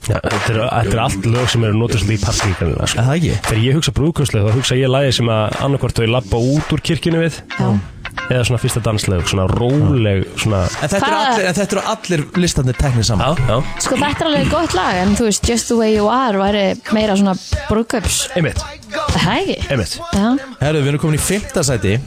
Speaker 4: Þetta eru- þetta eru allt lög sem eru notast í partíkanina sko.
Speaker 2: það ekki?
Speaker 4: Þegar ég hugsa brúðkvölslega þá hugsa ég lagi sem að annarkvart þau labba út úr kirkjunni við
Speaker 3: Já.
Speaker 4: eða svona fyrsta dansleg, svona róleg svona
Speaker 2: En þetta, eru
Speaker 3: Hvað?
Speaker 2: allir, en þetta eru allir listandir teknir saman
Speaker 4: já,
Speaker 3: Sko þetta er alveg gott lag En þú veist, Just the Way You Are væri meira svona brúkups
Speaker 4: einmitt,
Speaker 3: Er það ekki?
Speaker 4: einmitt
Speaker 3: Já,
Speaker 2: Herru, við erum komin í fymta sæti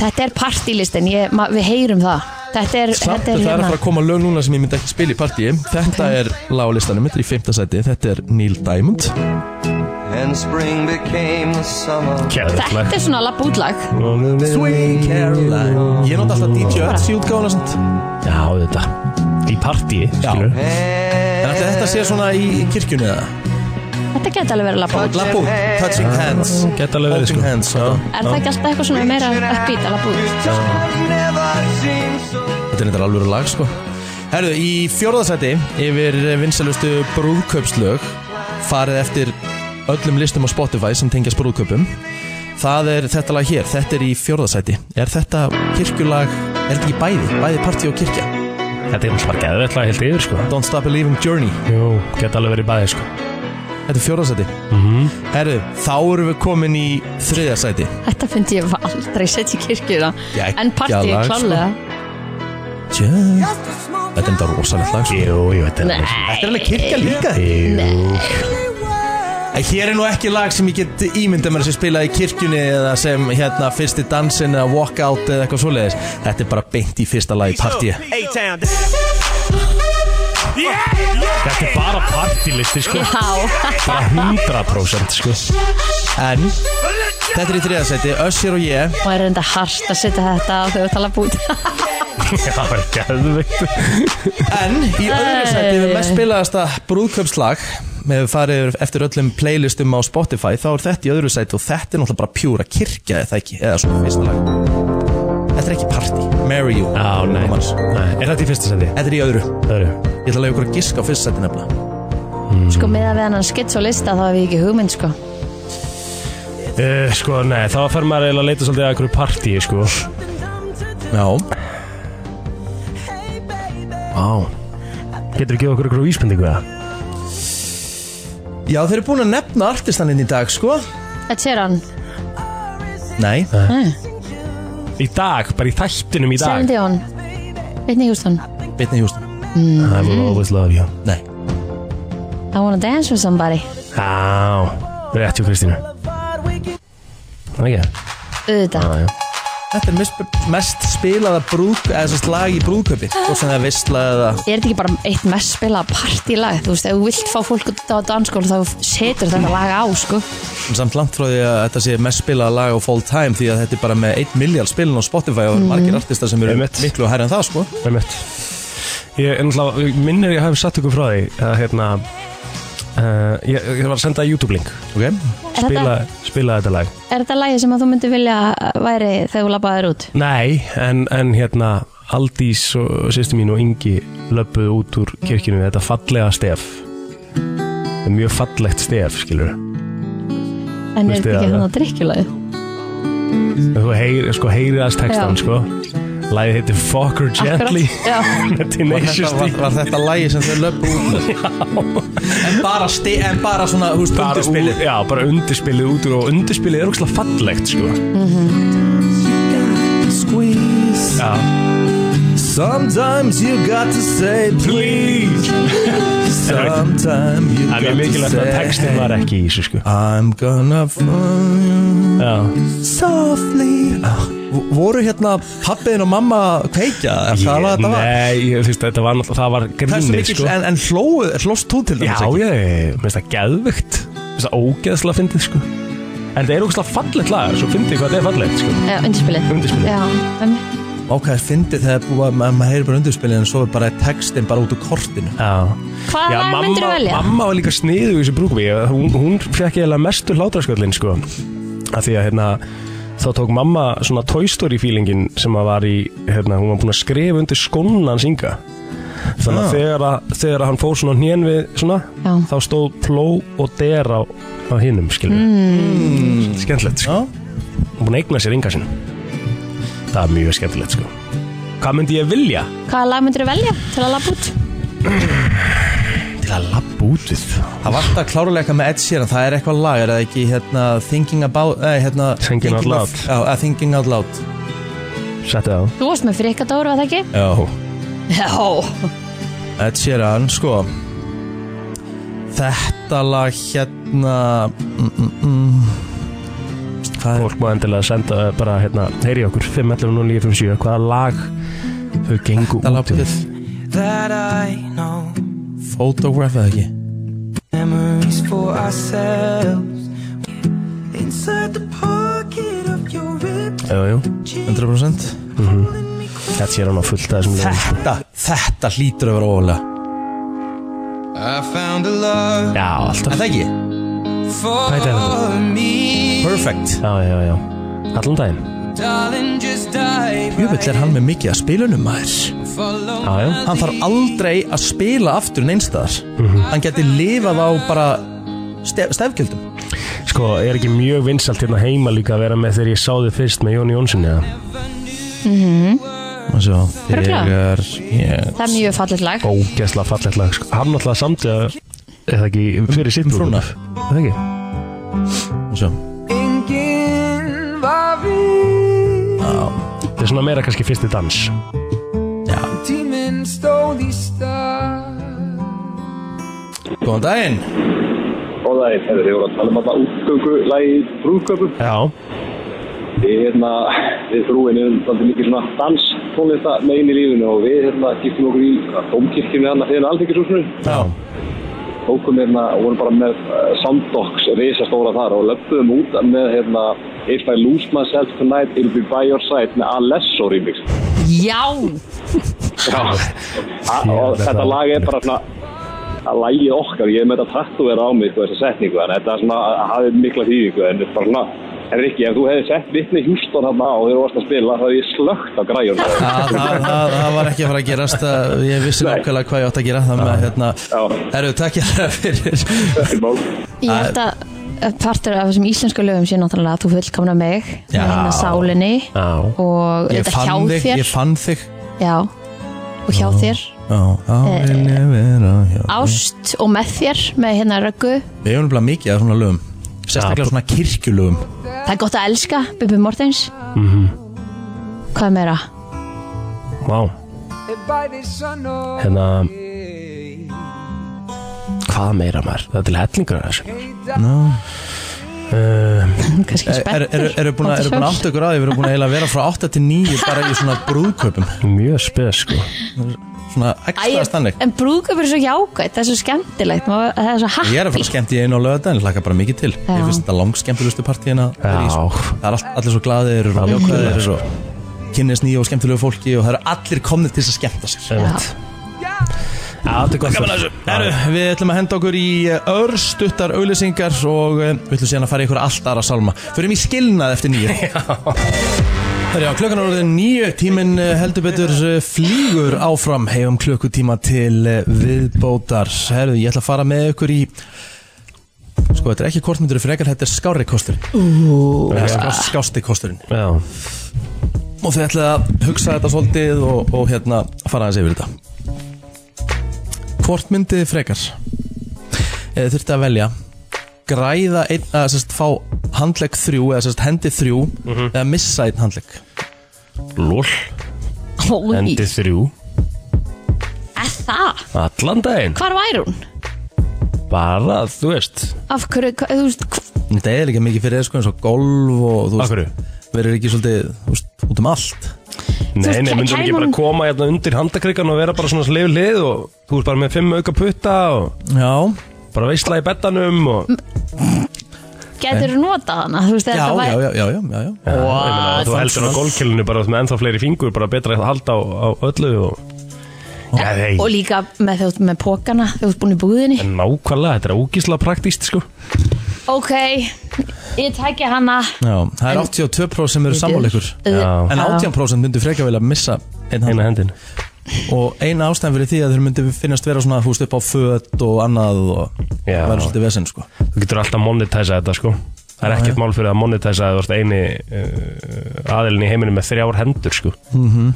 Speaker 3: þetta er partílistin ég, ma, Við heyrum það Þetta er,
Speaker 2: Samt
Speaker 3: þetta
Speaker 2: er það er
Speaker 3: er
Speaker 2: að fara
Speaker 3: hérna
Speaker 2: að koma lög núna sem ég myndi ekki spila í partíi Þetta okay. er láglistanum, þetta er í fymta sæti Þetta er Neil Diamond
Speaker 8: And spring became the summer
Speaker 4: Kjærlegt lag.
Speaker 3: Þetta er svona lapp útlag
Speaker 2: Sweet Caroline Ég nota alltaf DJ Ötz í útgáðuna samt
Speaker 4: Já, þetta Í partíi, skilur
Speaker 2: En ætli þetta sé svona í kirkjunni eða?
Speaker 3: Þetta geti alveg verið lapp út
Speaker 2: Lappú, touching hands
Speaker 4: Geta alveg
Speaker 2: Holding
Speaker 4: verið, sko.
Speaker 2: hands Þetta
Speaker 3: Er það ekki alltaf eitthvað svona meira uppbít að lapp út?
Speaker 2: er þetta alveg lag sko Herru, í fjórðasæti yfir vinsalustu brúðkaupslög farið eftir öllum listum á Spotify sem tengjast brúðkaupum Það er þetta lag hér, þetta er í fjórðasæti Er þetta kirkjulag, er þetta ekki bæði, bæði partí og kirkja
Speaker 4: Þetta er bara geðveikt lag heilt yfir, sko
Speaker 2: Don't Stop Believing Journey,
Speaker 4: Jú, geta alveg verið bæði, sko
Speaker 2: þetta er fjórðasæti mm -hmm. Herru, þá erum við komin í þriðasæti
Speaker 3: Þetta fyndi ég aldrei setja í kirkjuna
Speaker 2: Geggjað
Speaker 3: En partíi
Speaker 2: lag, sko.
Speaker 3: klálega
Speaker 2: Just... Þetta er þetta rosalegt lag sko
Speaker 4: Jú, jú, þetta er alveg
Speaker 2: Þetta er alveg kirkja líka
Speaker 4: Jú,
Speaker 2: En Hér er nú ekki lag sem ég get ímynda mér að sé spilað í kirkjunni eða sem hérna fyrsti dansinn eða walkout eða eitthvað svoleiðis Þetta er bara beint í fyrsta lagi partíi
Speaker 4: þetta er bara partílisti, sko
Speaker 3: Já,
Speaker 4: Bara 100% sko
Speaker 2: En þetta er í þriðasæti, Össir og ég
Speaker 3: og er reynda hart að setja þetta á þegar við tala bút
Speaker 4: Já, það er geðveikt
Speaker 2: En í öðru sæti við mest spilaðasta brúðköpslag með við farið yfir- eftir öllum playlistum á Spotify þá er þetta í öðru sæti og þetta er náttúrulega bara pjúra kirkja eða ekki, eða svona fyrsta lag Þetta er ekki partí, marry you
Speaker 4: Já, Ah, nei,
Speaker 2: Romance.
Speaker 4: nei Er þetta í fyrsta sendi?
Speaker 2: Þetta er í öðru,
Speaker 4: Það eru
Speaker 2: ég ætla að lega ykkur að giska á fyrsta sæti nefnilega
Speaker 3: Sko með að við hennan skits og lista þá hef ég ekki hugmynd sko
Speaker 4: uh, Sko, nei, þá fer maður eiginlega að leita svolítið að einhverju partíi, sko
Speaker 2: Já,
Speaker 4: Vá Getur þú gefið okkur einhverju vísbendingu það?
Speaker 2: Já, þeir eru búin að nefna artistaninn í dag, sko
Speaker 3: Þetta sér hann,
Speaker 2: Nei
Speaker 4: Í dag, bara í þættinum í dag
Speaker 3: Seven Dion Whitney Houston
Speaker 2: Bitni Hjústum
Speaker 4: I will always love you
Speaker 2: Nei
Speaker 3: I wanna dance with somebody
Speaker 4: Já, rétt hjá Kristínu Það er
Speaker 3: auðvitað
Speaker 4: ekki, Ah, já, já
Speaker 2: Þetta er mest, mest spilaða brúk, eða svo slag í brúðkaupi Hvort sem það er veistla eða
Speaker 3: Er þetta ekki bara eitt mest spilað partílag Þú veist, ef þú vilt fá fólk út á danskóla þá setur þetta lag á, sko
Speaker 2: en samt langt frá því að þetta sé mest spilaða lag á full time því að þetta er bara með 1 miljard spilin á Spotify og það eru margir artistar sem eru
Speaker 4: Einmitt.
Speaker 2: miklu hærri en það sko
Speaker 4: Það er mitt Ég er náttúrulega, ég minnir ég hafi satt ykkur frá því að hérna uh, ég, ég var að senda YouTube-link
Speaker 2: okay.
Speaker 3: Er
Speaker 4: spila,
Speaker 3: þetta,
Speaker 4: spila þetta lag
Speaker 3: er þetta lagið sem að þú myndir vilja væri þegar þú labbaðir út?
Speaker 4: Nei, en, en hérna Aldís og sýstu mín og Ingi löpuðu út úr kirkjunum við þetta fallega stef Þetta er mjög fallegt stef, skilur
Speaker 3: En er
Speaker 4: Veistu
Speaker 3: þetta ekki
Speaker 4: það,
Speaker 3: hérna
Speaker 4: ja.
Speaker 3: þannig að drikkjulagið?
Speaker 4: Þú heyri, sko, heyri aðeins textan,
Speaker 3: Já.
Speaker 4: sko Lagið heitir Fucker Gently <laughs>
Speaker 3: Já,
Speaker 4: með Tenacious
Speaker 2: Þetta
Speaker 4: D
Speaker 2: var, var þetta lagi sem þau löpu út með en bara, sti, en bara svona, hú veist,
Speaker 4: bara
Speaker 2: undirspilið
Speaker 4: út- Já, bara undirspilið út úr og undirspilið er ógslag fallegt, sko
Speaker 2: Squeeze
Speaker 4: Já
Speaker 2: Sometimes you got to say
Speaker 4: Please
Speaker 2: Sometimes you
Speaker 4: Það er mjög mikilvægt að textin var ekki í þessu sko
Speaker 2: I'm gonna find you
Speaker 4: Já
Speaker 2: softly V- Ah, Voru hérna pappiðin og mamma að kveikja? Er það að þetta var?
Speaker 4: Nei, ég- þú veist, þetta var náttúrulega, það var
Speaker 2: Hversu
Speaker 4: grínið
Speaker 2: mikil,
Speaker 4: sko
Speaker 2: en, en hlóu, hlóst þú til
Speaker 4: Já,
Speaker 2: dæmis
Speaker 4: ég, ég, mér finnst það geðvögt Mér finnst það ógeðslega fyndið sko En þetta er ógeðslega fallegt lag, svo fyndið hvað þetta er fallegt sko
Speaker 3: já undirspilið
Speaker 4: Undirspilið
Speaker 3: Já, emmi
Speaker 2: Ok, fyndið þegar búið að ma- maður heyrir bara undirspilið en svo er bara textin bara út úr kortinu
Speaker 4: Já
Speaker 3: Hvaða lag
Speaker 4: mamma,
Speaker 3: myndirðu velja?
Speaker 4: mamma var líka sniðu í þessu brúkumi Hún, hún fekk eiginlega mestu hlátrasköllin sko Af því að hérna Þá tók mamma svona Toy Story feelingin sem að var í, hérna, hún var búin að skrifa undir skónan hans Inga Þannig
Speaker 2: Ah.
Speaker 4: að þegar, að þegar að hann fór svona hnjén við svona
Speaker 3: Já.
Speaker 4: Þá stóð pló og der á, á hinnum, skilur mm.
Speaker 3: Hmm.
Speaker 4: Skemmtilegt, sko
Speaker 2: Já,
Speaker 4: Hún búin að eigna sér Inga sin Það er mjög skemmtilegt, sko Hvað myndi ég vilja?
Speaker 3: Hvaða lag myndirðu velja til að labba út?
Speaker 4: Til að labba út við
Speaker 2: það var alltaf kláruleika með Ed Sheeran, það er eitthvað lag, er það ekki hérna Thinking About, nei hérna
Speaker 4: Thinking Out Loud.
Speaker 2: of- Já, eh, Thinking Out Loud
Speaker 4: Settu það á
Speaker 3: Þú varst með frikadóru, var það ekki?
Speaker 2: Já
Speaker 3: Já
Speaker 2: Ed Sheeran, sko Þetta lag hérna mm, mm, mm. Hvað er
Speaker 4: fólk má endilega senda uh, bara hérna, heyri okkur 511-0957 hvaða lag þau gengu
Speaker 2: þetta
Speaker 4: út
Speaker 2: lag?
Speaker 4: við
Speaker 9: that I know.
Speaker 2: Photograph eða ekki?
Speaker 9: Memories for ourselves. Inside the pocket of your ripped
Speaker 4: Jú, jú,
Speaker 2: 100%
Speaker 4: þetta sé hann á fullt að þessum lögum sko.
Speaker 2: Þetta, þetta hlýtur að vera ofalega
Speaker 4: Já, alltaf
Speaker 2: Er það ekki?
Speaker 4: Hvað er það?
Speaker 2: Perfect
Speaker 4: Já, já, já Allan daginn
Speaker 2: Jöfull er hann með mikið að spilunum maður
Speaker 4: Já, já
Speaker 2: Hann þarf aldrei að spila aftur neinstaðar mm
Speaker 4: Mhm.
Speaker 2: Hann geti lifað á bara stef, stefgjöldum
Speaker 4: Sko, er ekki mjög vinsalt hérna heima líka að vera með þegar ég sá þið fyrst með Jóni Jónsson eða
Speaker 2: Og svo
Speaker 3: Örugglega.
Speaker 2: þegar ég
Speaker 3: Það er mjög fallit lag
Speaker 4: Ógæsla fallegt lag sko. Hann náttúrulega samt að eða ekki
Speaker 2: Um
Speaker 4: fyrir sitt
Speaker 2: frúna.
Speaker 4: brúðkaup. Er Það ekki
Speaker 2: Og svo
Speaker 9: Enginn var við
Speaker 4: Þetta er svona meira kannski fyrsti dans
Speaker 9: Tíminn stóð í stað
Speaker 2: Góðan daginn
Speaker 6: Og það er, þegar við vorum að tala um þetta útgöngu lagi brúðköpum,
Speaker 4: Já,
Speaker 6: við hérna, við frúin erum um svolítið mikið svona dans tónlista megin í lífinu og við hérna giftum okkur í domkirkjum við hann að fyrir alþykishúsinu.
Speaker 4: já
Speaker 6: Tókum hérna og vorum bara með uh, Sandox risastóra þar og löpum út með hérna If I lose myself tonight, it'll be by your side með Alesso remix.
Speaker 3: Já
Speaker 6: A- og þetta lag er bara svona að lagi okkar, ég er með þetta tattúvera á mig sko, þessa setningu, þannig að þetta er svona að hafi mikla þýðingu, en þetta er bara svona en Rikki, ef þú hefði sett vittni Hjústón hann á þegar þú varst að spila, þá hefði ég slögt á <laughs> græjun
Speaker 2: Það, það, það, það var ekki að fara að gerast að ég vissi
Speaker 6: Nei.
Speaker 2: nákvæmlega hvað ég átt að gera það með hérna
Speaker 6: Já.
Speaker 2: Herru, takk ég það fyrir
Speaker 3: Ég held að partur af þessum íslensku lögum sé náttúrulega að þú fullkomna mig
Speaker 2: Já.
Speaker 3: með hérna sálinni
Speaker 4: Já,
Speaker 3: og
Speaker 2: Ég
Speaker 3: þetta
Speaker 2: fann
Speaker 3: hjá
Speaker 2: þig,
Speaker 3: þér Eh,
Speaker 2: ég fann þig
Speaker 3: Já, og hjá þér
Speaker 2: Já, þá vil ég vera hjá
Speaker 3: Ást og með þér með hérna röggu
Speaker 2: Við hefum nefnilega mikið að svona lögum
Speaker 4: Já.
Speaker 2: Sérstaklega svona kirkjulögum
Speaker 3: Það er gott að elska, Bubi Mortens
Speaker 2: Mhm.
Speaker 3: Hvað meira?
Speaker 4: vá
Speaker 9: By the sun of
Speaker 4: Hérna,
Speaker 9: day
Speaker 4: hvað hvað meira maður Það er til hellingur af þessu
Speaker 3: kannski
Speaker 2: Er-
Speaker 3: spenntur
Speaker 2: er- Eh, Eru búin að eru búin að átta ykkur á því, við erum búin að eiginlega vera frá 8 til 9 bara í svona brúðkaupum
Speaker 4: Mjög spes sko
Speaker 2: Svona ekstra stannig
Speaker 3: en brúðköpur er svo jákvæmt það er svo skemmtilegt maður- það er svo happy
Speaker 2: Ég er að fara skemmt í einu á lögadaginn, hlaka bara mikið til Ég
Speaker 3: Já.
Speaker 2: finnst þetta langskemmtilegustu partíin að vera í, sko.
Speaker 4: Já.
Speaker 2: Það er all, allir svo glaðir og jákvæðir og kynnist nýja og skemmtilegu fólki og það eru allir komnir til þess að skemmta sér
Speaker 4: Einmitt. Já, þetta er gott
Speaker 2: Heru, Við ætlum að henda okkur í eh, örstuttar auðlýsingar og eh, við ætlum síðan að fara í ykkur allt aðra sálma Förum í skilnað eftir nýju Herra, já, klukkan er orðin nýju, tíminn eh, heldur betur eh, flýgur áfram hefum klukkutíma til eh, viðbótar. Herru, ég ætla að fara með ykkur í, sko þetta er ekki kortmyndur frekar, þetta er skári kosturinn. Eða ská- Skásti kosturinn.
Speaker 4: Já,
Speaker 2: Og þið ætlaði að hugsa þetta svolítið og, og hérna fara aðeins yfir þetta. Hvort myndið þið frekar? Eða þurfti að velja græða einn, að sérst fá handlegg þrjú eða sérst hendi þrjú
Speaker 4: Mhm.
Speaker 2: eða missa einn handlegg.
Speaker 4: lól,
Speaker 3: Holy,
Speaker 4: endi þrjú
Speaker 3: er það?
Speaker 4: Allan daginn
Speaker 3: Hvar væri hún?
Speaker 4: Bara, þú veist
Speaker 3: Af hverju, hva, þú veist, hv-
Speaker 2: En Þetta er líka mikið fyrir þér sko eins og golf og þú
Speaker 4: Af hverju?
Speaker 2: verður ekki svolítið þú veist, út um allt
Speaker 4: Nei,
Speaker 3: veist,
Speaker 4: nei, myndur
Speaker 3: kæ-
Speaker 4: ekki
Speaker 3: kæmum-
Speaker 4: bara koma hérna undir handakrikkan og vera bara svona sleif lið og þú ert bara með fimm auka putta og
Speaker 2: Já,
Speaker 4: bara veistla í bettanum og
Speaker 3: getur þú notað hana? Þú veist,
Speaker 2: já,
Speaker 3: þetta
Speaker 2: já,
Speaker 3: væri,
Speaker 2: já, já, já, já, já.
Speaker 4: Já, ég meina, þú heldur á gólkilinu bara með ennþá fleiri fingur bara betra að halda á, á öllu og Já, nei,
Speaker 3: og líka með þú veist, með pókana, þú veist, búin í búðinni.
Speaker 4: en nákvæmlega, þetta er ógísla praktíst sko
Speaker 3: Ok, ég tækja hana.
Speaker 2: já Það er 82% sem eru sammáleikur
Speaker 4: Já.
Speaker 2: En 18% myndu frekar vel að missa einn
Speaker 4: eina
Speaker 2: hand
Speaker 4: hendin
Speaker 2: Og eina ástæðan fyrir því að þeir myndu finnast vera svona húst upp á föt og annað og
Speaker 4: Já.
Speaker 2: vera svolítið vesinn sko
Speaker 4: Þú getur alltaf monetæsa þetta sko Það er ekkert mál fyrir að monetæsa að þú ert eini uh, aðilin í heiminum með þrjár hendur sko mm -hmm.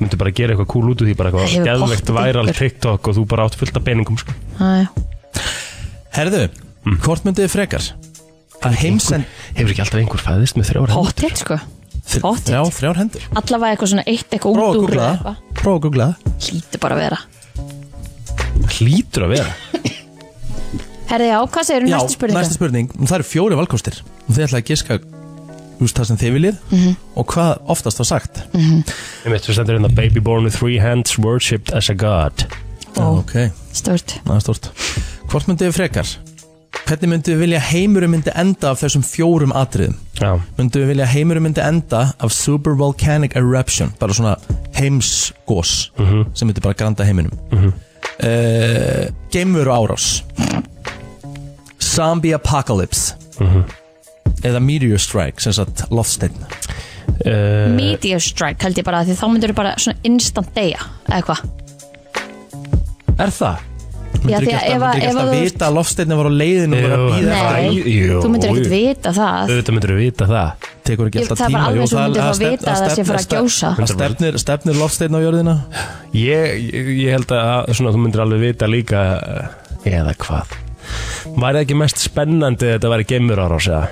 Speaker 4: Myndu bara gera eitthvað cool út úr því bara
Speaker 3: Það hefur
Speaker 4: eitthvað geðveikt
Speaker 3: pottþétt
Speaker 4: væral
Speaker 3: einhver.
Speaker 4: TikTok og þú bara átt fullt af peningum sko
Speaker 3: Æ,
Speaker 2: Herðu, hvort myndu þið frekar? Að heimsend
Speaker 4: Hefur ekki alltaf einhver fæðist með þrjár hendur?
Speaker 3: Pottet, sko. Pottet.
Speaker 2: þrjá, þrjár hendur
Speaker 3: Allavega eitthvað svona eitt, eitthvað
Speaker 2: Prófa
Speaker 3: út
Speaker 2: að
Speaker 3: úr
Speaker 2: googla
Speaker 3: eða
Speaker 2: það
Speaker 3: eitthvað.
Speaker 2: Prófa að googla það
Speaker 3: Hlýtur bara að vera.
Speaker 4: Hlýtur að vera
Speaker 3: Herði, já, hvað segir
Speaker 2: Já,
Speaker 3: næstu spurningu?
Speaker 2: næsta spurning Það eru fjóri valkostir og þið ætlaði að giska þú veist, það sem þið viljið og hvað oftast var sagt
Speaker 4: Ég veit, þú stendur hérna Baby born with three hands worshipped as a god
Speaker 3: Ó.
Speaker 2: Ok,
Speaker 3: Stort.
Speaker 2: það er stort Hvort myndið þið frekar? Hvernig myndið þið vilja að heimurum myndi enda af þessum fjórum atriðum?
Speaker 4: Já,
Speaker 2: Myndið þið vilja að heimurum myndi enda af supervolcanic eruption bara svona heimsgós
Speaker 4: Mhm.
Speaker 2: sem myndi bara granda heiminum mm -hmm. Geimveru árás Zombie apocalypse
Speaker 4: Mhm.
Speaker 2: eða meteor strike sem sagt loftsteinn
Speaker 4: uh,
Speaker 3: Meteor strike held ég bara því þá myndur þú bara svona instant deyja eða hvað
Speaker 2: Er það?
Speaker 3: Já,
Speaker 2: Myndur
Speaker 3: því
Speaker 2: ekki
Speaker 3: að
Speaker 2: alltaf,
Speaker 3: ef að-
Speaker 2: myndir ekki
Speaker 3: ef
Speaker 2: alltaf
Speaker 3: að þú
Speaker 2: vita að loftsteinni var á leiðinu og var að
Speaker 4: Jú,
Speaker 2: býða
Speaker 4: nei.
Speaker 2: eftir
Speaker 4: Æ, jú,
Speaker 3: þú myndur ekkert
Speaker 4: jú.
Speaker 3: vita það
Speaker 4: auðvitað myndur við vita það
Speaker 2: Tekur ekki
Speaker 3: Ég-
Speaker 2: alltaf
Speaker 3: það var
Speaker 2: tíma
Speaker 3: alveg
Speaker 2: jú,
Speaker 3: eins og þú myndir fá
Speaker 2: stefn-
Speaker 3: vita að það sé
Speaker 2: stefn-
Speaker 3: fara að
Speaker 2: stefn-
Speaker 3: gjósa.
Speaker 2: að stefnir, stefnir loftsteinn á jörðina
Speaker 4: Ég, ég, ég held að svona, þú myndir alveg vita líka eh, eða hvað Væri ekki mest spennandi að þetta væri geimur árás eða?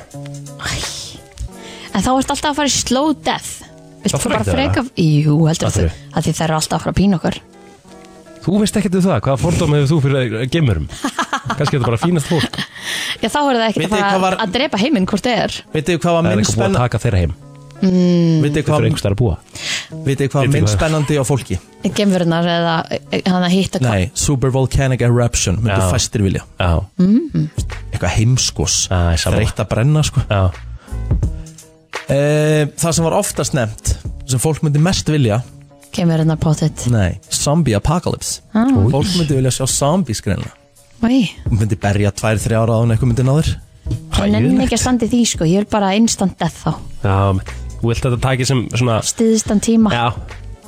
Speaker 3: en þá ert alltaf að fara í slow death Vilt
Speaker 4: Það
Speaker 3: þú
Speaker 4: fer
Speaker 3: bara
Speaker 4: ekki það,
Speaker 3: freka Jú, heldur
Speaker 4: Af
Speaker 3: þú
Speaker 4: hverju?
Speaker 3: að því þær eru alltaf að fara að pína okkur
Speaker 4: Þú veist ekkert um það, hvaða fordóma hefur þú fyrir eh, geimurum? Kannski er þetta bara fínast fólk
Speaker 3: Já, þá er það ekkert
Speaker 2: Vitið
Speaker 3: að
Speaker 2: hvað
Speaker 3: fara
Speaker 2: var-
Speaker 3: að drepa heiminn hvort þið er
Speaker 2: Vitið þið hvað var
Speaker 4: Það er
Speaker 2: minn
Speaker 4: eitthvað búið að
Speaker 2: spennandi
Speaker 4: taka þeirra heim
Speaker 2: Vitið þið
Speaker 4: Þetta
Speaker 2: hvað
Speaker 4: er einhvers þar að búa
Speaker 2: vitið þið hvað
Speaker 4: Vitið
Speaker 2: var minn
Speaker 4: hvað-
Speaker 2: spennandi á fólki
Speaker 3: Gemfurnar eða e, hann að hitta hvað
Speaker 2: Nei, supervolcanic eruption myndu
Speaker 4: Já.
Speaker 2: fæstir vilja
Speaker 4: Já,
Speaker 2: Eitthvað heimskos
Speaker 4: Já, ég sammála.
Speaker 2: Þreytt að brenna sko
Speaker 4: já,
Speaker 2: Eh, Það sem var oftast nefnt sem fólk myndi mest vilja
Speaker 3: Gemfurnar pottet
Speaker 2: Nei, zombie apocalypse
Speaker 3: Ah.
Speaker 2: Fólk myndi vilja sjá zombies greinlega
Speaker 3: Nei,
Speaker 2: myndi berja tvær, þrjá ára án eitthvað myndi náður
Speaker 3: það nenni ekki að standi því sko Ég vil bara instant death þá
Speaker 4: já Þú vilt að þetta taki sem svona
Speaker 3: Stiðistan tíma
Speaker 4: Já,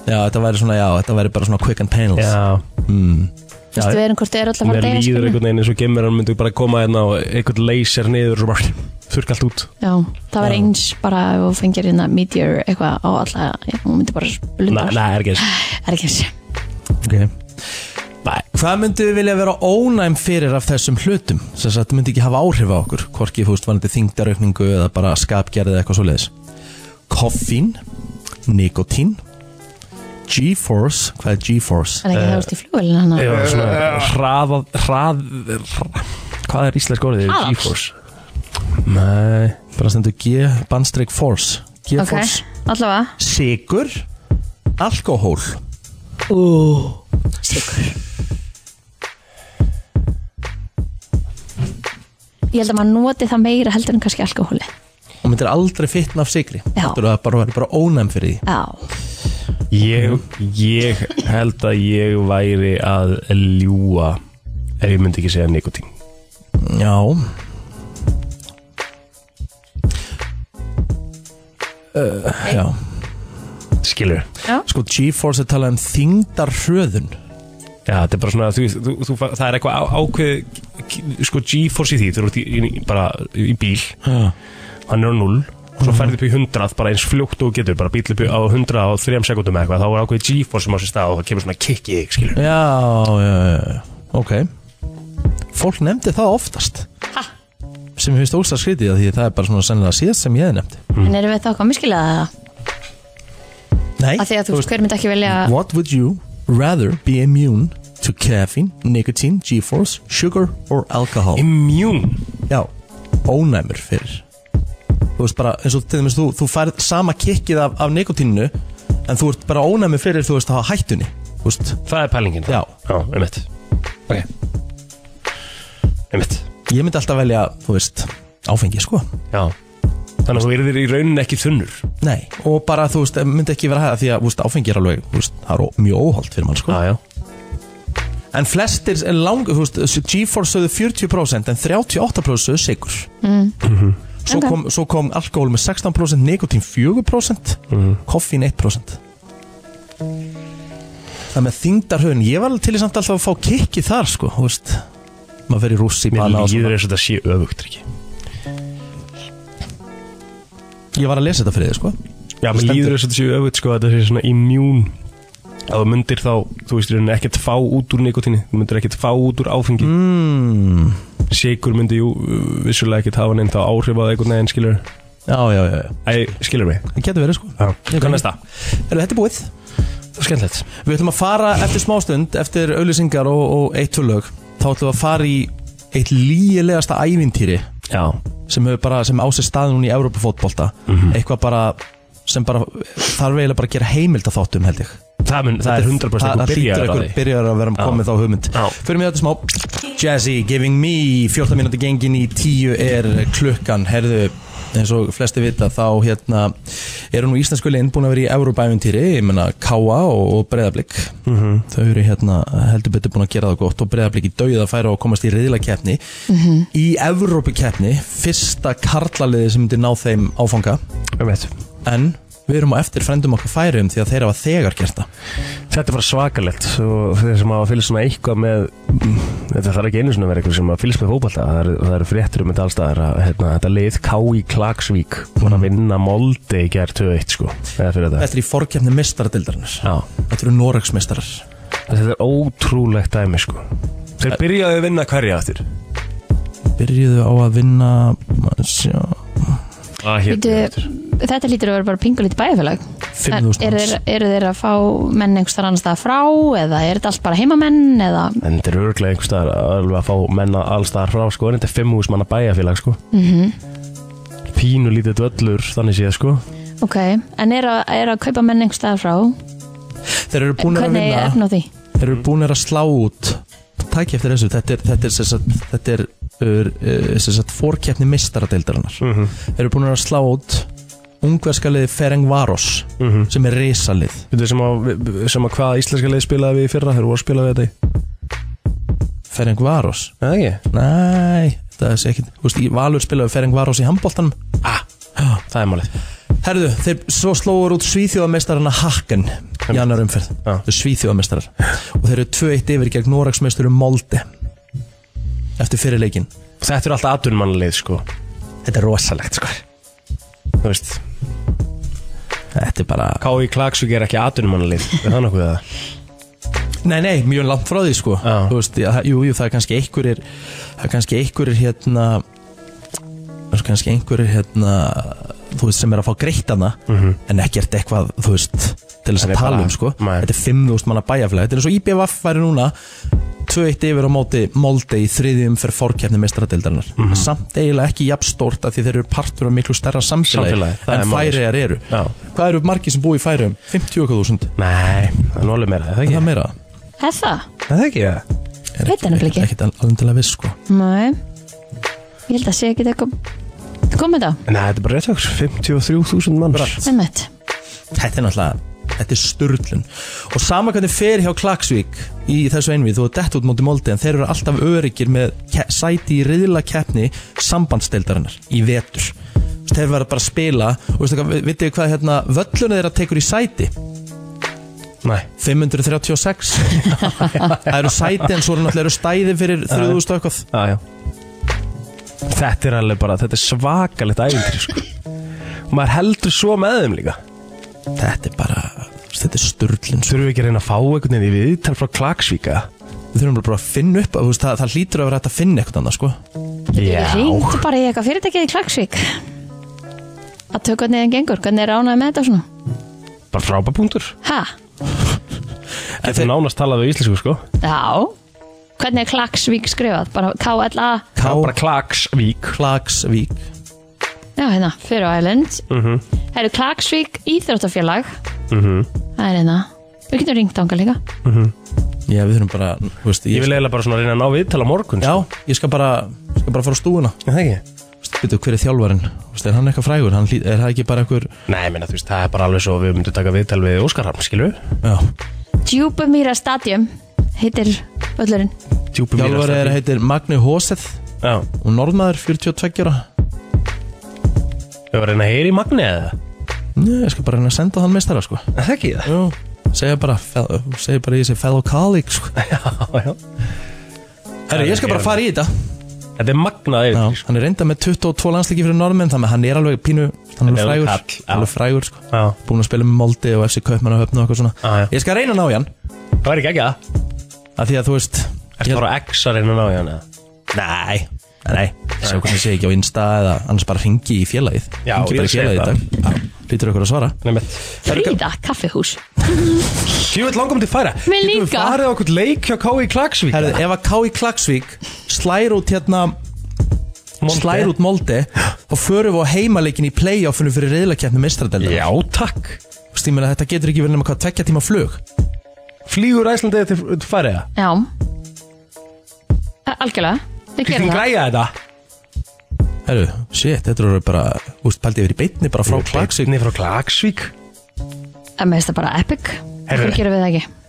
Speaker 2: Já, þetta væri svona, já, þetta væri bara svona quick and painless
Speaker 4: já
Speaker 3: Vistu við erum hvort þið er alltaf að
Speaker 4: Mér
Speaker 3: fara að
Speaker 4: líður
Speaker 3: deyja skilurðu?
Speaker 4: einhvern veginn eins og gemurinn myndu bara koma hérna og einhvern laser niður og svo bara þurrk allt út
Speaker 3: Já, það var eins bara ef þú fengir hérna meteor eitthvað á alla Hún myndi bara
Speaker 4: Nei,
Speaker 3: blunda
Speaker 4: nei, er ekki eins
Speaker 3: Það er ekki eins
Speaker 2: okay. Hvað myndu við vilja vera ónæm fyrir af þessum hlutum? Sem sagt, þetta myndi ekki hafa áhrif á okkur Hvorki, þú veist, vanandi þingdaraukningu eða bara skapgerð eða eitthvað svoleiðis Koffín Nikotín G-Force, hvað er G-Force?
Speaker 3: Er það ekki það úrst í flugvelin hann?
Speaker 4: Já, svona hraða, hrað, hrað, hvað er íslensk orðið?
Speaker 3: Hraðafl?
Speaker 4: GeForce? Nei,
Speaker 2: Bara stendur G-Force
Speaker 3: Ok,
Speaker 2: G-Force
Speaker 3: allavega
Speaker 2: Sigur Alkohól
Speaker 3: Ég held að maður noti það meira heldur en kannski alkohóli
Speaker 2: Og myndir aldrei fitna af sigri
Speaker 3: Já.
Speaker 2: Þetta er að bara verið bara ónæm fyrir því
Speaker 3: Já,
Speaker 4: ég, ég held að ég væri að ljúa ef ég myndi ekki segja nikotín.
Speaker 2: Já uh, Já
Speaker 4: Skilur?
Speaker 2: Sko G-Force er talað um þyngdarhröðun
Speaker 4: Já, þetta er bara svona, þú, þú, þú, það er eitthvað á- ákveð, k- sko GeForce í því, þú eru í, í, bara í bíl,
Speaker 2: Já.
Speaker 4: hann er á 0 og svo ferði upp í 100 bara eins fljótt og þú getur bara bíl upp í- á 100 á 3 sekundum eða eitthvað, þá er ákveð GeForce sem á sér stað og það kemur svona kikk í þig, skilur
Speaker 2: Já, já, já, já, ok Fólk nefndi það oftast ha? Sem finnst ósla skrítið af Því það er bara svona sennilega síðast sem ég hef nefndi
Speaker 3: en erum við þá komið skiljaða það?
Speaker 2: Nei,
Speaker 3: Af því að þú veist, hver myndi ekki velja
Speaker 2: What would you rather be immune to caffeine, nicotine, g-force, sugar or alcohol?
Speaker 4: Immune
Speaker 2: Já, ónæmur fyrir Þú veist bara, eins og til dæmis þú, þú færð sama kikkið af, af nikotíninu En þú ert bara ónæmur fyrir þú veist að hafa hættunni Þú veist,
Speaker 4: Það er pælingin
Speaker 2: Já.
Speaker 4: Já, einmitt
Speaker 2: Ok.
Speaker 4: Einmitt
Speaker 2: ég myndi alltaf velja, þú veist, áfengi sko
Speaker 4: Já Þannig að þú yrðir í rauninni ekki þunnur
Speaker 2: Nei, og bara þú veist, myndi ekki vera hæða Því að þú veist, áfengi er alveg, þú veist, það er ó- mjög óholt fyrir mann sko
Speaker 4: Já, já
Speaker 2: En flestir er lang, þú veist, G-Force sögðu 40% en 38% sögðu sigur.
Speaker 4: Mhm.
Speaker 2: Svo,
Speaker 3: Ok.
Speaker 2: kom, svo kom alkohól með 16%, nikotín 4%,
Speaker 4: Mhm.
Speaker 2: koffín 1%. Það með þingdarhauðin, ég var alveg til í samt alltaf að fá kikki þar, sko, þú veist. Maður fyrir rússi í
Speaker 4: Mér
Speaker 2: bana og
Speaker 4: líður
Speaker 2: svona.
Speaker 4: eins og þetta sé öfugt ekki
Speaker 2: Ég var að lesa þetta fyrir þið, sko.
Speaker 4: Já, mér
Speaker 2: stendur-
Speaker 4: líður eins og þetta sé öfugt sko að Þetta sé svona immune Að þú myndir þá, þú veist, í rauninni ekkert fá út úr nikotinni Þú myndir ekkert fá út úr áfengi mm. Sigur myndi, jú, uh, vissulega ekkert hafa neinn þá áhrif á það einhvern veginn, skilur
Speaker 2: Já, já, já, já.
Speaker 4: Æ, skilur mig
Speaker 2: Það getur verið, sko.
Speaker 4: Já, kannast það
Speaker 2: Eru þetta er búið?
Speaker 4: Það er skemmtilegt
Speaker 2: Við ætlum að fara eftir smástund, eftir auðlýsingar og, og eitt tölög. Þá ætlum við að fara í eitt lígilegasta ævintýri
Speaker 4: Já,
Speaker 2: sem hefur bara, sem á sér stað núna í Európa-fótbolta eitthvað bara sem bara, þarf eiginlega bara að gera heimild að þáttum held ég
Speaker 4: það, mun, það er 100%
Speaker 2: það
Speaker 4: einhver
Speaker 2: hlýtur
Speaker 4: byrjaður á
Speaker 2: einhver
Speaker 4: því.
Speaker 2: byrjar að vera komið þá hugmynd
Speaker 4: Já.
Speaker 2: fyrir mig þetta smá Jazzy Giving Me 14 minúti gengin í 10 er klukkan herðu eins og flesti vita þá hérna eru nú íslensku liðin búin að vera í Európa-æventýri, ég menna K.A. og, og Breðablik
Speaker 4: Mhm.
Speaker 2: þau eru hérna heldur betur búin að gera það gott og Breðablik í dauð að færa og komast í riðlakeppni í Európa-keppni fyrsta karlaliði sem myndi ná þeim áfanga
Speaker 4: Einmitt.
Speaker 2: en við erum á eftir frendum okkar færum því að þeir hafa þegar gert það
Speaker 4: Þetta er bara svakalegt og þeir sem hafa fylgst svona eitthvað með þetta þarf ekki einu svona að vera eitthvað sem hafa fylgst með fótballta það, eru- það eru fréttur um þetta allstaðar að hérna, þetta lið K.I. Klagsvík var að vinna Molde í gerð 2-1 sko eða fyrir þetta
Speaker 2: Þetta er í fórkefni mestaradildarinnar
Speaker 4: Já,
Speaker 2: Þetta eru Noregsmestarar
Speaker 4: þetta er ótrúlegt dæmi sko Þeir byrjaði að vinna hverja aftur
Speaker 2: Byrjuðu á að vinna maður sjá,
Speaker 4: Að
Speaker 3: Bíddu, Þetta lítur að vera bara pingulit bæjarfélag
Speaker 2: 5.000
Speaker 3: Eru
Speaker 2: manns
Speaker 3: þeir, eru þeir að fá menn einhvers þar annars það frá eða er þetta allt bara heimamenn eða
Speaker 4: En þetta er örglega einhvers staðar alveg að fá menna allstaðar frá sko en þetta er 5.000 manna bæjarfélag sko mm -hmm. Pínu lítið dvöllur þannig séð sko
Speaker 3: ok, en eru að, er að kaupa menn einhvers þar frá
Speaker 2: Þeir eru búin að
Speaker 3: hvernig er
Speaker 2: vinna
Speaker 3: efna á því?
Speaker 2: Þeir eru búin að slá út Tæki eftir þessu Þetta er, þetta er, sem sagt, þetta er, er, er fórkefni mestaradildarinnar Þeir eru búin að slá út Ungverskaliði Ferenc Varos sem er risalið
Speaker 4: Þetta er sem að, sem að hvað íslenska leið spilaði við í fyrra þegar voru að spila við þetta í
Speaker 2: Ferenc Varos
Speaker 4: Það ekki?
Speaker 2: Nei, það er ekki Þú veist, í Valur spilaði Ferenc Varos í handbóltanum
Speaker 4: Það er málið
Speaker 2: Herðu, þeir svo slóður út svíþjóðamestarana Haken í annar umferð
Speaker 4: Já.
Speaker 2: Þeir svíþjóðamestarar og þeir eru 2-1 yfir gegn Noraksmesturum Molde eftir fyrirleikin
Speaker 4: Þetta eru alltaf atvinnmannlið sko
Speaker 2: Þetta er rosalegt sko
Speaker 4: Þú veist
Speaker 2: Þetta er bara
Speaker 4: K.I. Klagsvík er ekki atvinnmannlið Er það nokkuð það?
Speaker 2: Nei, nei, mjög langt frá því sko
Speaker 4: Já.
Speaker 2: Þú veist, já, það- Jú, jú, það er kannski einhverjir það er kannski einhverjir hérna það er kannski einhverjir hérna þú veist, sem er að fá greitt hana en ekkert eitthvað, þú veist til þess að
Speaker 4: Þetta Mhm. er
Speaker 2: tala
Speaker 4: bara-
Speaker 2: um, sko
Speaker 4: Nei.
Speaker 2: þetta er 5.000 manna bæjarflag, þetta er eins og IBVF væri núna 2-1 yfir á móti Molde í þriðjum fyrir fórkjæfni mestradildarinnar
Speaker 4: Mhm.
Speaker 2: samt eiginlega ekki jafn stórt af því þeir eru partur af miklu stærra samfélagi,
Speaker 4: Samfélagi, það er
Speaker 2: en
Speaker 4: málið, sko.
Speaker 2: færiðar eru
Speaker 4: Já.
Speaker 2: hvað eru margir sem búi í færiðum? 50.000
Speaker 4: Nei, það er nólu meira, er það
Speaker 2: er
Speaker 4: ekki?
Speaker 2: það meira?
Speaker 3: Er það?
Speaker 4: Er það ekki, það?
Speaker 2: Er
Speaker 3: Veit það nefnilega ekki.
Speaker 2: ekkert al- alveg til að viss sko
Speaker 3: Nei Ég held að sé ekki þetta kom komið þá
Speaker 4: Nei, þetta er bara rétt okkur, 53.000 manns
Speaker 3: Einmitt.
Speaker 2: þetta er náttúrulega þetta er sturlun og sama hvernig fer hjá Klagsvík í þessu einvið þú er dett út móti Molde en þeir eru alltaf öryggir með ke- sæti í riðla keppni sambandsdeildarinnar í vetur Þú veist, þeir verða bara að spila og veistu hvað, vitið þið hvað hérna völlunni þeirra tekur í sæti
Speaker 4: Nei,
Speaker 2: 536
Speaker 3: <laughs>
Speaker 2: það eru sæti en svo eru náttúrulega eru stæði fyrir 3000 og eitthvað
Speaker 4: já, já Þetta er alveg bara, þetta er svakalegt ævintri, sko Og maður heldur svo með þeim líka
Speaker 2: þetta er bara þú veist, þetta er sturlun
Speaker 4: Þurfum við ekki að reyna að fá einhvern veginn í viðtal frá Klagsvíka?
Speaker 2: við þurfum bara að finna upp þú veist, það, það hlýtur að vera hægt að finna eitthvað annað sko
Speaker 4: Já
Speaker 3: Ringdu bara í eitthvað fyrirtækið í Klagsvík að tökja hvernig það gengur hvernig er ránaði með þetta svona
Speaker 4: Bara frábapunktur
Speaker 3: ha,
Speaker 4: Getur nánast talað við íslensku, sko
Speaker 3: já hvernig er Klagsvík skrifað, bara KLA
Speaker 4: Ká Bara Klagsvík
Speaker 2: Klagsvík
Speaker 3: já hérna, fyrir Island mm
Speaker 4: Mhm.
Speaker 3: -hmm. það eru Klagsvík Íþróttafélag það er hérna við getum ringt ánga líka
Speaker 2: Já, við þurfum bara, þú veist,
Speaker 4: Ég vil eiginlega bara svona reyna að ná viðtal á morgun,
Speaker 2: Já, ég skal bara, ég skal bara fara á stúuna
Speaker 4: sko Er Það ekki?
Speaker 2: Býtu, hver er þjálfarinn? Þú veist, Er hann eitthvað frægur? Hann, hlý- er það ekki bara einhver
Speaker 4: Nei, ég meina, þú veist, það er bara alveg svo við myndum taka viðtal við Óskar Harm, skilur við?
Speaker 2: Já,
Speaker 3: Djúbumýra stadium heitir öllurinn
Speaker 4: Djúpum í
Speaker 2: þjálfari er,
Speaker 4: rastar.
Speaker 2: heitir Magni Hóseth
Speaker 4: Já,
Speaker 2: og norðmaður 42 ára
Speaker 4: við varum að reyna að heyra í Magni eða?
Speaker 2: Nei, ég skal bara reyna að senda hann meistara, sko
Speaker 4: Er Það ekki það?
Speaker 2: Jú, segja bara, fe- segja bara í þessi fellow colleague,
Speaker 4: <laughs>
Speaker 2: sko
Speaker 4: <laughs> Já, já
Speaker 2: Herri, ég skal bara fara í þetta
Speaker 4: Þetta er magnað
Speaker 2: Já,
Speaker 4: yfir sko.
Speaker 2: hann er reynda með 22 landsleiki fyrir norðmenn þannig að hann er alveg pínu, hann er alveg
Speaker 4: Þetta er
Speaker 2: frægur
Speaker 4: kall, já.
Speaker 2: alveg frægur, sko
Speaker 4: Já,
Speaker 2: Búin að spila með Moldi og FC Kaupmann og Höfn og eitthvað svona
Speaker 4: Já, já.
Speaker 2: Ég skal reyna að ná í hann,
Speaker 4: það er ekki ekki það
Speaker 2: af því að þú veist
Speaker 4: Ertu
Speaker 2: ég-
Speaker 4: bara á X að reyna að ná í hana?
Speaker 2: Nei, nei, sjá hvernig sé ekki á Insta eða annars bara ringi í félagið
Speaker 4: Já,
Speaker 2: Hringi
Speaker 4: ég
Speaker 2: bara í
Speaker 4: segi
Speaker 2: félagið í
Speaker 4: það.
Speaker 2: dag Já, Lítur okkur að svara
Speaker 4: Nei, mitt
Speaker 3: Fríða kaffihús
Speaker 4: Ég vil langum til færa
Speaker 3: Mér
Speaker 4: Getum við
Speaker 3: líka.
Speaker 4: farið á okkur leik hjá K.I. Klagsvík
Speaker 2: Herðu, ef að K.I. Klagsvík slær út hérna
Speaker 4: Monte.
Speaker 2: slær út Molde þá förum við á heimaleikin í playoffinu fyrir reyðlakeppni mistradelda
Speaker 4: Já, takk
Speaker 2: Þetta getur ekki verið nema hvað tvekja tíma flug
Speaker 4: Flýgur Æslandið til til færiða
Speaker 3: já A- algjörlega við gerum
Speaker 4: Kristín
Speaker 3: það
Speaker 4: græja þetta
Speaker 2: Herru, shit, þetta eru bara úst, paldið yfir í beinni bara frá Klagsvík
Speaker 4: Nei, frá Klagsvík
Speaker 3: að með þetta bara epic
Speaker 4: Herðu.
Speaker 3: hvernig gerum við það ekki þetta er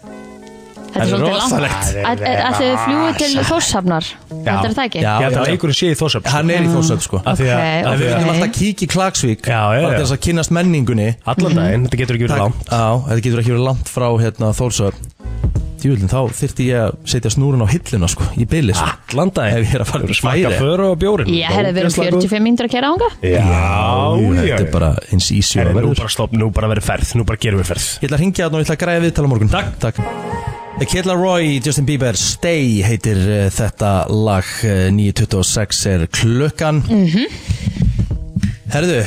Speaker 4: Þetta er
Speaker 3: svolítið langt
Speaker 4: rosalegt.
Speaker 3: Æ- æ- ætli þau fljúi til Þórshafnar heldur það ekki
Speaker 2: Já,
Speaker 4: Ég held að
Speaker 2: já.
Speaker 4: leikurinn sé í Þórsöp
Speaker 2: Hann er í þósöld sko
Speaker 4: Af því
Speaker 3: Ok,
Speaker 4: að- af því
Speaker 2: Við
Speaker 4: að-
Speaker 2: viljum alltaf kíkja í Klagsvík
Speaker 4: Já, já,
Speaker 2: bara
Speaker 4: já.
Speaker 2: til þess að kynnast menningunni
Speaker 4: Allan daginn, þetta getur ekki verið
Speaker 2: Takk.
Speaker 4: langt
Speaker 2: Já, þetta getur ekki verið langt frá hérna, Þórsöfn Djúvillin, þá þyrfti ég að setja snúrun á hilluna sko, í byli sko.
Speaker 4: Allan daginn
Speaker 2: Ef ég er að fara
Speaker 4: Þú
Speaker 2: til
Speaker 4: smakka
Speaker 2: Færeyja.
Speaker 4: föru og bjórin
Speaker 3: ég hefði verið 45 mínútur að kera ánga
Speaker 4: Já,
Speaker 2: Jú,
Speaker 4: já,
Speaker 2: Þetta er
Speaker 4: já
Speaker 2: bara eins ísjú
Speaker 4: Herri,
Speaker 2: að
Speaker 4: Nú
Speaker 2: verður
Speaker 4: bara stopp, nú bara verið ferð Nú bara gerum við ferð
Speaker 2: Ég ætla að hringja þarna og ég ætla að græja viðtala á morgun Takk, Takk. The Kid Laroi, Justin Bieber, Stay heitir uh, þetta lag uh, 9.26 er klukkan mm Herðu,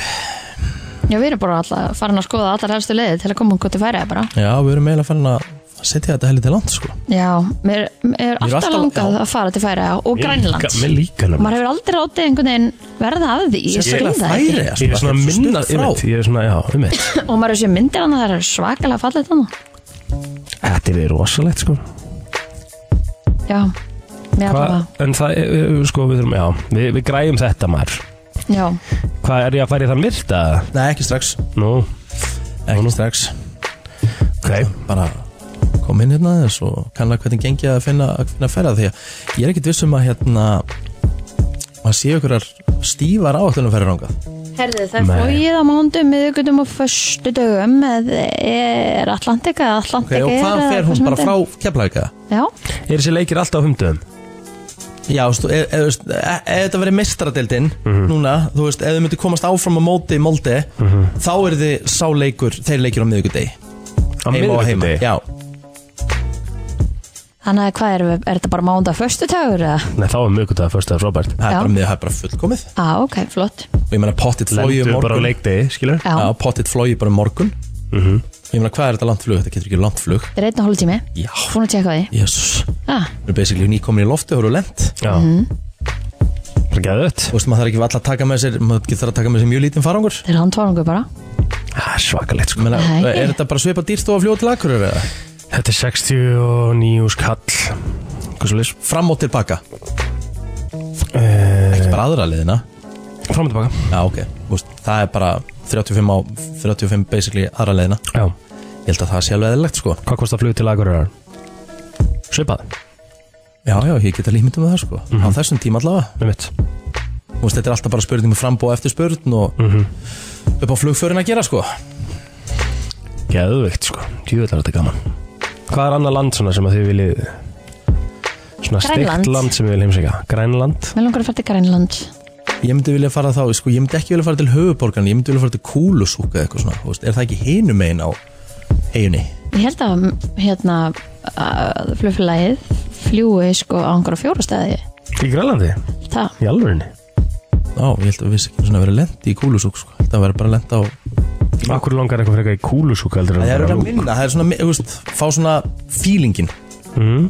Speaker 3: já, við erum bara alltaf farin að skoða allar helstu leiði til að koma um gott í færi bara
Speaker 2: já, við erum eiginlega farin að setja þetta helið til land sko
Speaker 3: Já, mér, mér er alltaf,
Speaker 2: alltaf-
Speaker 3: langað
Speaker 2: já.
Speaker 3: að fara til Færa og
Speaker 4: Mér
Speaker 3: Grænlands
Speaker 4: líka- mér líka nefnilega.
Speaker 3: Maður hefur aldrei látið einhvern veginn verða af því Ég skil
Speaker 2: Sérstaklega
Speaker 3: það ekki
Speaker 2: Færeyjar, sko,
Speaker 4: Ég er svona
Speaker 2: þetta svo
Speaker 4: minna
Speaker 2: stutt frá.
Speaker 4: einmitt, Ég er svona, já, um eitt
Speaker 3: Og maður er sér myndir hann að það er svakalega fallið þannig
Speaker 4: Þetta er rosalegt, sko
Speaker 3: Já, mér er
Speaker 4: Hva,
Speaker 3: bara
Speaker 4: En það, er, uh, sko, við þurfum, já Við, við græjum þetta, maður
Speaker 3: Já,
Speaker 4: Hvað er ég að fara í þann virta?
Speaker 2: Nei, ekki strax,
Speaker 4: Nú,
Speaker 2: ekki strax
Speaker 4: ok
Speaker 2: bara kom inn hérna aðeins og kannlega hvernig gengi að finna, að finna ferða því að ég er ekkit viss um að hérna að sé ykkur stífar áallunum ferður ángað
Speaker 3: herðu það er
Speaker 4: Nei.
Speaker 3: flóið á mándum miðugundum og föstu dögum með er Atlantika
Speaker 2: ok,
Speaker 3: Atlantika
Speaker 2: og
Speaker 3: er
Speaker 2: hvað
Speaker 3: eða
Speaker 2: fer hún
Speaker 3: sem
Speaker 2: bara
Speaker 3: þetta er.
Speaker 2: frá keflæka?
Speaker 3: Já,
Speaker 4: Er þessi leikir alltaf á humdöðum?
Speaker 2: Já, þú veist, ef- ef ef- ef þetta verið mestradeldin núna, þú veist, ef þið myndir komast áfram á móti í Molde, þá er þið sá leikur, þeir leikir á miðvikudegi
Speaker 4: Á
Speaker 2: heima og heima,
Speaker 4: miðvikudegi?
Speaker 2: já,
Speaker 3: Þannig að hvað er, er þetta bara mánda förstu dagur eða?
Speaker 4: Nei, þá er mjög að fyrsta frábært
Speaker 2: Það er
Speaker 3: Já.
Speaker 2: bara með, það er bara fullkomið
Speaker 3: Á, ok, flott.
Speaker 2: Og ég meina pottit flói um
Speaker 4: Lendu bara á
Speaker 2: morgun
Speaker 4: leikdegi, skilur
Speaker 3: Já,
Speaker 2: Já, pottit flói bara um morgun Ég meina, hvað er þetta landflug? Þetta getur ekki landflug
Speaker 3: þetta er einn og hálf tími.
Speaker 2: Já.
Speaker 3: Fúin að tjekka á því.
Speaker 2: Jésús
Speaker 3: Ah,
Speaker 2: Við erum basically nýkomin í lofti og eru lent
Speaker 4: Já Það er geðvett
Speaker 2: Þú veist, maður þarf ekki alltaf að taka með sér Maður getur þarf að taka með sér mjög lítinn farangur
Speaker 3: þetta er handvarangur bara.
Speaker 4: Það er svakalegt
Speaker 2: Ég
Speaker 4: sko
Speaker 2: meina,
Speaker 3: Nei.
Speaker 2: er þetta bara svipa dýrt og að fljóta til akkurir eða?
Speaker 4: Þetta er 69 skall Hvað svo leys?
Speaker 2: Fram og tilbaka
Speaker 4: Eh,
Speaker 2: Ekki bara aðra liðina
Speaker 4: Fram og tilbaka
Speaker 2: Já, ok Þú veist, Það er bara 35 á 35 basically aðra leiðina
Speaker 4: Já
Speaker 2: Ég held að það sé alveg eðlilegt sko
Speaker 4: Hvað kostar flug til Akureyrar? Svipað
Speaker 2: Já, já, ég get að límynda með það sko Á þessum tíma allavega
Speaker 4: Með um mitt
Speaker 2: Þú veist, Þetta er alltaf bara spurning með frambóð eftir spurn og upp á flugförin að gera sko
Speaker 4: Geðvegt sko Djúvillar þetta er gaman Hvað er annað land svona sem að þið viljið Svona
Speaker 3: Grænland.
Speaker 4: steikt land sem við viljum heimsækja Grænland
Speaker 3: Mér langar að fara til Grænland.
Speaker 2: Ég myndi vilja fara þá, sko, ég myndi ekki vilja fara til höfuborgan Ég myndi vilja fara til kúlusúka eða eitthvað svona þú veist, Er það ekki hinum einn á eiginni?
Speaker 3: Ég held að hérna að flugfélagið fljúi sko á einhverja fjóra stæði.
Speaker 4: Í Grænlandi?
Speaker 3: Það.
Speaker 4: Í alvörinni?
Speaker 2: Já, ég held að við vissi ekki svona að vera lent í kúlusúk sko. Það vera bara lent á
Speaker 4: Akkur langar eitthvað frekar í kúlusúka heldur en
Speaker 2: Það er
Speaker 4: bara
Speaker 2: að
Speaker 4: lú-
Speaker 2: minna, það er svona, þú veist, fá svona feelingin Þú
Speaker 4: Mm.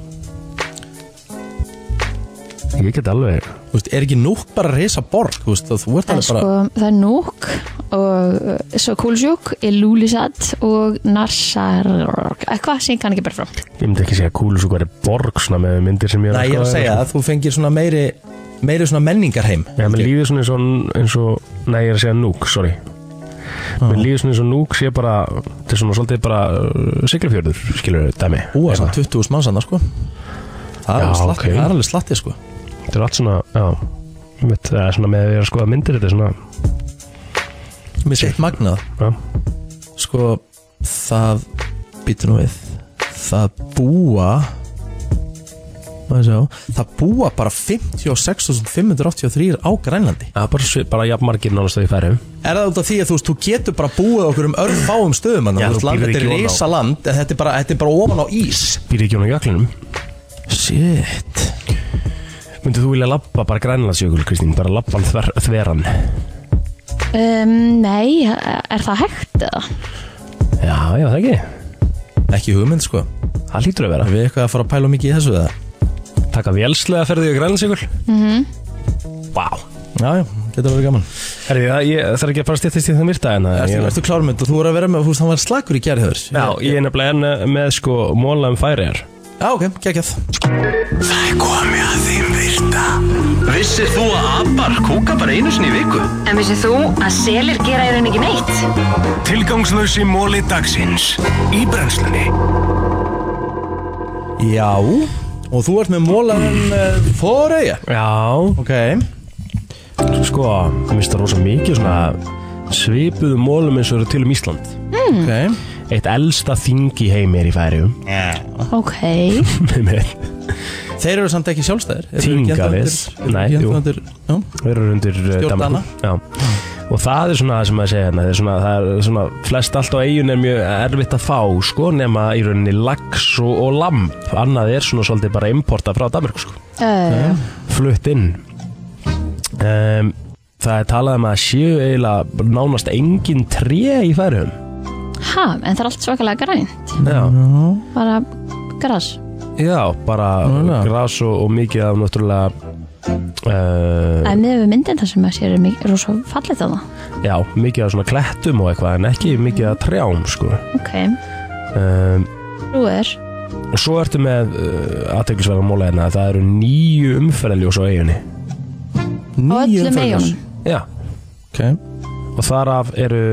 Speaker 4: Ég get alveg
Speaker 2: veist, er ekki núk bara að reysa borg, þú veist, og þú ert
Speaker 3: Það er
Speaker 2: alveg
Speaker 3: sko,
Speaker 2: bara
Speaker 3: það er Núk og uh, svo Kúlsjúk, Ilúlisat og Narsar, eitthvað sem ég kann ekki bara frá.
Speaker 4: Ég myndi ekki segja að kúlusúka er borg svona með myndir sem ég
Speaker 2: Nei, ég er að segja að þú fengir svona meiri, meiri svona menningarheim
Speaker 4: sko. Já, mér líður svona eins og, eins og Nei, ég er að segja núk, sorry Mér líður svona eins og núk sé bara Þetta er svona svolítið bara uh, siglufjörður Skilur við dæmi
Speaker 2: Úa, svona
Speaker 4: Eitthvað.
Speaker 2: 20 mannsanna, sko Það er
Speaker 4: Já,
Speaker 2: alveg slatti,
Speaker 4: ok.
Speaker 2: það er alveg slatti, sko
Speaker 4: Þetta er allt svona, já Mitt, eða, svona með að vera að skoða myndir þetta er svona
Speaker 2: Mér sé eitt magnað
Speaker 4: já.
Speaker 2: Sko, það býtur nú við Það búa maður sjá, Það búa bara 56.583 á Grænlandi
Speaker 4: Það er bara, svi- bara jafn margir nánast að ég færi
Speaker 2: Er það út af því að þú veist, þú getur bara búið á okkur um örfáum stöðum
Speaker 4: Já,
Speaker 2: annar,
Speaker 4: þú
Speaker 2: þú veist,
Speaker 4: býrð
Speaker 2: þetta er
Speaker 4: ekki ofan á.
Speaker 2: reysa land en þetta er bara, þetta er bara ofan á ís
Speaker 4: Býr ekki hún á jöklinum
Speaker 2: Shit
Speaker 4: Myndið þú vilja labba bara grænlandsjökul, Kristín Bara labban þver, þveran
Speaker 3: Um, nei, er það hægt eða?
Speaker 4: Já, já, það ekki
Speaker 2: Ekki hugmynd, sko
Speaker 4: Það lítur að vera
Speaker 2: Er við eitthvað að fara að pæla mikið í þessu eða?
Speaker 4: Taka vélslega ferði í grænlandsjökul mm -hmm. Vá
Speaker 2: Já, já, getur verið gaman
Speaker 4: Herri, það, ég, það er ekki að fara að stýttist í það myrta en að-
Speaker 2: Ertu,
Speaker 4: ég-
Speaker 2: ertu klármynd og þú voru að vera með, þú veist, hann var slakur í gerðhöður
Speaker 4: Já, ég er nefnilega enn eh, með sko móla um færiðar
Speaker 2: Já, ok, geggjað
Speaker 1: Það er komið að þeim virta Vissir þú að abar kúka bara einu sinni í viku?
Speaker 10: En vissið þú að selir gera í rauninni ekki neitt?
Speaker 1: Tilgangslösi móli dagsins Í brennslunni
Speaker 2: Já, og þú ert með mólan uh, Fóreia
Speaker 4: Já,
Speaker 2: Ok,
Speaker 4: sko, mér finnst það rosa mikið svona svipuðu mólum eins og eru til um Ísland
Speaker 2: ok
Speaker 4: Eitt elsta þing í heimi er í <laughs> færiðum
Speaker 3: Ok,
Speaker 4: Þeir
Speaker 2: Þeir eru samt ekki sjálfstæðir Eru
Speaker 4: Þingaðir.
Speaker 2: ekki ennþá undir- eru
Speaker 4: Nei,
Speaker 2: ekki
Speaker 4: jú.
Speaker 2: ennþá undir- Já,
Speaker 4: eru undir eh,
Speaker 2: Stjórn
Speaker 4: Danmörku.
Speaker 2: Dana.
Speaker 4: Já Og það er svona það sem að segja hérna, það er svona, það er svona, flest allt á eigin er mjög erfitt að fá, sko, nema í rauninni lax og, og lamb, annað er svona svolítið bara importa frá Danmark, sko.
Speaker 3: uh,
Speaker 4: flutt inn um, Það er talað um að séu eiginlega nánast engin tré í færum
Speaker 3: ha, en það er allt svakalega grænt,
Speaker 4: Já,
Speaker 3: bara græs.
Speaker 4: já bara
Speaker 2: Núna.
Speaker 4: gras og, og mikið af náttúrulega
Speaker 3: Það
Speaker 4: Uh,
Speaker 3: er miður við myndin það sem að sér er mikið rosa fallið þarna.
Speaker 4: já, mikið af svona klettum og eitthvað en ekki mikið af trjám sko.
Speaker 3: Ok,
Speaker 4: um,
Speaker 3: þú er,
Speaker 4: og svo ertu með uh, aðteglisverða móla hérna það eru nýju umferðaljós á eiginni
Speaker 3: á
Speaker 2: Níu
Speaker 3: öllum
Speaker 2: umferðarljós.
Speaker 3: eigunum.
Speaker 4: já,
Speaker 2: Ok,
Speaker 4: og þar af eru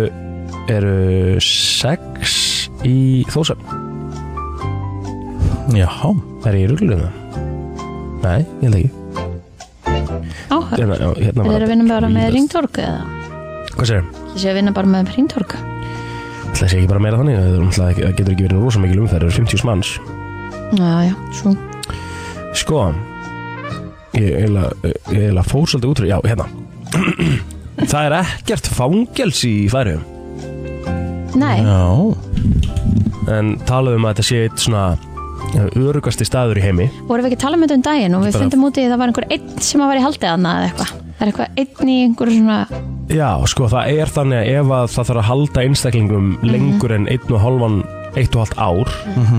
Speaker 4: eru sex í þósam
Speaker 2: jáhá
Speaker 4: Er ég í rullinu það? Nei, ég held ekki
Speaker 3: Áhörð,
Speaker 4: Hérna, já, hérna
Speaker 3: þeir
Speaker 4: var
Speaker 3: eru að vinna bara með ringtorku eða?
Speaker 4: Hvað segir það?
Speaker 3: Ég sé að vinna bara með ringtorku.
Speaker 4: Það sé ekki bara meira þannig Það er náttúrulega ekki- það getur ekki verið rosa mikil umferð Það eru 50 manns
Speaker 3: Já, já, svo.
Speaker 4: Sko Ég eiginlega ég eiginlega fór svolítið útrú Já, hérna <clears throat> Það er ekkert fangels í færiðum
Speaker 3: Nei,
Speaker 2: Já,
Speaker 4: En talaðum að þetta um sé eitt svona örugasti staður í heimi
Speaker 3: vorum við ekki að tala um þetta um daginn og við
Speaker 4: Bara-
Speaker 3: fundum út í að það var einhver einn sem að var í haldið annað eða eitthvað það er eitthvað einn í einhver svona
Speaker 4: Já, sko það er þannig að ef að það þarf að halda einstaklingum
Speaker 3: Mhm.
Speaker 4: lengur en einn og hálfan, eitt og hálft ár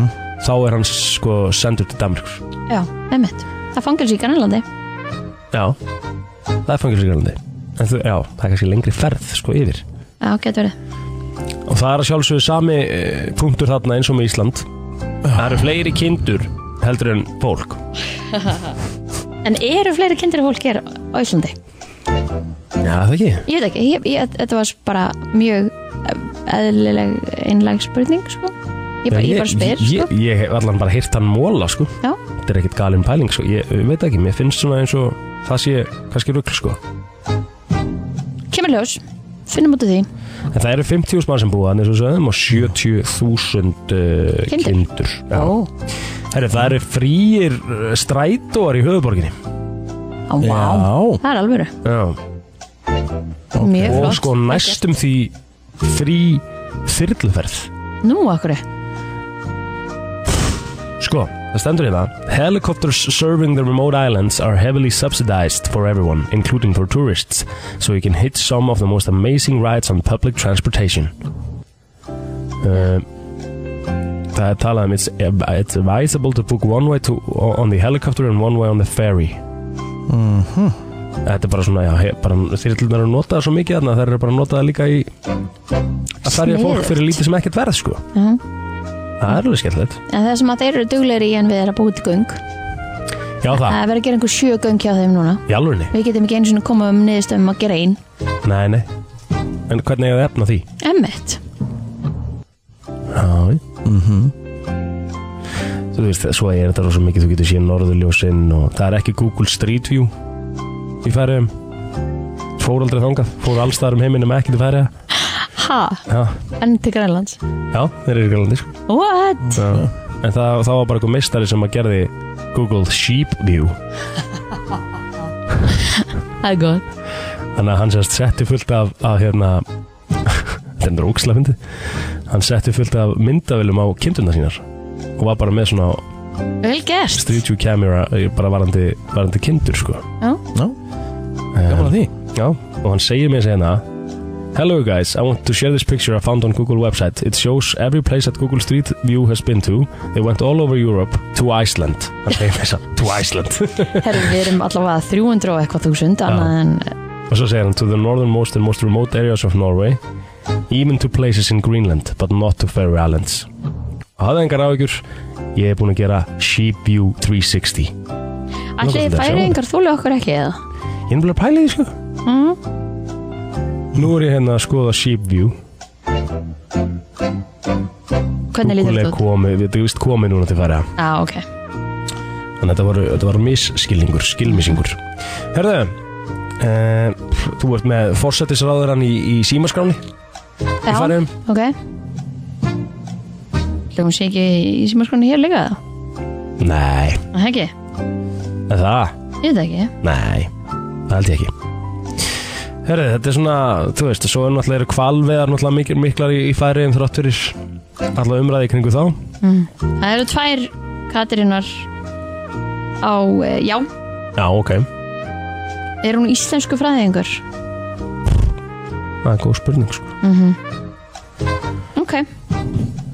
Speaker 4: þá er hann sko sendur til Danmarkur
Speaker 3: já, nefnitt, það fangir sér í Grænlandi
Speaker 4: Já, það er fangilsi grænlandi En þú, já, það er kannski lengri ferð sko yfir
Speaker 3: já, getur verið,
Speaker 4: Og það er að sjálfsögðu sami eh, punktur þarna eins og með Ísland Það eru fleiri kindur heldur en fólk
Speaker 3: en eru fleiri kindir fólk hér á Íslandi?
Speaker 4: Já, það ekki
Speaker 3: Ég veit ekki, ég, ég, þetta var bara mjög eh, eðlileg einlæg spurning sko. ég, bara, ég bara spyr
Speaker 4: ég,
Speaker 3: sko.
Speaker 4: ég, ég hef allan bara hýrt hann móla sko
Speaker 3: já,
Speaker 4: Þetta er ekkit galin pæling sko Ég eh, veit ekki, mér finnst svona eins og það sé kannski rugl sko
Speaker 3: kemur ljós, finnum út af því
Speaker 4: En það eru 50.000 mann sem búa þannig svo sögum og 70.000 uh,
Speaker 3: Kindur.
Speaker 4: kindur. Já.
Speaker 3: ó,
Speaker 4: Herri, það eru fríir eh, strætóar í höfuborginni.
Speaker 3: á, vá, það er alvöru
Speaker 4: Já.
Speaker 3: mjög
Speaker 4: Og
Speaker 3: flott
Speaker 4: sko næstum því frí þyrluferð.
Speaker 3: nú, akkur,
Speaker 4: Sko, það stendur í það. Helicopters serving the remote islands are heavily subsidized for everyone, including for tourists, so you can hit some of the most amazing rides on public transportation. Uh, það er talað um it's, it's advisable to book one way to, on the helicopter and one way on the ferry. Þetta er bara svona, já, he, bara þyrlunar eru notaðar svo mikið þarna, þær eru bara notaðar líka í að ferja fólk
Speaker 3: Sniðugt.
Speaker 4: fyrir lítið sem ekkert verð, sko.
Speaker 3: já
Speaker 4: Það er alveg skemmtilegt.
Speaker 3: En það sem að þeir eru duglegri í en við er að búa til göng
Speaker 4: Já, það,
Speaker 3: Það verður að gera einhver sjö göng hjá þeim núna
Speaker 4: í alvegni.
Speaker 3: Við getum ekki einu sinni að koma um niðurstöðum að gera einn
Speaker 4: Nei, nei En hvernig er það efna því?
Speaker 3: Emmett
Speaker 4: Já mm Þú veist, svo er þetta rosa mikið Þú getur séð norðurljósinn og það er ekki Google Street View Í færiðum Fór aldrei þangað, fór alls þar um heiminum ekki til færiða
Speaker 3: Ha,
Speaker 4: Já,
Speaker 3: enn til Grænlands
Speaker 4: já þeir eru í Grænlandi sko.
Speaker 3: What?
Speaker 4: En það, það var bara eitthvað meistari sem að gerði Google Sheep View
Speaker 3: Það er gott
Speaker 4: Þannig að hann sérst setti fullt af, af hérna <laughs> Þetta er rókslega fyndi Hann setti fullt af myndavélum á kindurna sínar og var bara með svona
Speaker 3: Vel gert
Speaker 4: Street View Camera eh, bara varandi, varandi kindur sko
Speaker 3: Já.
Speaker 11: Já.
Speaker 4: Gaman
Speaker 11: að því.
Speaker 4: Já, og hann segir mér segna Hello guys, I want to share this picture I found on Google website. It shows every place that Google Street View has been to. They went all over Europe to Iceland. Hann segir mér þess to Iceland. <laughs>
Speaker 3: Herru, við erum allavega 300 og eitthvað þúsund Annað en
Speaker 4: og svo segir hann to the northernmost and most remote areas of Norway. Even to places in Greenland, but not to Faroe Islands. Og hafði engar áhyggjur, ég er búin að gera Sheep View 360.
Speaker 3: allir
Speaker 4: til að sjá
Speaker 3: færi einhver þúlu okkur ekki eða
Speaker 4: Ég er nefnilega að pæla í því sko
Speaker 3: Mm.
Speaker 4: Nú er ég hérna að skoða Sheep View
Speaker 3: Hvernig lítur
Speaker 4: Google er
Speaker 3: þetta út?
Speaker 4: komið, við erum vist komið núna til færa
Speaker 3: Já, ok
Speaker 4: Þannig að þetta var, þetta var misskilningur, skilmissingur Herðu uh, Þú ert með forsetisráðurann í, í símaskráni
Speaker 3: Já,
Speaker 4: Færeyjum.
Speaker 3: ok Hljóðum sé ekki í símaskránu hér líka eða?
Speaker 4: Nei,
Speaker 3: Það ekki,
Speaker 4: er það?
Speaker 3: ég veit ekki
Speaker 4: Nei, það held ég ekki Herðu, þetta er svona, þú veist, svo er náttúrulega eru kvalveðar náttúrulega mikil, miklar í, í færiðum þrátt fyrir alla umræði í kringu þá
Speaker 3: Það eru tvær Katarínar á, eh, já,
Speaker 4: Já, ok,
Speaker 3: er hún íslensku fræðingur?
Speaker 4: það er góð spurning sko
Speaker 3: Ok,
Speaker 4: Nei,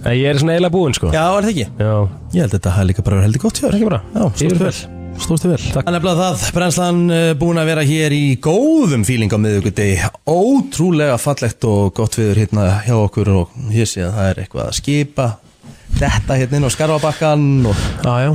Speaker 4: Eh, Ég er svona eiginlega búinn sko
Speaker 11: Já, er það ekki?
Speaker 4: Já,
Speaker 11: Ég held að þetta hafi líka bara verið heldur gott hjá
Speaker 4: það
Speaker 11: þér.
Speaker 4: er ekki bara
Speaker 11: Já, stóðstu vel. Stóðstu vel. Takk. Þannig að það, brennslan eh, búin að vera hér í góðum fíling á miðugudegi. Ótrúlega fallegt og gott viður hérna hjá okkur og hér sé að það er eitthvað að skipa. Þetta hérna inn á skarfabakkan og
Speaker 4: Já, já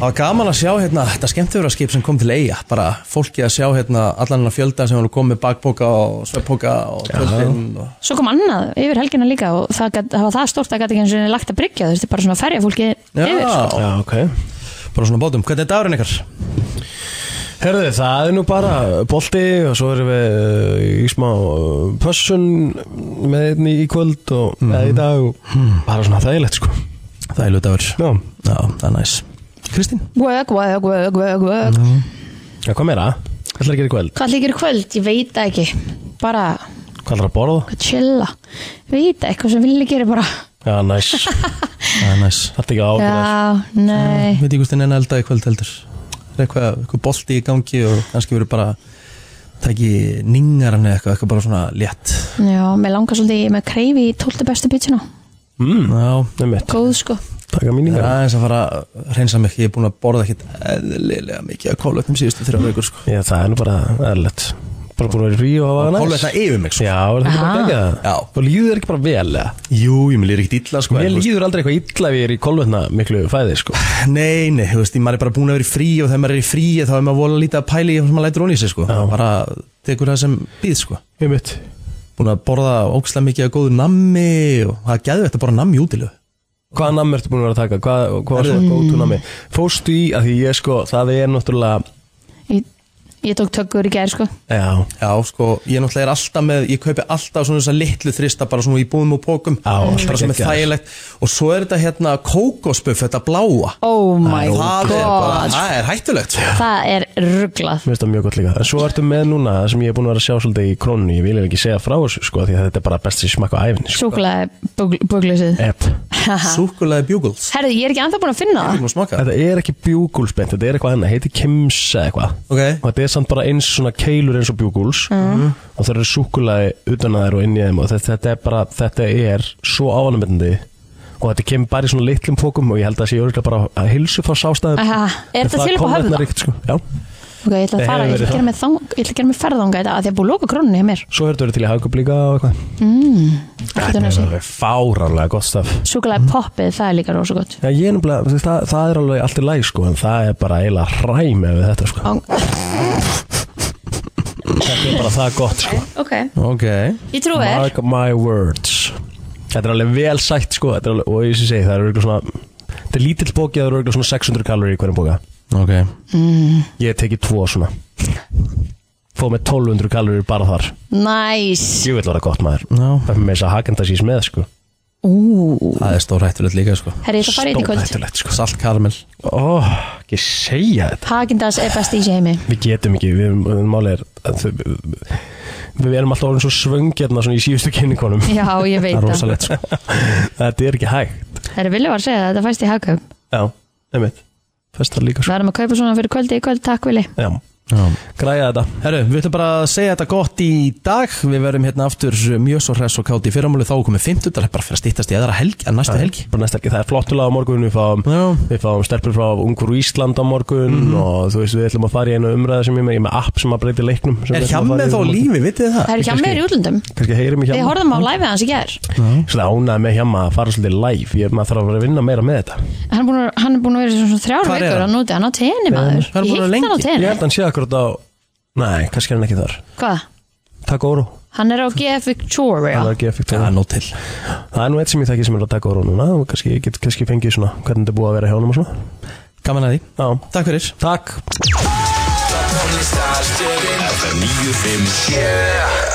Speaker 11: það var gaman að sjá hérna þetta skemmtifuraskip sem kom til eiga. Bara fólki að sjá hérna allan hennar fjölda sem var komið bakpoka og sveppoka og tjöldin og...
Speaker 3: svo kom annað yfir helgina líka og það, gat, það var það stórt að gæti ekki eins og lagt að bryggja þú veist, bara svona ferja fólki yfir sko.
Speaker 11: Já,
Speaker 4: ok
Speaker 11: bara svona bátum. Hvernig er dagurinn ykkar?
Speaker 4: Herðu, það er nú bara bolti og svo erum við uh, í smá uh, pössun með einni í kvöld og mm í dag og bara svona þægilegt sko
Speaker 11: Það er lutagur.
Speaker 4: Já,
Speaker 11: Já, það er næs. Kristín?
Speaker 3: work, work, work, work, work
Speaker 4: já hvað meira? Hvað ætlar að gera í kvöld?
Speaker 3: hvað líkir í kvöld, ég veit það ekki bara
Speaker 4: Hvað ætlar að borða? <laughs>
Speaker 3: hvað chilla, veit það eitthvað sem villi gera bara
Speaker 4: Já, næs
Speaker 2: Það er næs
Speaker 4: Þetta er ekki ágjörð
Speaker 3: Já, nei
Speaker 2: Við veit ekki hvort þið nenni elda í kvöld heldur Það er eitthvað, eitthvað bolti í gangi og kannski verður bara Tæki ningaran eða eitthvað, eitthvað bara svona létt
Speaker 3: Já, mér langar svolítið, ég með kreifi í 12. bestu pítsuna
Speaker 4: mm,
Speaker 2: Já,
Speaker 4: Það er mitt,
Speaker 3: Góð sko
Speaker 4: taka
Speaker 2: Það er
Speaker 4: míningar
Speaker 2: aðeins að fara að reynsa mig Ég er búin að borða ekkit eðlilega mikið að kólvetnum síðustu þrjá veikur sko.
Speaker 4: Já, það er nú bara erlegt Bara búin að vera í frí og hafa það næs
Speaker 2: Kólvetna yfir mig sko.
Speaker 4: Já, er það ekki bara
Speaker 3: Ah.
Speaker 4: gegja
Speaker 2: Já.
Speaker 4: það Og líður þér ekki bara vel eða?
Speaker 2: Jú, ég mér líður ekkit illa sko,
Speaker 4: Mér
Speaker 2: en, þú veist,
Speaker 4: líður aldrei eitthvað illa við ég er í kolvetna miklu fæði sko.
Speaker 2: Nei, nei, þú veist, ég- maður er bara búin að vera í frí og þegar maður er í frí þá er maður vola lítið að pæli sem maður lætur ón í sig sko. bara tekur það sem býð sko.
Speaker 4: Ég mitt
Speaker 2: búin að borða ókslega mikið að góðu nammi og það er geðvægt að borða nammi útilegu
Speaker 4: Hvaða nammi ertu búin að vera að taka? Hvað, hvað var svona gótu nammi? Fóstu í, að því ég sko, það er náttúrulega
Speaker 3: Ég, ég tók tökur í gær sko
Speaker 4: Já,
Speaker 2: Já, sko, ég náttúrulega er alltaf með, ég kaupi alltaf svona þessa litlu þrista bara svona í búðum og pókum
Speaker 4: Á,
Speaker 2: bara sem er
Speaker 4: geggjað.
Speaker 2: þægilegt og svo er þetta hérna kókosbuff, þetta bláa
Speaker 3: Oh my
Speaker 2: það, er bara,
Speaker 3: god
Speaker 2: það er hættulegt <laughs> sko.
Speaker 3: Það er rugglað
Speaker 4: Mér finnst það mjög gott líka En svo ertu með núna það sem ég er búin að vera að sjá svolítið í krónu Ég vil eiginlega ekki segja frá þessu sko Því að þetta er bara best sem smakka á æfinni sko.
Speaker 3: Súklaði buglusið
Speaker 4: Epp.
Speaker 2: Súkkulaði bjúguls
Speaker 3: Herðu, ég er ekki anþá búin að finna það
Speaker 2: Má smaka
Speaker 4: Þetta er ekki bjúgulsbent Þetta er eitthvað annað, heitir kemsa eitthvað
Speaker 2: Ok.
Speaker 4: Og þetta er samt bara eins svona keilur eins og bjúguls
Speaker 3: Mm.
Speaker 4: Og það eru súkulaði utan að þær og inn í þeim Og þetta, þetta er bara, þetta er svo ávanumendandi Og þetta kemur bara í svona litlum fókum Og ég held að það sé örugglega bara að hilsu frá sástæðum
Speaker 3: Aha, er þetta til upp á höfða?
Speaker 4: sko. Já,
Speaker 3: Ok, ég ætla
Speaker 4: Nei,
Speaker 3: að fara, ég ætla
Speaker 4: hefur verið
Speaker 3: að gera mig þang- ég ætla að gera mig ferðanga í dag af Því að búið að loka krónunni hjá mér
Speaker 4: svo er þetta til í hagkjöp líka og eitthvað
Speaker 3: Þetta er
Speaker 4: Það er fáránlega gott staf
Speaker 2: Mm.
Speaker 3: Súklaði poppið, það er líka rosa gott
Speaker 4: Já, ég er nefnilega, þú veist, það, það er alveg allt í læg sko, en það er bara eiginlega hræmi við þetta sko.
Speaker 3: Ang-
Speaker 4: Þetta er bara það gott sko.
Speaker 3: Ok,
Speaker 2: Ok,
Speaker 3: ég trúi þér
Speaker 4: Mark my words. Þetta er alveg vel sætt sko, þetta er alveg, og ég sé segi, það er örgulega svona, þetta er lítill bóki, það er örgulega svona 600 kalori í hverjum bóka.
Speaker 2: ok
Speaker 4: Ég teki tvo svona. Fóð með 1200 kalori bara þar.
Speaker 3: Næs
Speaker 4: Ég vil vera gott maður.
Speaker 2: Já.
Speaker 4: Það er með þess að hagenda sís með sko.
Speaker 3: Ú,
Speaker 2: Það er stór hættulegt líka sko
Speaker 3: herri, ég ætla að fara í þetta í kvöld
Speaker 4: Stórhættulegt sko.
Speaker 2: Salt karmel
Speaker 4: Ó, ekki segja þetta.
Speaker 3: Hagindas er best í sér heimi
Speaker 4: Við getum ekki, við erum, við málið er að þau- við, við erum alltaf orðin svo svöngjarna svona í síðustu kynningunum
Speaker 3: Já, ég veit
Speaker 2: Það er
Speaker 3: það
Speaker 2: rosalegt sko
Speaker 4: <laughs> Þetta er ekki hægt
Speaker 3: Herri, vilja var að segja það, þetta fæst í hagkaup
Speaker 4: Já, einmitt Fæst það líka
Speaker 3: Við
Speaker 4: svo
Speaker 3: erum að kaupa svona fyrir kvöldi í kvöld, takk Vili
Speaker 4: Já,
Speaker 2: Já.
Speaker 4: græja þetta
Speaker 2: Herru, við ætlum bara að segja þetta gott í dag Við verðum hérna aftur mjög svo hress og kátt í fyrramáli Þá komið 50, það er bara fyrir að stýttast í aðra helgi að næsta helgi
Speaker 4: Bara næsta helgi, það er flottulega á morgun Við fáum,
Speaker 2: Já.
Speaker 4: við fáum stelpur frá Ungur Ísland á morgun
Speaker 2: Mhm.
Speaker 4: Og þú veist, við ætlum að fara í einu umræða sem ég er með Ég er með app sem að breyti leiknum sem
Speaker 2: Er
Speaker 4: við ætlum að
Speaker 2: hjammið
Speaker 4: fara í
Speaker 2: þá
Speaker 4: á morgun.
Speaker 2: lífi, vitið þið það?
Speaker 3: Það er hjá
Speaker 4: kannski-
Speaker 3: mér í útlöndum
Speaker 4: Kannski heyrum í
Speaker 3: Við
Speaker 4: hjamma
Speaker 3: horfðum á live hans í gær
Speaker 4: Svona ánæði með hjamma að fara svolítið live Ég, maður þarf að vera að vinna meira með þetta
Speaker 3: Hann er búin að, hann er búin að vera í svona þrjár
Speaker 2: Hvar er
Speaker 3: vikur
Speaker 2: hann?
Speaker 3: að núti, hann á tenni maður
Speaker 2: Hann er
Speaker 3: Ég
Speaker 2: búin að
Speaker 3: hitt hann á
Speaker 2: lengi.
Speaker 3: tenni
Speaker 4: Ég held að hann sé akkurat á Nei, kannski er hann ekki þar
Speaker 3: Hvað?
Speaker 4: Takk óru
Speaker 3: Hann er á GF Victoria
Speaker 4: Það er ekki effektivt
Speaker 2: Já, nó til
Speaker 4: Það er nú eitt sem ég þekki sem er að taka á rónuna og kannski, ég get kannski fengið svona hvernig þetta er búið að vera hjá honum og svona.
Speaker 2: Gaman að því
Speaker 4: Já,
Speaker 2: Takk fyrir
Speaker 4: takk.
Speaker 1: Tónlistastöðin FM 957